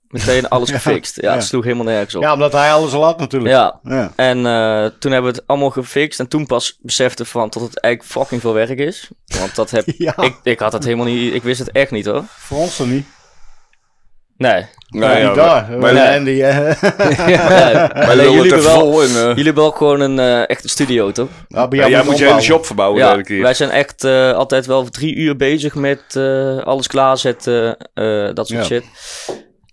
Speaker 4: Meteen alles gefixt. Ja, het
Speaker 2: ja.
Speaker 4: sloeg helemaal nergens op.
Speaker 2: ja, omdat hij alles al had natuurlijk.
Speaker 4: ja.
Speaker 2: Ja.
Speaker 4: En eh, toen hebben we het allemaal gefixt. En toen pas besefte van dat het eigenlijk fucking veel werk is. Want dat heb
Speaker 2: Ja,
Speaker 4: ik, ik had het helemaal niet. Ik wist het echt niet hoor.
Speaker 2: voor ons dan niet.
Speaker 4: Nee.
Speaker 5: Nou
Speaker 2: niet
Speaker 5: wij-
Speaker 2: daar.
Speaker 5: wij-
Speaker 2: Met Andy, eh, hè.
Speaker 4: nee.
Speaker 5: wij
Speaker 4: Alleen
Speaker 5: lullen
Speaker 4: jullie,
Speaker 5: te
Speaker 4: hebben wel,
Speaker 5: vol en... eh,
Speaker 4: jullie hebben wel gewoon een eh, echte studio toch?
Speaker 2: Nou, bij
Speaker 5: Ja,
Speaker 2: jou
Speaker 5: jij moet je hele
Speaker 2: opbouwen.
Speaker 5: shop verbouwen
Speaker 4: ja.
Speaker 5: elke keer.
Speaker 4: Wij zijn echt eh, altijd wel drie uur bezig met eh, alles klaarzetten. eh, dat soort
Speaker 2: Ja.
Speaker 4: shit.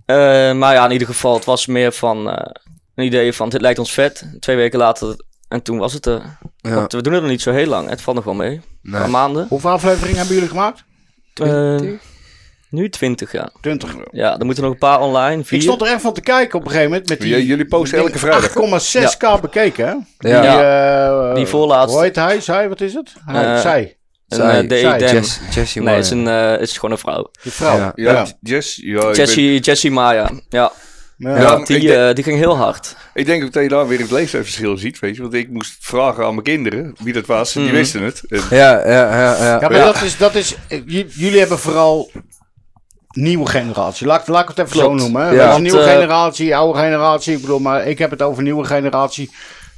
Speaker 4: Eh, maar ja, in ieder geval, het was meer van eh, een idee van dit lijkt ons vet. Twee weken later. En toen was het er.
Speaker 3: Ja.
Speaker 4: Want we doen het nog niet zo heel lang. Het valt nog wel mee. Een paar maanden.
Speaker 2: Hoeveel afleveringen hebben jullie gemaakt?
Speaker 4: eh, nu 20, ja.
Speaker 2: 20.
Speaker 4: Ja, er moeten nog een paar online.
Speaker 2: Ik
Speaker 4: Vier.
Speaker 2: stond er echt van te kijken op een gegeven moment. Met die,
Speaker 5: J- jullie posten elke vrijdag.
Speaker 2: 8,6k bekeken, hè?
Speaker 3: Ja.
Speaker 2: Die, eh,
Speaker 4: Die voorlaatste.
Speaker 2: Hoe heet hij? Zij? Wat is het? Hij,
Speaker 4: Eh,
Speaker 2: zij.
Speaker 4: Een,
Speaker 3: Zij-
Speaker 4: eh, de-
Speaker 2: zij-
Speaker 4: dem.
Speaker 3: Jess- Jessie
Speaker 4: Nee,
Speaker 3: Meyer.
Speaker 4: het is, een, eh, het is gewoon een vrouw.
Speaker 2: Die vrouw.
Speaker 3: Ja.
Speaker 5: Ja,
Speaker 2: Ja.
Speaker 5: Jess. Ja, ik weet-
Speaker 4: Jessie, Jessie Maya. Ja,
Speaker 2: Ja.
Speaker 5: Ja.
Speaker 4: die,
Speaker 5: ik denk-
Speaker 4: eh, die ging heel hard.
Speaker 5: ik denk ook dat je daar weer het leeftijdsverschil ziet, weet je. Want ik moest vragen aan mijn kinderen wie dat was. En die
Speaker 4: Mhm.
Speaker 5: wisten het. En-
Speaker 3: Ja, ja, ja. ja.
Speaker 2: Ja, maar dat is... Dat is eh, j- jullie hebben vooral nieuwe generatie. Laat, laat ik het even
Speaker 4: Klopt.
Speaker 2: zo noemen. hè.
Speaker 3: Ja.
Speaker 2: Dat is
Speaker 4: Want,
Speaker 2: nieuwe
Speaker 4: eh,
Speaker 2: generatie, oude generatie. Ik bedoel, maar ik heb het over nieuwe generatie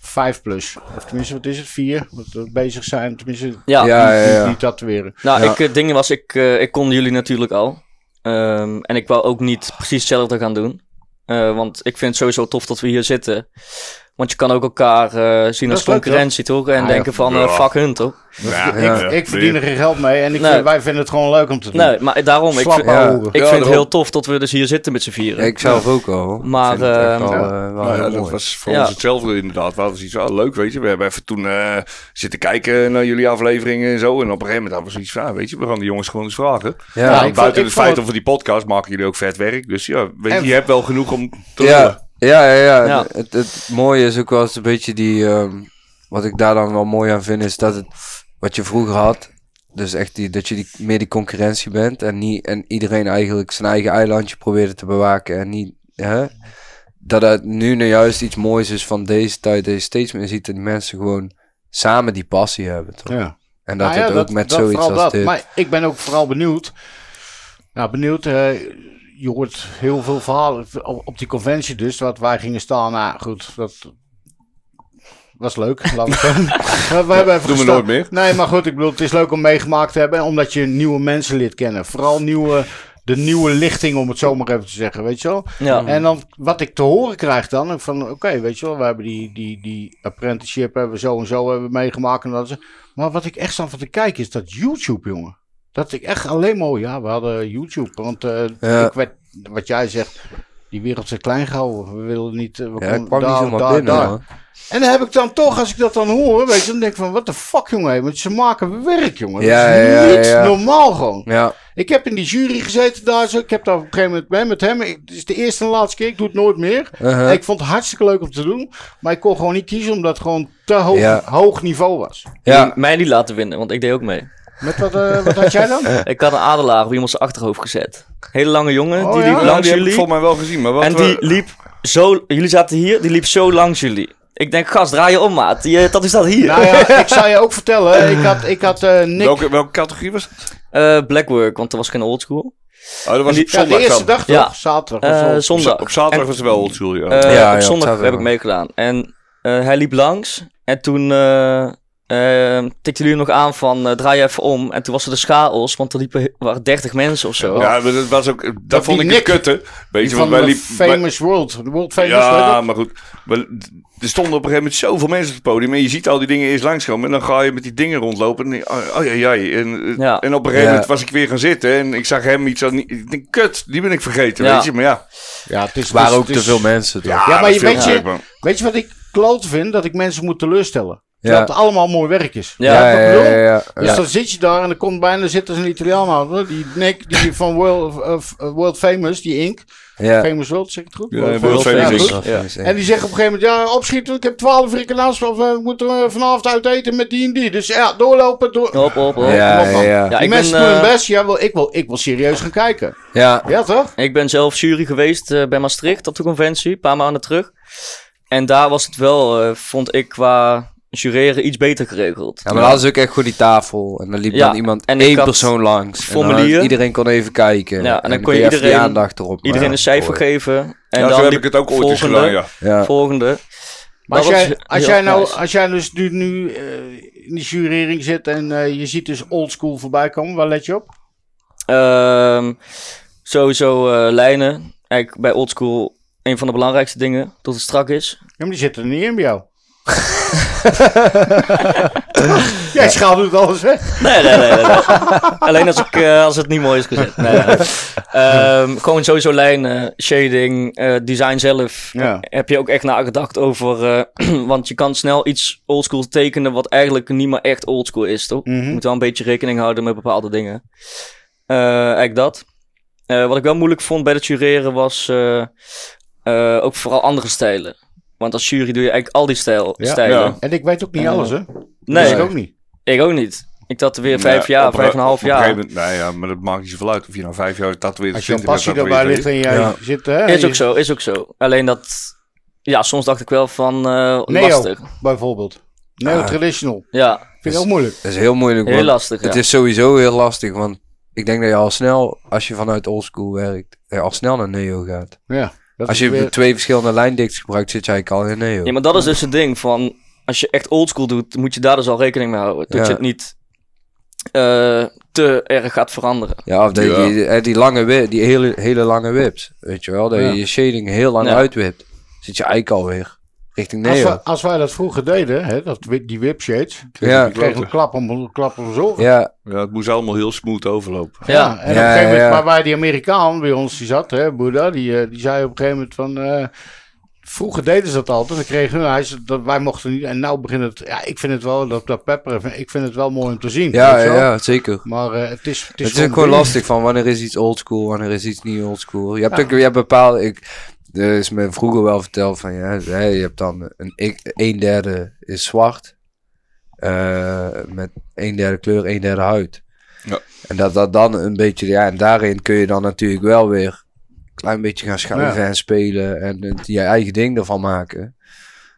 Speaker 2: 5 plus. Of tenminste, wat is het? 4? Wat we bezig zijn. Tenminste,
Speaker 4: Ja,
Speaker 3: Ja, ja,
Speaker 2: die,
Speaker 3: ja.
Speaker 2: die tatoeëren.
Speaker 4: nou,
Speaker 3: Ja.
Speaker 4: ik, het ding was, ik, eh, ik kon jullie natuurlijk al. Ehm, en ik wou ook niet precies hetzelfde gaan doen. Eh, want ik vind het sowieso tof dat we hier zitten. Want je kan ook elkaar eh, zien
Speaker 2: Dat
Speaker 4: als
Speaker 2: is leuk,
Speaker 4: concurrentie, toch? En
Speaker 3: Ah,
Speaker 4: denken van, eh,
Speaker 5: Ja.
Speaker 4: fuck hun, toch?
Speaker 5: Ja,
Speaker 3: Ja.
Speaker 2: Ik, ik verdien er geen geld mee. En ik
Speaker 4: Nee.
Speaker 2: vind- wij vinden het gewoon leuk om te doen.
Speaker 4: Nee, maar daarom, ik,
Speaker 2: Slappe
Speaker 4: vind-
Speaker 3: ja.
Speaker 2: ouwe.
Speaker 4: ik
Speaker 5: Ja,
Speaker 4: vind het
Speaker 5: daarom.
Speaker 4: heel tof dat we dus hier zitten met z'n vieren.
Speaker 3: Ik zelf ook al.
Speaker 4: Maar,
Speaker 3: Ik vind het echt
Speaker 4: ehm,
Speaker 3: al,
Speaker 2: ja.
Speaker 3: eh, wel
Speaker 5: Nou
Speaker 3: heel
Speaker 5: ja, dat
Speaker 3: mooi.
Speaker 5: was voor
Speaker 4: Ja.
Speaker 5: ons hetzelfde inderdaad. We hadden zoiets ah, leuk, weet je. We hebben even toen eh, zitten kijken naar jullie afleveringen en zo. En op een gegeven moment hadden we zoiets van, ah, weet je, we gaan de jongens gewoon eens vragen.
Speaker 2: Ja,
Speaker 3: Ja,
Speaker 2: ik
Speaker 5: En buiten
Speaker 2: vond-
Speaker 5: het
Speaker 2: ik vond
Speaker 5: feit
Speaker 2: het-
Speaker 5: over die podcast maken jullie ook vet werk. Dus ja, weet je,
Speaker 2: En-
Speaker 5: je hebt wel genoeg om te lullen.
Speaker 3: ja, ja, ja, ja.
Speaker 4: Ja.
Speaker 3: Het, het mooie is ook wel eens een beetje die... ehm, wat ik daar dan wel mooi aan vind, is dat het... Wat je vroeger had, dus echt die, dat je die, meer die concurrentie bent. En, niet, en iedereen eigenlijk zijn eigen eilandje probeerde te bewaken. En niet... Hè? Dat het nu nou juist iets moois is van deze tijd. Dat je steeds meer ziet dat die mensen gewoon samen die passie hebben. Toch?
Speaker 2: Ja.
Speaker 3: En dat
Speaker 2: Nou
Speaker 3: het
Speaker 2: ja,
Speaker 3: ook met
Speaker 2: dat
Speaker 3: zoiets
Speaker 2: vooral
Speaker 3: als
Speaker 2: dat.
Speaker 3: dit...
Speaker 2: Maar ik ben ook vooral benieuwd. Nou, benieuwd. eh, je hoort heel veel verhalen op, op die conventie dus. Wat wij gingen staan. Nou, goed. Dat was leuk. Laten we het zeggen. we hebben even
Speaker 5: Doen we
Speaker 2: gestaan.
Speaker 5: nooit meer.
Speaker 2: Nee, maar goed. Ik bedoel, het is leuk om meegemaakt te hebben. Omdat je nieuwe mensen lid kennen. Vooral nieuwe... De nieuwe lichting, om het zo maar even te zeggen, weet je wel.
Speaker 4: Ja.
Speaker 2: En dan wat ik te horen krijg dan, van oké, weet je wel, we hebben die, die, die apprenticeship hebben we zo en zo hebben we meegemaakt. En dat is, maar wat ik echt sta van te kijken is dat YouTube, jongen. Dat ik echt alleen maar, ja, we hadden YouTube. Want eh,
Speaker 3: Ja.
Speaker 2: ik werd, wat jij zegt, die wereld is klein gehouden. We wilden niet, eh, we
Speaker 3: ja, ik
Speaker 2: konden
Speaker 3: kwam niet
Speaker 2: daar,
Speaker 3: zomaar
Speaker 2: daar,
Speaker 3: binnen.
Speaker 2: daar.
Speaker 3: hoor.
Speaker 2: En dan heb ik dan toch, als ik dat dan hoor, weet je, dan denk ik van, wat de fuck, jongen. Want ze maken werk, jongen.
Speaker 3: Ja,
Speaker 2: dat is
Speaker 3: ja, ja,
Speaker 2: niet
Speaker 3: ja.
Speaker 2: normaal gewoon.
Speaker 3: Ja,
Speaker 2: Ik heb in die jury gezeten daar zo. Ik heb daar op een gegeven moment bij met hem. Ik- Het is de eerste en laatste keer. Ik doe het nooit meer.
Speaker 3: uh-huh.
Speaker 2: Ik vond het hartstikke leuk om te doen. Maar ik kon gewoon niet kiezen omdat het gewoon te hoog,
Speaker 3: Ja.
Speaker 2: hoog niveau was.
Speaker 3: ja.
Speaker 4: Mij niet laten winnen, want ik deed ook mee.
Speaker 2: Met wat, eh, wat had jij dan?
Speaker 4: Ik had een adelaar op iemands achterhoofd gezet. Hele lange jongen,
Speaker 2: Oh,
Speaker 4: die
Speaker 2: ja?
Speaker 4: liep
Speaker 5: Nou,
Speaker 4: langs
Speaker 5: die heb ik
Speaker 4: jullie.
Speaker 5: volgens mij wel gezien. Maar wat
Speaker 4: En
Speaker 5: we-
Speaker 4: die liep zo... Jullie zaten hier, die liep zo langs jullie. Ik denk, gast, draai je om, maat. Die, eh, dat is dat hier.
Speaker 2: Nou ja, ik zou je ook vertellen. Ik had, ik had eh, Nick.
Speaker 5: welke, welke categorie was het?
Speaker 4: Eh, Blackwork, want er was geen oldschool.
Speaker 5: Oh, dat was
Speaker 4: die-
Speaker 5: op
Speaker 2: Ja,
Speaker 5: zondag
Speaker 2: de eerste
Speaker 5: dan.
Speaker 2: dag toch?
Speaker 4: Ja.
Speaker 2: Zaterdag. of
Speaker 4: Eh
Speaker 2: zo.
Speaker 5: Op za-
Speaker 4: zondag.
Speaker 5: Op zaterdag
Speaker 4: En,
Speaker 5: was het wel oldschool, ja.
Speaker 4: eh,
Speaker 3: Ja,
Speaker 4: op
Speaker 3: ja, op
Speaker 4: zondag
Speaker 3: zaterdag.
Speaker 4: heb ik meegedaan. En eh, hij liep langs. En toen eh eh, tikte jullie nog aan van eh, draai je even om. En toen was er de chaos, want er liepen, waren 30 mensen of zo.
Speaker 5: ja, maar dat was ook... Dat, vond ik
Speaker 2: die
Speaker 5: het
Speaker 2: Nick-
Speaker 5: kutte. Weet
Speaker 2: Die
Speaker 5: je, want
Speaker 2: van
Speaker 5: wij
Speaker 2: de
Speaker 5: liepen... wij-
Speaker 2: Famous World. De World Famous
Speaker 5: Ja,
Speaker 2: World.
Speaker 5: maar goed. Wel, d- Er stonden op een gegeven moment zoveel mensen op het podium. En je ziet al die dingen eerst langskomen. En dan ga je met die dingen rondlopen. En, denk je, oh, oh ja, ja. En, eh,
Speaker 4: Ja.
Speaker 5: en op een gegeven
Speaker 3: Ja.
Speaker 5: moment was ik weer gaan zitten. En ik zag hem iets aan. Ik denk, kut, die ben ik vergeten.
Speaker 4: Ja.
Speaker 5: Weet je, maar ja. Ah,
Speaker 2: Ja, het is,
Speaker 3: Het waren
Speaker 2: het
Speaker 3: ook
Speaker 2: is-
Speaker 3: te veel mensen. Toch? Ja,
Speaker 2: Ja, maar
Speaker 5: dat
Speaker 2: je
Speaker 5: viel
Speaker 2: weet
Speaker 5: me
Speaker 2: je-
Speaker 5: ook, man.
Speaker 2: Weet je wat ik kloot vind? Dat ik mensen moet teleurstellen. Terwijl het allemaal mooi werk is.
Speaker 4: Ja.
Speaker 2: Snap je wat ik bedoel?
Speaker 3: ja, ja.
Speaker 2: Dus dan zit je daar en dan komt bijna zit er een Italiaan aan. hoor. Die Nick die van World, of, eh, world Famous, die Ink.
Speaker 3: Ja.
Speaker 2: Famous World, zeg ik het goed?
Speaker 5: Ja, World
Speaker 2: Famous,
Speaker 5: Famous
Speaker 2: ja,
Speaker 5: Inc.
Speaker 2: goed.
Speaker 4: Ja.
Speaker 2: En die zegt op een gegeven moment, ja, opschieten, ik heb twaalf frikandels, of eh, we moeten eh, vanavond uit eten met die en die. Dus ja, doorlopen, door...
Speaker 4: Hop, hop, hop.
Speaker 3: ja,
Speaker 2: kom op, man.
Speaker 3: ja,
Speaker 4: Ja,
Speaker 2: die
Speaker 4: ik
Speaker 2: mensen
Speaker 4: ben,
Speaker 2: doen
Speaker 4: eh,
Speaker 2: hun best, ja, wil, ik, wil, ik wil serieus gaan kijken.
Speaker 3: ja.
Speaker 2: Ja, toch?
Speaker 4: Ik ben zelf jury geweest eh, bij Maastricht op de conventie, een paar maanden terug. En daar was het wel, eh, vond ik, qua jureren iets beter geregeld.
Speaker 3: Ja, maar dat was ook echt goed die tafel. En dan liep
Speaker 4: Ja,
Speaker 3: dan iemand
Speaker 4: en ik
Speaker 3: één
Speaker 4: had
Speaker 3: persoon langs. En dan
Speaker 4: formulieren.
Speaker 3: had- iedereen kon even kijken.
Speaker 4: Ja, en dan kon je
Speaker 3: even die
Speaker 4: iedereen-
Speaker 3: aandacht erop.
Speaker 4: Iedereen
Speaker 3: maken.
Speaker 4: een cijfer
Speaker 3: Mooi.
Speaker 4: geven. En
Speaker 5: Ja,
Speaker 4: dan
Speaker 5: zo heb
Speaker 4: liep
Speaker 5: ik het ook ooit eens
Speaker 4: volgende,
Speaker 5: gedaan, ja.
Speaker 3: Ja.
Speaker 4: Volgende.
Speaker 2: Maar als
Speaker 4: Dat was
Speaker 2: jij, als,
Speaker 4: heel
Speaker 2: jij nou,
Speaker 4: nice.
Speaker 2: als jij dus nu, nu eh, in die jurering zit en eh, je ziet dus oldschool voorbij komen, waar let je op?
Speaker 4: Ehm, sowieso eh, lijnen. Eigenlijk bij oldschool een van de belangrijkste dingen. Dat het strak is.
Speaker 2: Ja, maar die zitten er niet in bij jou. Jij schaalt het alles weg.
Speaker 4: Nee, nee, nee. nee, nee. Alleen als, ik, eh, als het niet mooi is gezet. Nee, nee. Ehm, gewoon sowieso lijnen, shading, eh, design zelf.
Speaker 2: Ja.
Speaker 4: Heb je ook echt nagedacht over... eh, want je kan snel iets oldschool tekenen wat eigenlijk niet meer echt oldschool is, toch? Je moet wel een beetje rekening houden met bepaalde dingen. Eh, eigenlijk dat. Eh, wat ik wel moeilijk vond bij het jureren was eh, eh, ook vooral andere stijlen. Want als jury doe je eigenlijk al die stijl,
Speaker 2: Ja.
Speaker 4: stijlen.
Speaker 5: Ja.
Speaker 2: En ik weet ook niet
Speaker 4: Eh,
Speaker 2: alles, hè?
Speaker 4: Nee,
Speaker 2: Ik ook niet.
Speaker 4: ik ook niet. Ik tatoeëer vijf
Speaker 5: Nee,
Speaker 4: jaar,
Speaker 5: op-
Speaker 4: vijf en een half
Speaker 5: op een gegeven
Speaker 4: jaar.
Speaker 5: moment- nee, ja, maar dat maakt niet zoveel uit. Of je nou vijf jaar tatoeëert of
Speaker 2: Als je een
Speaker 5: twintig
Speaker 2: passie
Speaker 5: jaar
Speaker 2: erbij ligt
Speaker 5: tatoeëert,
Speaker 2: en jij
Speaker 6: Ja.
Speaker 2: zit... eh, Hè,
Speaker 4: Is ook
Speaker 2: je-
Speaker 4: zo, is ook zo. Alleen dat... Ja, soms dacht ik wel van eh,
Speaker 2: Nee, joh.
Speaker 4: lastig.
Speaker 2: Bijvoorbeeld. Neo-traditional.
Speaker 4: Ja,
Speaker 2: Vind ik ook moeilijk.
Speaker 3: Dat is heel moeilijk,
Speaker 4: heel
Speaker 3: want
Speaker 4: lastig.
Speaker 3: Het
Speaker 4: ja.
Speaker 3: is sowieso heel lastig, want ik denk dat je al snel, als je vanuit oldschool werkt, eh, al snel naar neo gaat.
Speaker 2: Ja. Dat
Speaker 3: Als
Speaker 2: is
Speaker 3: je
Speaker 2: weer-
Speaker 3: twee verschillende lijndiktes gebruikt, zit je eigenlijk al in neo.
Speaker 4: Ja, maar dat is dus het ding van... Als je echt oldschool doet, moet je daar dus al rekening mee houden. Dat
Speaker 3: Ja.
Speaker 4: je het niet eh, te erg gaat veranderen.
Speaker 3: Ja, of dat je
Speaker 5: Ja.
Speaker 3: die, eh, die lange wi- die hele, hele lange whips, weet je wel, dat
Speaker 2: Ja.
Speaker 3: je je shading heel lang
Speaker 4: Ja.
Speaker 3: uitwipt. Zit je eigenlijk alweer richting
Speaker 2: als,
Speaker 3: neo.
Speaker 2: we- als wij dat vroeger deden, hè, dat, wi- die whip shades,
Speaker 3: Ja,
Speaker 2: ik kreeg een klap om een klap om zo.
Speaker 3: ja,
Speaker 5: Ja, het moest allemaal heel smooth overlopen.
Speaker 4: Ja,
Speaker 2: Ja, en op een
Speaker 3: Ja,
Speaker 2: gegeven moment,
Speaker 3: ja.
Speaker 2: maar waar die Amerikaan bij ons die zat, hè, Boeddha, die, eh, die zei op een gegeven moment van. eh, vroeger deden ze dat altijd. Dan kregen hun, hij zei, dat wij mochten niet. En nou begint het. Ja, ik vind het wel, dat, dat pepper, ik vind het wel mooi om te zien.
Speaker 3: ja,
Speaker 2: weet je
Speaker 3: ja,
Speaker 2: wel.
Speaker 3: ja, zeker.
Speaker 2: Maar eh, het is. Het
Speaker 3: Het
Speaker 2: is,
Speaker 3: is, ook gewoon lastig van wanneer is iets oldschool, wanneer is iets niet oldschool. Je hebt ook je hebt bepaalde. Ik, er is me vroeger wel verteld van ja, hè, je hebt dan een, ik- een derde is zwart. eh, met een derde kleur, een derde huid.
Speaker 5: Ja.
Speaker 3: En dat dat dan een beetje, ja, en daarin kun je dan natuurlijk wel weer een klein beetje gaan schuiven en spelen en het, je eigen ding ervan maken.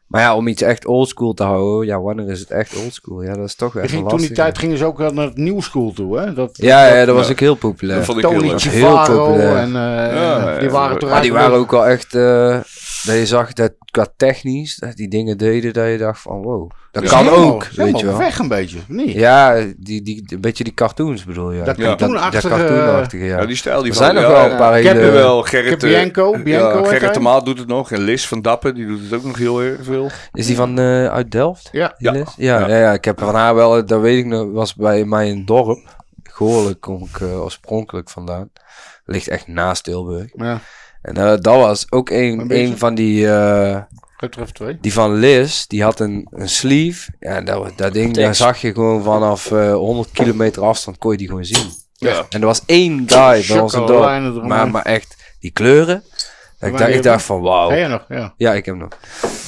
Speaker 3: Maar ja, om iets echt oldschool te houden, ja, wanneer is het echt oldschool? Ja, dat is toch
Speaker 2: Je
Speaker 3: echt
Speaker 2: ging,
Speaker 3: lastig.
Speaker 2: toen die tijd gingen ze ook wel naar het nieuw school toe. Hè? Dat,
Speaker 3: Ja, ja, dat was
Speaker 5: Ja.
Speaker 3: ook heel populair.
Speaker 5: Dat vond ik heel
Speaker 2: Tony
Speaker 5: leuk.
Speaker 3: Heel
Speaker 2: Chivaro
Speaker 3: populair.
Speaker 2: en eh,
Speaker 5: Ja,
Speaker 2: die waren
Speaker 5: ja, ja.
Speaker 2: toch
Speaker 3: Maar die
Speaker 2: eigenlijk-
Speaker 3: waren ook wel echt, eh, dat je zag dat qua technisch, dat die dingen deden, dat je dacht van wow, dat
Speaker 5: Ja.
Speaker 3: kan
Speaker 2: helemaal-
Speaker 3: ook, weet
Speaker 2: helemaal
Speaker 3: je wel.
Speaker 2: weg een beetje. of Niet.
Speaker 3: Ja, die, die, een beetje die cartoons bedoel je.
Speaker 2: Dat
Speaker 3: eigenlijk.
Speaker 2: cartoonachtige,
Speaker 3: dat cartoonachtige, ja.
Speaker 5: Ja, die stijl die
Speaker 3: er
Speaker 5: van-
Speaker 3: zijn nog
Speaker 5: ja,
Speaker 3: wel
Speaker 5: ja.
Speaker 3: een paar
Speaker 2: Ik heb
Speaker 5: Ja,
Speaker 3: hele...
Speaker 5: wel, Gerrit,
Speaker 2: Ik heb
Speaker 5: eh,
Speaker 2: Bianco, Bianco
Speaker 5: ja,
Speaker 2: heet hij.
Speaker 5: Gerrit de Maal doet het nog. En Lis van Dappen, die doet het ook nog heel erg veel.
Speaker 3: Is die van eh, uit Delft?
Speaker 2: Ja.
Speaker 3: Die
Speaker 5: Ja.
Speaker 3: les? Ja, ja.
Speaker 5: Ja.
Speaker 3: Ja, ik heb van haar wel, eh, dat weet ik nog, was bij mij in het dorp. Goorlijk kom ik eh, oorspronkelijk vandaan. Ligt echt naast Tilburg.
Speaker 2: Ja,
Speaker 3: En eh, dat was ook
Speaker 2: Een
Speaker 3: een,
Speaker 2: beetje.
Speaker 3: een van die... eh,
Speaker 2: dat treft twee.
Speaker 5: Oh.
Speaker 3: Die van Liz, die had een, een sleeve. Ja, dat, dat ding, daar
Speaker 4: Thanks.
Speaker 3: zag je gewoon vanaf eh 100 kilometer afstand, kon je die gewoon zien.
Speaker 5: Ja.
Speaker 3: En er was één guy bij ons in het
Speaker 2: Chocolalijnen
Speaker 3: dorp.
Speaker 2: eromheen.
Speaker 3: Maar, maar echt, die kleuren. Dat ik,
Speaker 2: Maar
Speaker 3: dacht,
Speaker 2: je
Speaker 3: ik dacht van,
Speaker 2: Ken
Speaker 3: wauw.
Speaker 2: je nog? Ja.
Speaker 3: Ja, ik heb hem nog.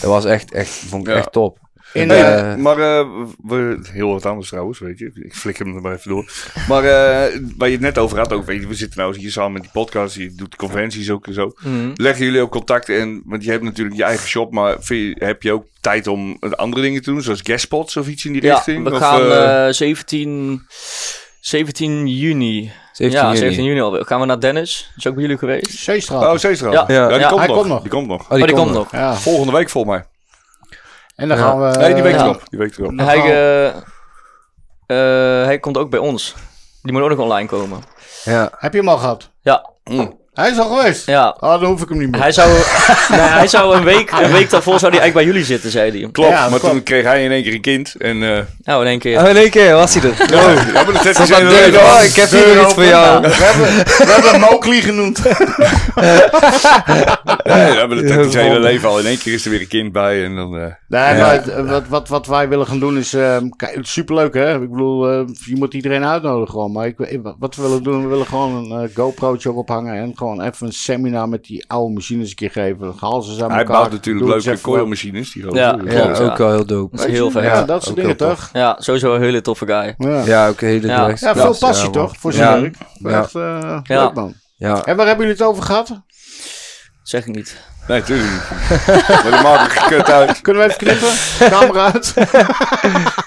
Speaker 3: Dat was echt, echt, vond ik
Speaker 5: Ja.
Speaker 3: echt top.
Speaker 2: In,
Speaker 3: Nee,
Speaker 2: eh,
Speaker 3: Eh.
Speaker 5: maar eh, we, heel wat anders trouwens, weet je. Ik flik hem er maar even door. Maar eh, waar je het net over had ook, weet je. We zitten nou hier samen met die podcast. Je doet conventies ook en zo.
Speaker 4: Mhm.
Speaker 5: Leggen jullie ook contact in? Want je hebt natuurlijk je eigen shop. Maar vind je- heb je ook tijd om eh, andere dingen te doen? Zoals guestspots of iets in die
Speaker 4: Ja,
Speaker 5: richting?
Speaker 4: we
Speaker 5: Of,
Speaker 4: gaan
Speaker 5: eh,
Speaker 4: eh, 17, 17 juni.
Speaker 3: 17
Speaker 4: ja,
Speaker 3: juni.
Speaker 4: 17 juni alweer. Gaan we naar Dennis. Is ook bij jullie geweest.
Speaker 2: Zeestraat.
Speaker 5: Oh, Zeestraat.
Speaker 4: Ja.
Speaker 5: Ja,
Speaker 3: Ja,
Speaker 5: die,
Speaker 4: ja,
Speaker 5: komt
Speaker 2: hij
Speaker 5: nog.
Speaker 2: komt nog.
Speaker 5: die komt nog.
Speaker 3: Oh,
Speaker 4: oh, die komt nog.
Speaker 2: Ja.
Speaker 5: Volgende week volgens mij.
Speaker 2: En dan
Speaker 3: Ja.
Speaker 2: gaan we...
Speaker 5: Nee, die week
Speaker 4: ja.
Speaker 5: erop. Die week erop.
Speaker 2: Nog
Speaker 4: Hij,
Speaker 2: wel.
Speaker 4: eh, eh, hij komt ook bij ons. Die moet ook nog online komen.
Speaker 3: Ja,
Speaker 2: Heb je hem al gehad?
Speaker 4: Ja,
Speaker 2: Hij is al geweest.
Speaker 4: ja.
Speaker 2: Ah, dan hoef ik hem niet meer.
Speaker 4: Hij zou, nee, hij zou een, week, een week daarvoor zou hij eigenlijk bij jullie zitten, zei hij.
Speaker 5: Klopt,
Speaker 2: Ja, dat
Speaker 5: maar
Speaker 2: klopt.
Speaker 5: toen kreeg hij in één keer een kind. En, eh,
Speaker 4: Nou, in één keer.
Speaker 6: Oh, in één keer was hij er.
Speaker 5: ja, maar dat zet hij zo in de
Speaker 3: deur,
Speaker 5: leven.
Speaker 3: hoor. oh, ik heb hier iets voor jou.
Speaker 2: We hebben, we hebben hem Mowgli genoemd.
Speaker 5: Nee, ja, maar dat heeft hij zijn hele leven al. In één keer is er weer een kind bij. En dan, eh,
Speaker 2: Nee, maar het- eh, wat, wat, wat wij willen gaan doen is... ehm, kijk, het is superleuk, hè? Ik bedoel, eh, je moet iedereen uitnodigen gewoon. Maar ik, ik- wat we willen doen, we willen gewoon een eh, GoPro'tje ook ophangen... en gewoon even een seminar met die oude machines een keer geven. Dan halen ze ze aan
Speaker 5: hij
Speaker 2: elkaar.
Speaker 5: bouwt natuurlijk
Speaker 2: Doe het
Speaker 5: leuke
Speaker 2: eens even wat.
Speaker 5: coilmachines. Die
Speaker 4: Ja.
Speaker 5: ja.
Speaker 3: ja
Speaker 4: Klopt, ja.
Speaker 3: ook wel heel dope.
Speaker 4: Dat is heel vet.
Speaker 2: eh, Ja,
Speaker 4: Ja,
Speaker 2: dat soort
Speaker 3: ook
Speaker 2: dingen,
Speaker 3: heel
Speaker 2: toch?
Speaker 4: sowieso een hele toffe guy.
Speaker 2: Ja.
Speaker 3: Ja, ook een hele
Speaker 4: Ja.
Speaker 3: relaxed
Speaker 2: Ja, veel
Speaker 3: plaats,
Speaker 2: passie
Speaker 3: man.
Speaker 2: toch? Voor zijn
Speaker 3: Ja.
Speaker 2: werk.
Speaker 3: Ja.
Speaker 2: Echt eh,
Speaker 4: Ja.
Speaker 2: leuk man.
Speaker 3: Ja,
Speaker 2: En waar hebben jullie het over gehad?
Speaker 4: Zeg ik niet.
Speaker 5: Nee, natuurlijk niet. maar dat maakt er gekut uit.
Speaker 2: Kunnen we even knippen? Camera uit.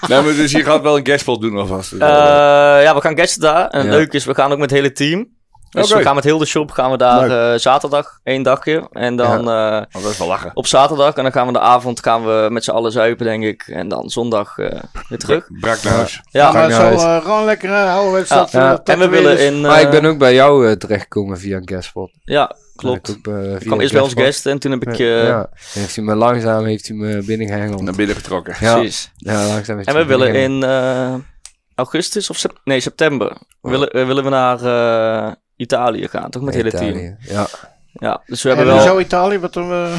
Speaker 5: Nee, maar dus je gaat wel een guestspot doen alvast.
Speaker 4: Eh, ja, we gaan guesten daar. En
Speaker 3: Ja.
Speaker 4: leuk is, we gaan ook met het hele team. Dus
Speaker 5: Oké.
Speaker 4: we gaan met heel de shop gaan we daar eh, zaterdag één dagje. En dan eh,
Speaker 5: Want dat is wel lachen.
Speaker 4: op zaterdag. En dan gaan we de avond gaan we met z'n allen zuipen, denk ik. En dan zondag eh, weer terug.
Speaker 5: Brak naar huis.
Speaker 4: Ja,
Speaker 2: maar
Speaker 3: naar
Speaker 2: zo
Speaker 3: huis.
Speaker 2: eh, gewoon lekker eh, ouderwets.
Speaker 4: Ja.
Speaker 2: dat, eh,
Speaker 3: Ja.
Speaker 2: dat
Speaker 4: en we
Speaker 2: weer
Speaker 4: willen
Speaker 2: is.
Speaker 4: in... eh,
Speaker 3: maar Ah, ik ben ook bij jou eh, terechtgekomen via een guestspot.
Speaker 4: Ja, klopt.
Speaker 3: Ik ben ook, eh,
Speaker 4: Ik
Speaker 3: via
Speaker 4: kwam
Speaker 3: een
Speaker 4: eerst bij ons
Speaker 3: guestspot.
Speaker 4: guest en toen heb ik... eh,
Speaker 3: ja. Heeft hij me langzaam heeft hij me binnengehengeld.
Speaker 5: Naar binnen getrokken.
Speaker 3: Ja,
Speaker 4: Precies.
Speaker 3: ja, langzaam heeft
Speaker 4: En
Speaker 3: hij
Speaker 4: we
Speaker 3: me
Speaker 4: willen
Speaker 3: binnengehengeld.
Speaker 4: in eh, augustus of sep- nee, september willen, eh, willen we naar eh, Italië gaan, toch? Met het hele team.
Speaker 3: Italië. Ja.
Speaker 4: Ja, dus we
Speaker 2: En
Speaker 4: hebben wel...
Speaker 2: hoezo Italië? Wat dan, eh,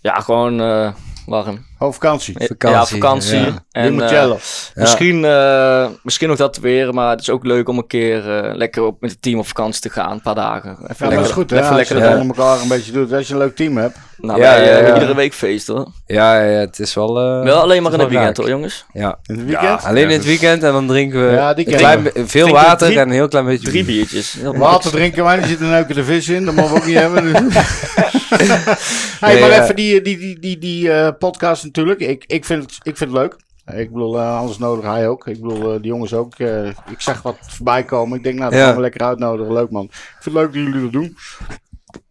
Speaker 4: Ja, gewoon eh, warm.
Speaker 2: Oh, vakantie.
Speaker 3: Vakantie,
Speaker 4: ja, vakantie.
Speaker 3: ja.
Speaker 4: En, eh,
Speaker 2: Limoncello.
Speaker 4: misschien, eh, misschien nog dat weer, maar het is ook leuk om een keer eh, lekker op, met het team op vakantie te gaan, een paar dagen. Even
Speaker 2: Ja, dat is goed, hè?
Speaker 4: Even
Speaker 2: Als je
Speaker 4: lekker
Speaker 2: dat
Speaker 3: ja.
Speaker 4: dan.
Speaker 2: onder elkaar een beetje doet. Als je een leuk team hebt.
Speaker 4: Nou,
Speaker 3: Ja,
Speaker 4: wij, eh,
Speaker 3: ja, ja.
Speaker 4: hebben iedere week feest hoor.
Speaker 3: Ja, ja, het is wel... eh,
Speaker 4: Wel alleen maar in
Speaker 3: wel
Speaker 4: het weekend
Speaker 3: raak.
Speaker 4: hoor, jongens.
Speaker 3: Ja.
Speaker 2: In het weekend.
Speaker 5: Ja.
Speaker 3: Alleen in het weekend en dan drinken we
Speaker 2: Ja, die
Speaker 3: een
Speaker 2: kennen
Speaker 3: klein,
Speaker 2: we.
Speaker 3: be- veel
Speaker 2: Drinken we
Speaker 3: water
Speaker 2: drie-
Speaker 3: en een heel klein beetje...
Speaker 4: Drie biertjes. Heel niks.
Speaker 2: Water drinken wij, er zit een ook de vis in. Dat mogen we ook niet hebben. Dus. hey,
Speaker 3: Nee,
Speaker 2: maar
Speaker 3: ja.
Speaker 2: even die, die, die, die, die eh, podcast natuurlijk. Ik, ik, vind het, ik vind het leuk. Ik bedoel, eh, anders nodig hij ook. Ik bedoel, eh, die jongens ook. Eh, ik zag wat voorbij komen. Ik denk, nou, dat
Speaker 3: Ja.
Speaker 2: gaan we lekker uitnodigen. Leuk, man. Ik vind het leuk dat jullie dat doen.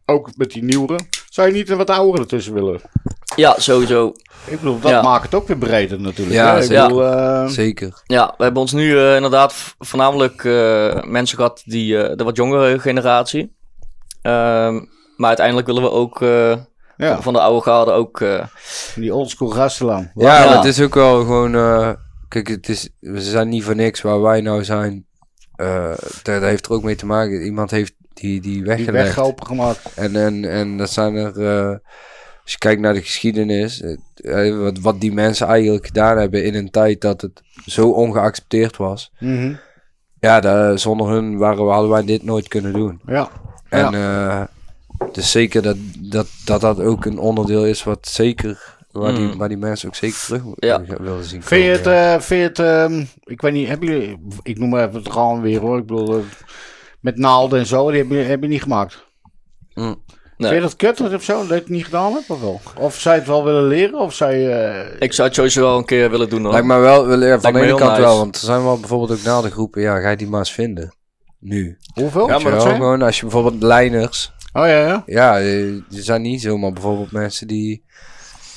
Speaker 2: Ook met die nieuwere. Zou je niet een wat oudere ertussen willen?
Speaker 4: Ja, sowieso.
Speaker 2: Ik bedoel, dat
Speaker 4: Ja.
Speaker 2: maakt het ook weer breder natuurlijk.
Speaker 3: Ja,
Speaker 2: hè? ik
Speaker 4: zeker.
Speaker 2: bedoel, eh,
Speaker 3: Zeker.
Speaker 4: Ja, we hebben ons nu eh, inderdaad v- voornamelijk eh, mensen gehad die eh, de wat jongere generatie. Ehm, maar uiteindelijk willen we ook eh,
Speaker 2: ja,
Speaker 4: van de oude garde ook. eh,
Speaker 2: die oldschool gastenlaan.
Speaker 3: Ja,
Speaker 4: Ja.
Speaker 3: maar het is ook wel gewoon... eh, kijk, het is, we zijn niet voor niks waar wij nou zijn. Eh daar, daar heeft er ook mee te maken. Iemand heeft die, die
Speaker 2: Die
Speaker 3: weggelegd.
Speaker 2: weg opengemaakt.
Speaker 3: En, en, en dat zijn er, eh, als je kijkt naar de geschiedenis, eh, eh, wat, wat die mensen eigenlijk gedaan hebben in een tijd dat het zo ongeaccepteerd was.
Speaker 2: Mhm.
Speaker 3: Ja, daar- eh, zonder hun waren, we- hadden wij dit nooit kunnen doen.
Speaker 2: Ja.
Speaker 3: En eh, dus zeker dat dat, dat dat ook een onderdeel is wat zeker, waar, die,
Speaker 4: Mm.
Speaker 3: waar die mensen ook zeker terug mo-
Speaker 4: Ja.
Speaker 3: willen zien.
Speaker 2: Vind je het,
Speaker 3: komen, ja.
Speaker 2: eh, vind je het ehm, ik weet niet, hebben jullie, ik noem maar even het raam weer hoor, ik bedoel, eh, met naalden en zo, die heb je, heb je niet gemaakt.
Speaker 5: Hm.
Speaker 3: Mm. Nee.
Speaker 2: Vind je dat kut dat- of zo, dat je het niet gedaan hebt of wel? Of zou je het wel willen leren, of zou je... eh,
Speaker 4: ik zou het sowieso wel een keer willen doen hoor.
Speaker 3: Lijkt me wel, wel- ja, van
Speaker 4: me
Speaker 3: de ene
Speaker 4: heel
Speaker 3: kant
Speaker 4: nice.
Speaker 3: wel, want er zijn wel bijvoorbeeld ook naaldengroepen, ja, ga je die maar eens vinden. Nu.
Speaker 2: hoeveel?
Speaker 5: Ja,
Speaker 3: Weet
Speaker 2: Zou
Speaker 3: je
Speaker 5: maar
Speaker 3: wel,
Speaker 2: het zijn?
Speaker 3: gewoon als je bijvoorbeeld lijners,
Speaker 2: Oh ja, ja.
Speaker 3: Ja, eh, er zijn niet zomaar bijvoorbeeld mensen die.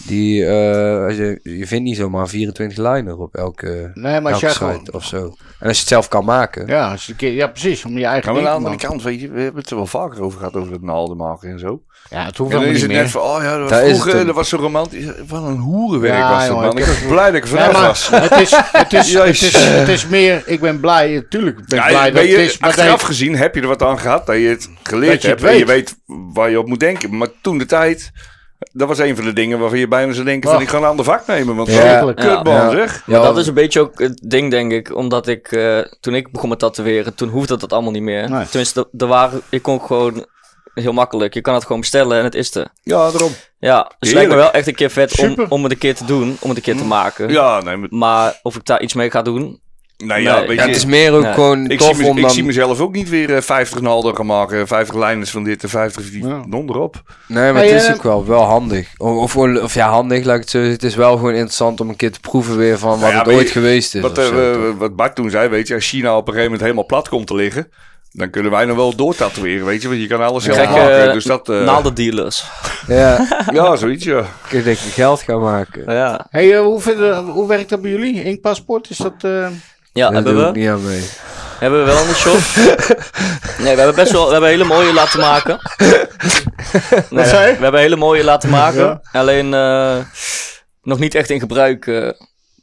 Speaker 3: die eh, als je, je vindt niet zomaar 24 liner op elke,
Speaker 2: Nee, maar als
Speaker 3: elke
Speaker 2: jij
Speaker 3: site
Speaker 2: gewoon...
Speaker 3: of zo. En als je het zelf kan maken.
Speaker 2: Ja, als je een keer, ja, precies, om je eigen
Speaker 5: Ja, maar aan
Speaker 2: ding
Speaker 5: de
Speaker 2: te maken.
Speaker 5: andere kant, weet je, we hebben het er wel vaker over gehad, over dat naalden maken en zo.
Speaker 2: Ja, het hoeft
Speaker 5: En dan
Speaker 2: helemaal niet
Speaker 5: is het
Speaker 2: meer.
Speaker 5: net van, oh ja, dat was
Speaker 3: Daar is het
Speaker 5: vroeger,
Speaker 3: hem.
Speaker 5: dat was zo romantisch. Wat een hoerenwerk
Speaker 2: Ja,
Speaker 5: was dat,
Speaker 2: jongen,
Speaker 5: man.
Speaker 2: ik
Speaker 5: Ik was blij dat ik er
Speaker 2: Nee,
Speaker 5: vanaf was.
Speaker 2: maar het is, het, is, het, is,
Speaker 5: Jezus.
Speaker 2: het, is, meer, ik ben blij, tuurlijk ben ik
Speaker 5: Ja,
Speaker 2: blij dat
Speaker 5: ben je,
Speaker 2: het is, maar dat
Speaker 5: achteraf
Speaker 2: heeft-
Speaker 5: gezien heb je er wat aan gehad, dat je het
Speaker 2: Dat
Speaker 5: geleerd
Speaker 2: je het
Speaker 5: hebt en je weet waar je op moet denken. Maar toen de tijd, dat was een van de dingen waarvan je bijna zou denken van
Speaker 2: Oh.
Speaker 5: ik ga een ander vak nemen, want
Speaker 3: Ja.
Speaker 5: ja.
Speaker 2: Verschrikkelijk.
Speaker 5: kutbal
Speaker 3: Ja.
Speaker 5: zeg.
Speaker 4: Maar dat is een beetje ook het ding, denk ik. Omdat ik, eh, toen ik begon met tatoeëren, toen hoefde dat allemaal niet meer.
Speaker 2: Nee.
Speaker 4: Tenminste, er- er waren, ik kon gewoon heel makkelijk. Je kan het gewoon bestellen en het is er.
Speaker 5: Ja, daarom.
Speaker 4: Ja, dus het lijkt me wel echt een keer vet om,
Speaker 2: Super.
Speaker 4: om het een keer te doen, om het een keer te maken.
Speaker 5: Ja, nee, maar,
Speaker 4: Maar of ik daar iets mee ga doen,
Speaker 5: nou ja,
Speaker 4: Nee,
Speaker 5: weet
Speaker 3: Ja,
Speaker 5: je,
Speaker 3: het is meer ook
Speaker 4: Ja.
Speaker 3: gewoon
Speaker 5: ik, zie,
Speaker 3: tof
Speaker 5: me-
Speaker 3: om
Speaker 5: ik
Speaker 3: dan...
Speaker 5: zie mezelf ook niet weer eh, 50 naalden gaan maken, 50 lijners van dit en 50 die
Speaker 2: Ja.
Speaker 5: donder op.
Speaker 3: Nee, maar
Speaker 2: Maar
Speaker 3: het is
Speaker 2: je-
Speaker 3: ook wel, wel handig. Of, of, gewoon- of ja, handig, laat ik het zo zeggen. Het is wel gewoon interessant om een keer te proeven weer van wat
Speaker 5: ja,
Speaker 3: het
Speaker 5: maar
Speaker 3: ooit
Speaker 5: je-
Speaker 3: geweest is. of
Speaker 5: Wat, eh,
Speaker 3: zo, toch?
Speaker 5: we- wat Bart toen zei, weet je, als China op een gegeven moment helemaal plat komt te liggen, dan kunnen wij nog wel doortatoeëren, weet je, want je kan alles zelf
Speaker 4: Kijk,
Speaker 5: maken.
Speaker 4: eh,
Speaker 5: dus dat, eh,
Speaker 4: naaldendealers.
Speaker 3: ja,
Speaker 5: ja, zoiets, ja.
Speaker 3: ik denk dat ik geld gaan maken.
Speaker 4: Ja,
Speaker 2: Hey, eh, hoe, vinden- hoe werkt dat bij jullie? Inkpaspoort, is dat... eh,
Speaker 4: ja
Speaker 3: Daar
Speaker 4: hebben
Speaker 3: doe ik
Speaker 4: we.
Speaker 3: niet aan mee.
Speaker 4: Hebben we wel in de shop. nee, we hebben best wel... We hebben hele mooie laten maken. Nee,
Speaker 2: zei je?
Speaker 4: We hebben hele mooie laten maken.
Speaker 2: Ja.
Speaker 4: Alleen... eh, nog niet echt in gebruik. eh.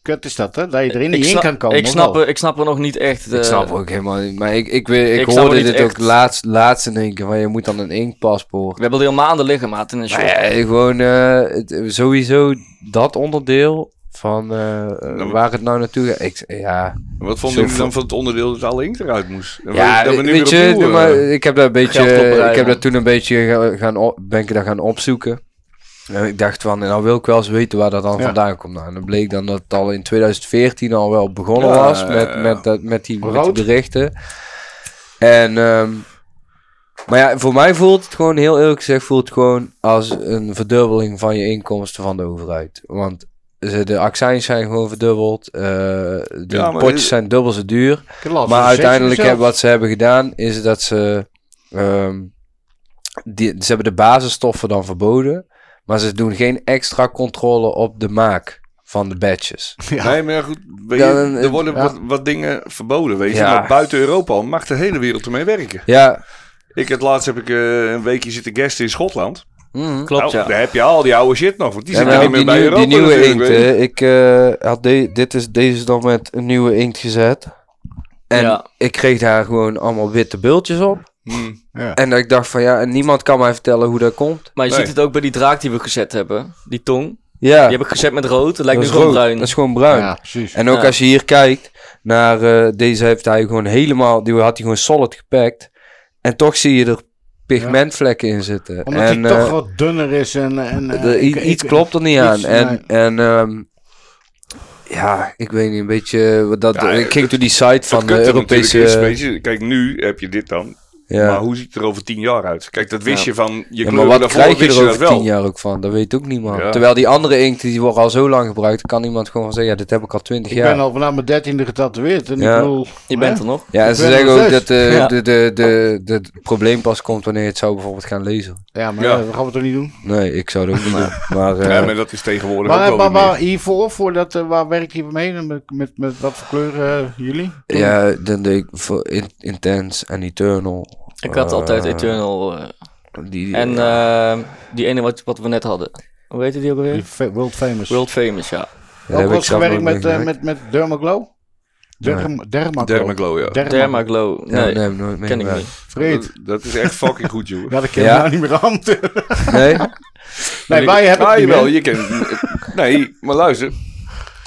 Speaker 2: Kut is dat, hè? Dat je er in
Speaker 4: ik,
Speaker 2: die in
Speaker 4: sna-
Speaker 2: kan komen.
Speaker 4: ik,
Speaker 2: of
Speaker 4: snap,
Speaker 2: wel?
Speaker 4: er- ik snap er nog niet echt. eh,
Speaker 3: Ik snap ook helemaal niet. Maar ik, ik, weet- ik,
Speaker 4: ik snap
Speaker 3: hoorde
Speaker 4: het
Speaker 3: dit
Speaker 4: niet
Speaker 3: ook
Speaker 4: echt.
Speaker 3: laatst, laatst in één keer. Van, je moet dan een inkpaspoort.
Speaker 4: We hebben er al maanden liggen, maat, in een shop.
Speaker 3: Nou ja, gewoon eh, het- sowieso dat onderdeel van eh, eh,
Speaker 5: maar-
Speaker 3: waar het nou naartoe gaat. Ik, ja,
Speaker 5: Wat vonden
Speaker 3: Zo
Speaker 5: jullie dan
Speaker 3: vo-
Speaker 5: van het onderdeel dat alle inkt eruit moest? En
Speaker 3: ja
Speaker 5: dat we nu
Speaker 3: weet
Speaker 5: weer
Speaker 3: je,
Speaker 5: opnieuw,
Speaker 3: maar
Speaker 5: eh,
Speaker 3: ik heb dat een beetje,
Speaker 4: geld oprijden.
Speaker 3: ik heb dat toen een beetje ga- gaan op, ben ik dat gaan opzoeken. En ik dacht van, nou wil ik wel eens weten waar dat dan
Speaker 2: Ja.
Speaker 3: vandaan komt. Nou, en dan bleek dan dat het al in 2014 al wel begonnen
Speaker 5: Ja, eh,
Speaker 3: was
Speaker 5: ja,
Speaker 3: met,
Speaker 5: ja.
Speaker 3: met, dat, met, die, met die
Speaker 2: Rood.
Speaker 3: berichten. En, ehm, maar ja, voor mij voelt het gewoon, heel eerlijk gezegd, voelt het gewoon als een verdubbeling van je inkomsten van de overheid. Want ze- de accijns zijn gewoon verdubbeld, eh, de
Speaker 5: Ja, maar
Speaker 3: potjes
Speaker 5: dit-
Speaker 3: zijn dubbel zo duur.
Speaker 2: Ik las
Speaker 3: Maar
Speaker 2: het
Speaker 3: uiteindelijk
Speaker 2: zelf.
Speaker 3: heb- wat ze hebben gedaan is dat ze. ehm, die, ze hebben de basisstoffen dan verboden. Maar ze doen geen extra controle op de maak van de badges.
Speaker 2: Ja.
Speaker 5: Nee, maar ja, goed, weet
Speaker 3: Ja,
Speaker 5: je,
Speaker 3: dan, eh,
Speaker 5: er worden
Speaker 2: ja.
Speaker 5: wat, wat dingen verboden, weet je.
Speaker 3: Ja.
Speaker 5: Maar buiten Europa mag de hele wereld ermee werken.
Speaker 3: Ja,
Speaker 5: Ik het laatst heb ik eh, een weekje zitten gasten in Schotland.
Speaker 3: mm.
Speaker 4: Klopt,
Speaker 5: Nou,
Speaker 4: ja.
Speaker 5: Daar heb je al die oude shit nog, want die
Speaker 3: en
Speaker 5: zitten
Speaker 3: ook
Speaker 5: niet
Speaker 3: die,
Speaker 5: meer bij
Speaker 3: nieuwe-
Speaker 5: Europa
Speaker 3: die nieuwe
Speaker 5: natuurlijk,
Speaker 3: inkt.
Speaker 5: weet je.
Speaker 3: hè. Ik eh, had de- dit is, deze is dan met een nieuwe inkt gezet. En
Speaker 4: Ja.
Speaker 3: ik kreeg daar gewoon allemaal witte bultjes op.
Speaker 5: Hm.
Speaker 3: En dat ik dacht van ja, en niemand kan mij vertellen hoe dat komt.
Speaker 4: Maar je
Speaker 5: Nee.
Speaker 4: ziet het ook bij die draak die we gezet hebben. Die tong.
Speaker 3: Ja,
Speaker 4: Die heb ik gezet met rood. Het lijkt
Speaker 3: dat
Speaker 4: nu
Speaker 3: is
Speaker 4: gewoon
Speaker 3: rood.
Speaker 4: bruin.
Speaker 3: Dat is gewoon bruin.
Speaker 2: Ja, precies.
Speaker 3: En ook
Speaker 4: Ja.
Speaker 3: als je hier kijkt naar eh, deze, heeft hij gewoon helemaal, die had hij gewoon solid gepakt. En toch zie je er pigmentvlekken in zitten.
Speaker 2: Omdat
Speaker 3: en
Speaker 2: hij toch
Speaker 3: eh,
Speaker 2: wat dunner is en... en eh,
Speaker 3: de- i-
Speaker 2: ik-
Speaker 3: iets
Speaker 2: ik-
Speaker 3: klopt er niet
Speaker 2: iets-
Speaker 3: aan. en
Speaker 2: nee.
Speaker 3: en ehm, ja, ik weet niet, een beetje. eh, wat Dat,
Speaker 5: Ja,
Speaker 3: ik
Speaker 5: het-
Speaker 3: ging door die site van de
Speaker 5: kutte
Speaker 3: Europese.
Speaker 5: natuurlijk Is, weet je, kijk, nu heb je dit dan.
Speaker 3: ja.
Speaker 5: Maar hoe ziet het er over tien jaar uit? Kijk, dat
Speaker 4: Ja.
Speaker 5: wist je van je
Speaker 3: Ja,
Speaker 5: kleur
Speaker 3: maar wat
Speaker 5: daarvoor
Speaker 3: krijg je
Speaker 5: wist
Speaker 3: er
Speaker 5: dat
Speaker 3: over
Speaker 5: wel.
Speaker 3: tien jaar ook van? Dat weet ook niemand.
Speaker 5: Ja.
Speaker 3: Terwijl die andere inkt, die wordt al zo lang gebruikt, kan iemand gewoon zeggen, ja, dit heb ik al twintig
Speaker 2: Ik
Speaker 3: jaar.
Speaker 2: ben al vanaf mijn dertiende getatoeëerd. En
Speaker 3: Ja.
Speaker 2: ik bedoel...
Speaker 4: Je
Speaker 2: hè?
Speaker 4: bent er nog.
Speaker 3: ja, en
Speaker 2: ik
Speaker 3: ze
Speaker 2: ben
Speaker 3: zeggen
Speaker 2: nog
Speaker 3: ook
Speaker 2: steeds.
Speaker 3: dat eh,
Speaker 4: Ja.
Speaker 3: de, de, de, de, het probleem pas komt wanneer je het zou bijvoorbeeld gaan lezen.
Speaker 2: Ja, maar
Speaker 5: Ja.
Speaker 2: eh, dat gaan we toch niet doen?
Speaker 3: Nee, ik zou dat ook niet doen. Maar, eh,
Speaker 5: Ja, maar dat is tegenwoordig ook
Speaker 2: Maar, eh,
Speaker 5: wel
Speaker 2: maar,
Speaker 5: weer
Speaker 2: maar hiervoor, voordat, eh, waar werk je mee? En Met, met, met wat voor kleuren eh, jullie?
Speaker 3: ja, dan deed ik voor in- Intense en Eternal.
Speaker 4: Ik had altijd
Speaker 3: Eh,
Speaker 4: Eternal. eh,
Speaker 3: Die,
Speaker 4: en
Speaker 3: ja.
Speaker 4: eh, die ene wat, wat we net hadden. Hoe heette die ook
Speaker 2: Die
Speaker 4: alweer?
Speaker 2: fa- World Famous.
Speaker 4: World Famous, ja.
Speaker 3: Daar
Speaker 2: Ook
Speaker 3: heb
Speaker 2: wel
Speaker 3: ik
Speaker 2: eens
Speaker 3: zelf
Speaker 2: gewerkt
Speaker 3: ook
Speaker 2: met,
Speaker 3: mee
Speaker 2: eh, met, met Dermaglow? Derm, Dermaglow.
Speaker 5: Dermaglow, ja.
Speaker 2: Dermaglow.
Speaker 4: Dermaglow.
Speaker 3: Ja,
Speaker 4: Nee,
Speaker 3: nee, heb ik nooit
Speaker 4: ken ik
Speaker 3: meegemaakt.
Speaker 4: niet.
Speaker 2: Vreed.
Speaker 5: Dat is echt fucking goed, joh.
Speaker 2: Ja, dat ken je
Speaker 3: Ja?
Speaker 2: nou niet meer aan.
Speaker 3: Nee?
Speaker 2: nee, wij hebben
Speaker 5: Ah,
Speaker 2: het niet
Speaker 5: jawel,
Speaker 2: meer.
Speaker 5: je kent... Nee, maar luister.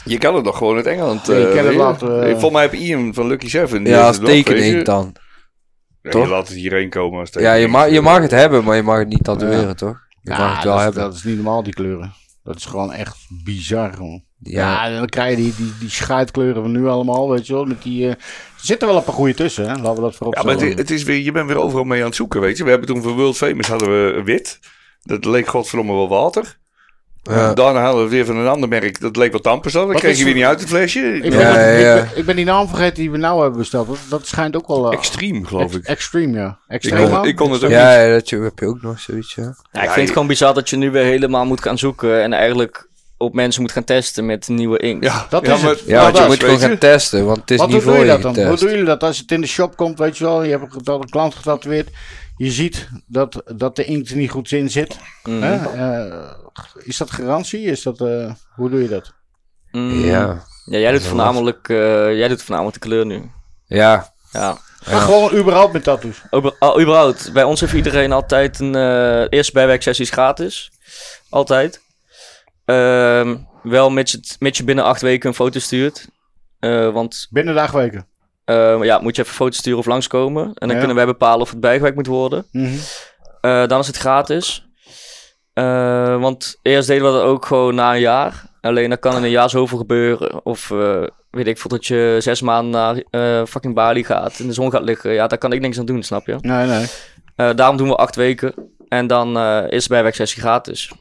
Speaker 5: Je kan het nog gewoon uit Engeland.
Speaker 2: Nee, ik
Speaker 5: eh,
Speaker 2: ken het
Speaker 5: weer.
Speaker 2: later, eh.
Speaker 5: Volgens mij heb Ian van Lucky Seven. die
Speaker 3: Ja,
Speaker 5: heeft
Speaker 3: als
Speaker 5: het wel, weet je.
Speaker 3: tekening dan.
Speaker 5: Ja,
Speaker 3: toch?
Speaker 5: Je laat het hierheen komen als
Speaker 3: Ja, je
Speaker 5: tekening.
Speaker 3: mag, je mag het hebben, maar je mag het niet tatoeëren, toch? Je
Speaker 2: Ja,
Speaker 3: mag het wel
Speaker 2: dat, is-
Speaker 3: hebben.
Speaker 2: dat is niet normaal, die kleuren. Dat is gewoon echt bizar, gewoon.
Speaker 3: ja.
Speaker 2: Ja, en dan krijg je die, die, die scheidkleuren van nu allemaal, weet je wel. Met die, eh, er zitten wel een paar goede tussen, hè. Laten we dat voorop
Speaker 5: Ja, maar
Speaker 2: stellen.
Speaker 5: het, het is weer, je bent weer overal mee aan het zoeken, weet je. We hebben toen voor World Famous hadden we wit. Dat leek godverdomme wel water.
Speaker 3: Ja.
Speaker 5: En Daarna hadden we weer van een ander merk. Dat leek wel tampers. Dat
Speaker 2: Wat
Speaker 5: kreeg
Speaker 2: is
Speaker 5: je weer
Speaker 2: het?
Speaker 5: niet uit het flesje.
Speaker 2: Ik,
Speaker 5: Extreme,
Speaker 2: ben,
Speaker 3: Ja,
Speaker 2: ik-
Speaker 3: ja.
Speaker 2: Ik, ben, ik ben die naam vergeten die we nou hebben besteld. Dat, dat schijnt ook wel... eh,
Speaker 5: geloof
Speaker 2: ex-
Speaker 5: ik.
Speaker 2: Extreme, ja.
Speaker 5: Ik
Speaker 2: Extreme.
Speaker 5: kon, ik kon het ook
Speaker 3: Ja,
Speaker 5: niet.
Speaker 3: ja, dat je- heb je ook nog zoiets, ja.
Speaker 4: Ja, ik vind het gewoon bizar dat je nu weer helemaal moet gaan zoeken. En eigenlijk op mensen moet gaan testen met nieuwe inkt.
Speaker 5: Ja,
Speaker 2: Dat
Speaker 5: ja,
Speaker 2: is
Speaker 5: maar-
Speaker 2: het.
Speaker 3: Ja,
Speaker 5: maar
Speaker 3: want je
Speaker 5: dat,
Speaker 3: moet
Speaker 5: weet
Speaker 3: gewoon gaan testen, want het is
Speaker 2: Wat
Speaker 3: niet
Speaker 2: hoe
Speaker 3: voor
Speaker 2: doe
Speaker 3: je,
Speaker 2: je dat dan? Hoe
Speaker 3: getest.
Speaker 2: doen jullie dat? Als het in de shop komt, weet je wel, je hebt dat een klant getatoeëerd. Je ziet dat, dat de inkt er niet goed in zit.
Speaker 4: Mhm.
Speaker 2: hè? Eh, is dat garantie? Is dat, eh, hoe doe je dat?
Speaker 4: Mm.
Speaker 3: Ja,
Speaker 4: Ja, jij doet voornamelijk, eh, jij doet voornamelijk de kleur nu.
Speaker 3: ja.
Speaker 4: Ja.
Speaker 2: Maar gewoon überhaupt met tattoos.
Speaker 4: Ober- ah, überhaupt, bij ons heeft iedereen altijd een eh eerste bijwerksessie is gratis. Altijd. Ehm, wel mits, het, mits je binnen acht weken een foto stuurt. Eh, want
Speaker 2: Binnen de acht weken.
Speaker 4: eh, ja, moet je even foto sturen of langskomen. En dan
Speaker 2: Ja.
Speaker 4: kunnen wij bepalen of het bijgewerkt moet worden.
Speaker 2: Mhm.
Speaker 4: Eh, dan is het gratis. Eh, want eerst deden we dat ook gewoon na een jaar. Alleen dat kan in een jaar zoveel gebeuren. Of eh, weet ik veel, dat je zes maanden naar eh, fucking Bali gaat en de zon gaat liggen. Ja, daar kan ik niks aan doen, snap je?
Speaker 2: Nee, nee.
Speaker 4: Eh, daarom doen we acht weken. En dan eh, is de bijwerksessie gratis.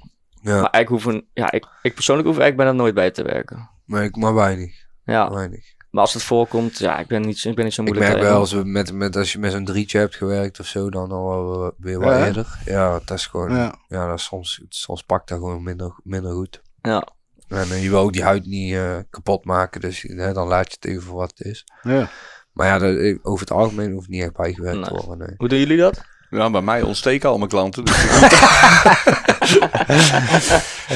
Speaker 4: Maar ik, hoef een, ja, ik, ik persoonlijk hoef eigenlijk bijna nooit bij te werken.
Speaker 3: maar, ik, maar weinig.
Speaker 4: Ja,
Speaker 3: weinig.
Speaker 4: maar als het voorkomt, ja, ik ben niet, zo- Ah, ik ben niet zo
Speaker 3: Ik
Speaker 4: moeilijk.
Speaker 3: merk
Speaker 4: daarin.
Speaker 3: wel, als, we met, met, als je met zo'n drietje hebt gewerkt of zo, dan al wel eh, weer wat
Speaker 2: Ja, hè?
Speaker 3: eerder. Ja, dat is gewoon... Ja,
Speaker 2: Ja.
Speaker 3: dat is soms, soms pakt dat gewoon minder, minder goed.
Speaker 4: Ja.
Speaker 3: En eh, je wil ook die huid niet eh, kapot maken, dus hè, dan laat je het even voor wat het is.
Speaker 2: Ja.
Speaker 3: Maar ja, dat, eh, over het algemeen hoeft niet echt bijgewerkt te
Speaker 4: Nee.
Speaker 3: worden. Nee.
Speaker 4: Hoe doen jullie dat?
Speaker 5: Nou, bij mij ontsteken al mijn klanten. Dus ik-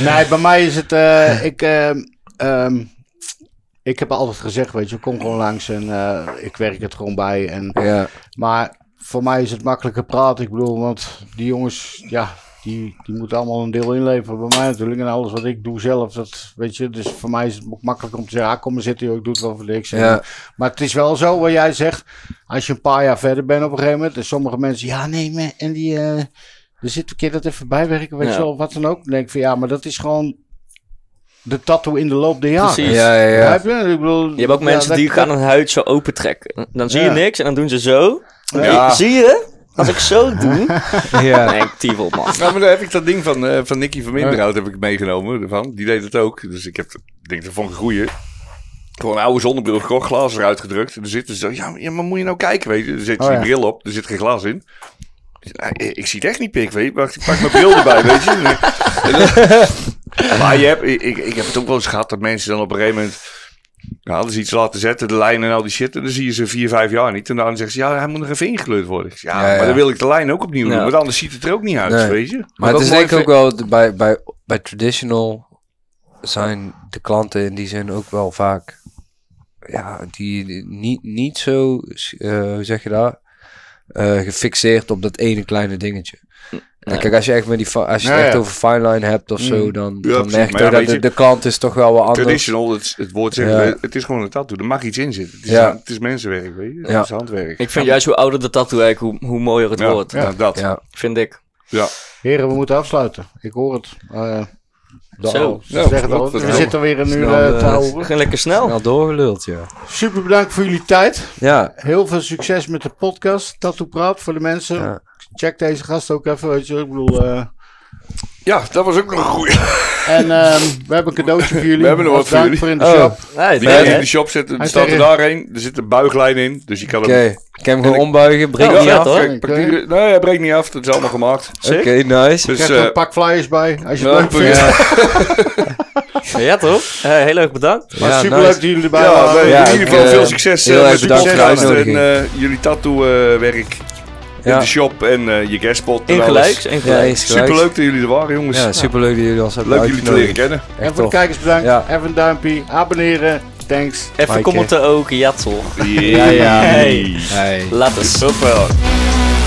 Speaker 2: Nee, bij mij is het. eh, ik, ehm, ehm, ik heb altijd gezegd, weet je, kom gewoon langs en eh, ik werk het gewoon bij. En,
Speaker 3: Ja,
Speaker 2: maar voor mij is het makkelijker praten. Ik bedoel, want die jongens, ja, die, die moeten allemaal een deel inleveren bij mij natuurlijk. En alles wat ik doe zelf, dat weet je. Dus voor mij is het ook makkelijk om te zeggen, ah, kom maar zitten, joh, ik doe het wel voor niks. En-
Speaker 3: ja,
Speaker 2: maar het is wel zo wat jij zegt. Als je een paar jaar verder bent op een gegeven moment. En sommige mensen, ja, nee, maar, en die. eh, er zit een keer dat even bijwerken, weet
Speaker 4: Ja.
Speaker 2: je wel, of wat dan ook. Dan denk ik van ja, maar dat is gewoon. de tattoo in de loop der jaren.
Speaker 4: Precies.
Speaker 3: ja, ja, ja.
Speaker 2: Begrijp je? Ik bedoel,
Speaker 4: Je hebt ook
Speaker 2: ja,
Speaker 4: mensen
Speaker 2: dat-
Speaker 4: die
Speaker 2: dat-
Speaker 4: gaan hun huid zo opentrekken. Dan zie je
Speaker 2: Ja.
Speaker 4: niks en dan doen ze zo.
Speaker 5: Ja.
Speaker 4: Zie je? Als ik zo doe.
Speaker 3: ja.
Speaker 4: Nee, tiefel, man.
Speaker 5: Nou, maar daar heb ik dat ding van, eh, van Nicky van Minderhout heb ik meegenomen. Ervan. Die deed het ook. Dus ik heb, ik denk, dat vond ik een goeie. Gewoon een oude zonnebril gekocht, glas eruit gedrukt. En er zitten ze zo, ja, maar- ja, maar moet je nou kijken, weet je. Dan zet je
Speaker 2: Oh,
Speaker 5: die
Speaker 2: ja.
Speaker 5: bril op, er zit geen glas in. Ik zeg, nou, Ik, ik zie het echt niet pik, weet je. Wacht, ik pak mijn bril erbij, weet je. En dan- maar je hebt, ik, ik, ik heb het ook wel eens gehad dat mensen dan op een gegeven moment... Nou, hadden ze iets laten zetten, de lijnen en al die shit. En dan zie je ze vier, vijf jaar niet. En dan zeggen ze, ja, hij moet nog even ingekleurd worden. Ik zeg, ja,
Speaker 3: Ja, ja.
Speaker 5: maar dan wil ik de lijn ook opnieuw doen.
Speaker 4: Ja.
Speaker 5: Want anders ziet het er ook niet uit,
Speaker 3: Nee.
Speaker 5: weet je.
Speaker 2: wat
Speaker 3: Maar het is
Speaker 2: mooi
Speaker 3: denk ik ook wel de- bij, bij, bij traditional zijn de klanten in die zin ook wel vaak. Ja, die, die niet, niet zo, eh, hoe zeg je dat? eh, gefixeerd op dat ene kleine dingetje. En kijk, als je echt, met die, fi- als je het
Speaker 2: Ja,
Speaker 3: echt
Speaker 2: ja.
Speaker 3: over fine line hebt of zo, dan, dan
Speaker 5: precies.
Speaker 3: merk je
Speaker 5: Maar Hm. ja,
Speaker 3: dat
Speaker 5: weet
Speaker 3: de,
Speaker 5: je,
Speaker 3: de klant is toch wel wat anders.
Speaker 5: Traditional, het, het woord zegt,
Speaker 3: Ja.
Speaker 5: eh, het is gewoon een tattoo. Er mag iets in zitten. Het is,
Speaker 3: Ja.
Speaker 5: het is mensenwerk, weet je. Het
Speaker 3: Ja.
Speaker 5: is handwerk.
Speaker 4: Ik vind juist hoe ouder de tattoo eigenlijk, hoe, hoe mooier het
Speaker 5: Ja,
Speaker 4: wordt.
Speaker 5: ja, dat.
Speaker 3: Ja.
Speaker 4: Vind ik.
Speaker 2: Heren, we moeten afsluiten. Ik hoor het. Eh, de
Speaker 4: Zo.
Speaker 2: al- ze
Speaker 5: Ja,
Speaker 2: zeggen het
Speaker 5: dat
Speaker 2: al.
Speaker 5: was
Speaker 2: We
Speaker 5: wel
Speaker 2: zitten weer een uur
Speaker 3: snel,
Speaker 2: eh, te
Speaker 3: eh,
Speaker 2: houden.
Speaker 4: Ging lekker snel.
Speaker 3: Snel doorgeluld, ja.
Speaker 2: Super bedankt voor jullie tijd.
Speaker 3: Ja,
Speaker 2: Heel veel succes met de podcast. Tattoo Praat voor de mensen.
Speaker 3: Ja.
Speaker 2: Check deze gast ook even. Weet je, ik bedoel, eh,
Speaker 5: Ja, dat was ook nog een goeie.
Speaker 2: en ehm, we hebben een cadeautje voor jullie.
Speaker 5: We hebben nog wat voor
Speaker 2: Dank
Speaker 5: jullie.
Speaker 2: voor in de
Speaker 3: Oh.
Speaker 2: shop.
Speaker 4: Nee, fijn,
Speaker 5: Die kan je
Speaker 4: hè?
Speaker 5: in de shop zetten.
Speaker 2: Hij
Speaker 5: Er staat er
Speaker 2: tegen-
Speaker 5: daarheen. Er zit een buiglijn in. Dus je kan
Speaker 3: oké.
Speaker 5: hem...
Speaker 3: Ik kan hem gewoon ombuigen, breek
Speaker 4: Ja,
Speaker 3: niet
Speaker 4: ja,
Speaker 3: af.
Speaker 4: toch?
Speaker 5: Kijk, praktiek- Nee, hij breekt niet af. Dat is allemaal gemaakt.
Speaker 3: Oké, nice.
Speaker 2: Je
Speaker 5: Dus,
Speaker 2: krijgt er
Speaker 5: eh,
Speaker 2: een pak flyers bij. Als je het
Speaker 5: ja,
Speaker 2: leuk vindt.
Speaker 4: Ja, toch? Eh, heel erg bedankt.
Speaker 2: Maar
Speaker 3: Ja,
Speaker 2: super
Speaker 3: nice.
Speaker 2: leuk dat jullie erbij
Speaker 5: ja,
Speaker 2: waren.
Speaker 5: nee,
Speaker 3: Ja,
Speaker 5: in ieder geval
Speaker 3: ik, eh,
Speaker 5: veel succes
Speaker 3: heel
Speaker 5: eh,
Speaker 3: erg
Speaker 5: met de
Speaker 3: bedankt voor de
Speaker 5: podcast en
Speaker 3: uitnodiging.
Speaker 5: eh, jullie tattoo-werk in
Speaker 3: Ja,
Speaker 5: de shop en eh, je guestspot. en
Speaker 4: Ingelijks,
Speaker 5: alles.
Speaker 3: ja,
Speaker 4: ingelijks.
Speaker 3: eens gelijk.
Speaker 5: Superleuk dat jullie er waren, jongens.
Speaker 3: Ja, superleuk dat jullie ons hebben
Speaker 5: Leuk jullie te leren
Speaker 3: uitgenodigd.
Speaker 5: kennen.
Speaker 2: en
Speaker 3: Echt
Speaker 2: voor de
Speaker 3: tof.
Speaker 2: kijkers bedankt.
Speaker 3: Ja.
Speaker 2: Even een duimpje. Abonneren. Thanks.
Speaker 4: Even
Speaker 3: Maaike.
Speaker 4: commenten ook. Ja, toch?
Speaker 5: Ja,
Speaker 4: Hey.
Speaker 3: Hey.
Speaker 4: Laat eens.
Speaker 5: Hoppa.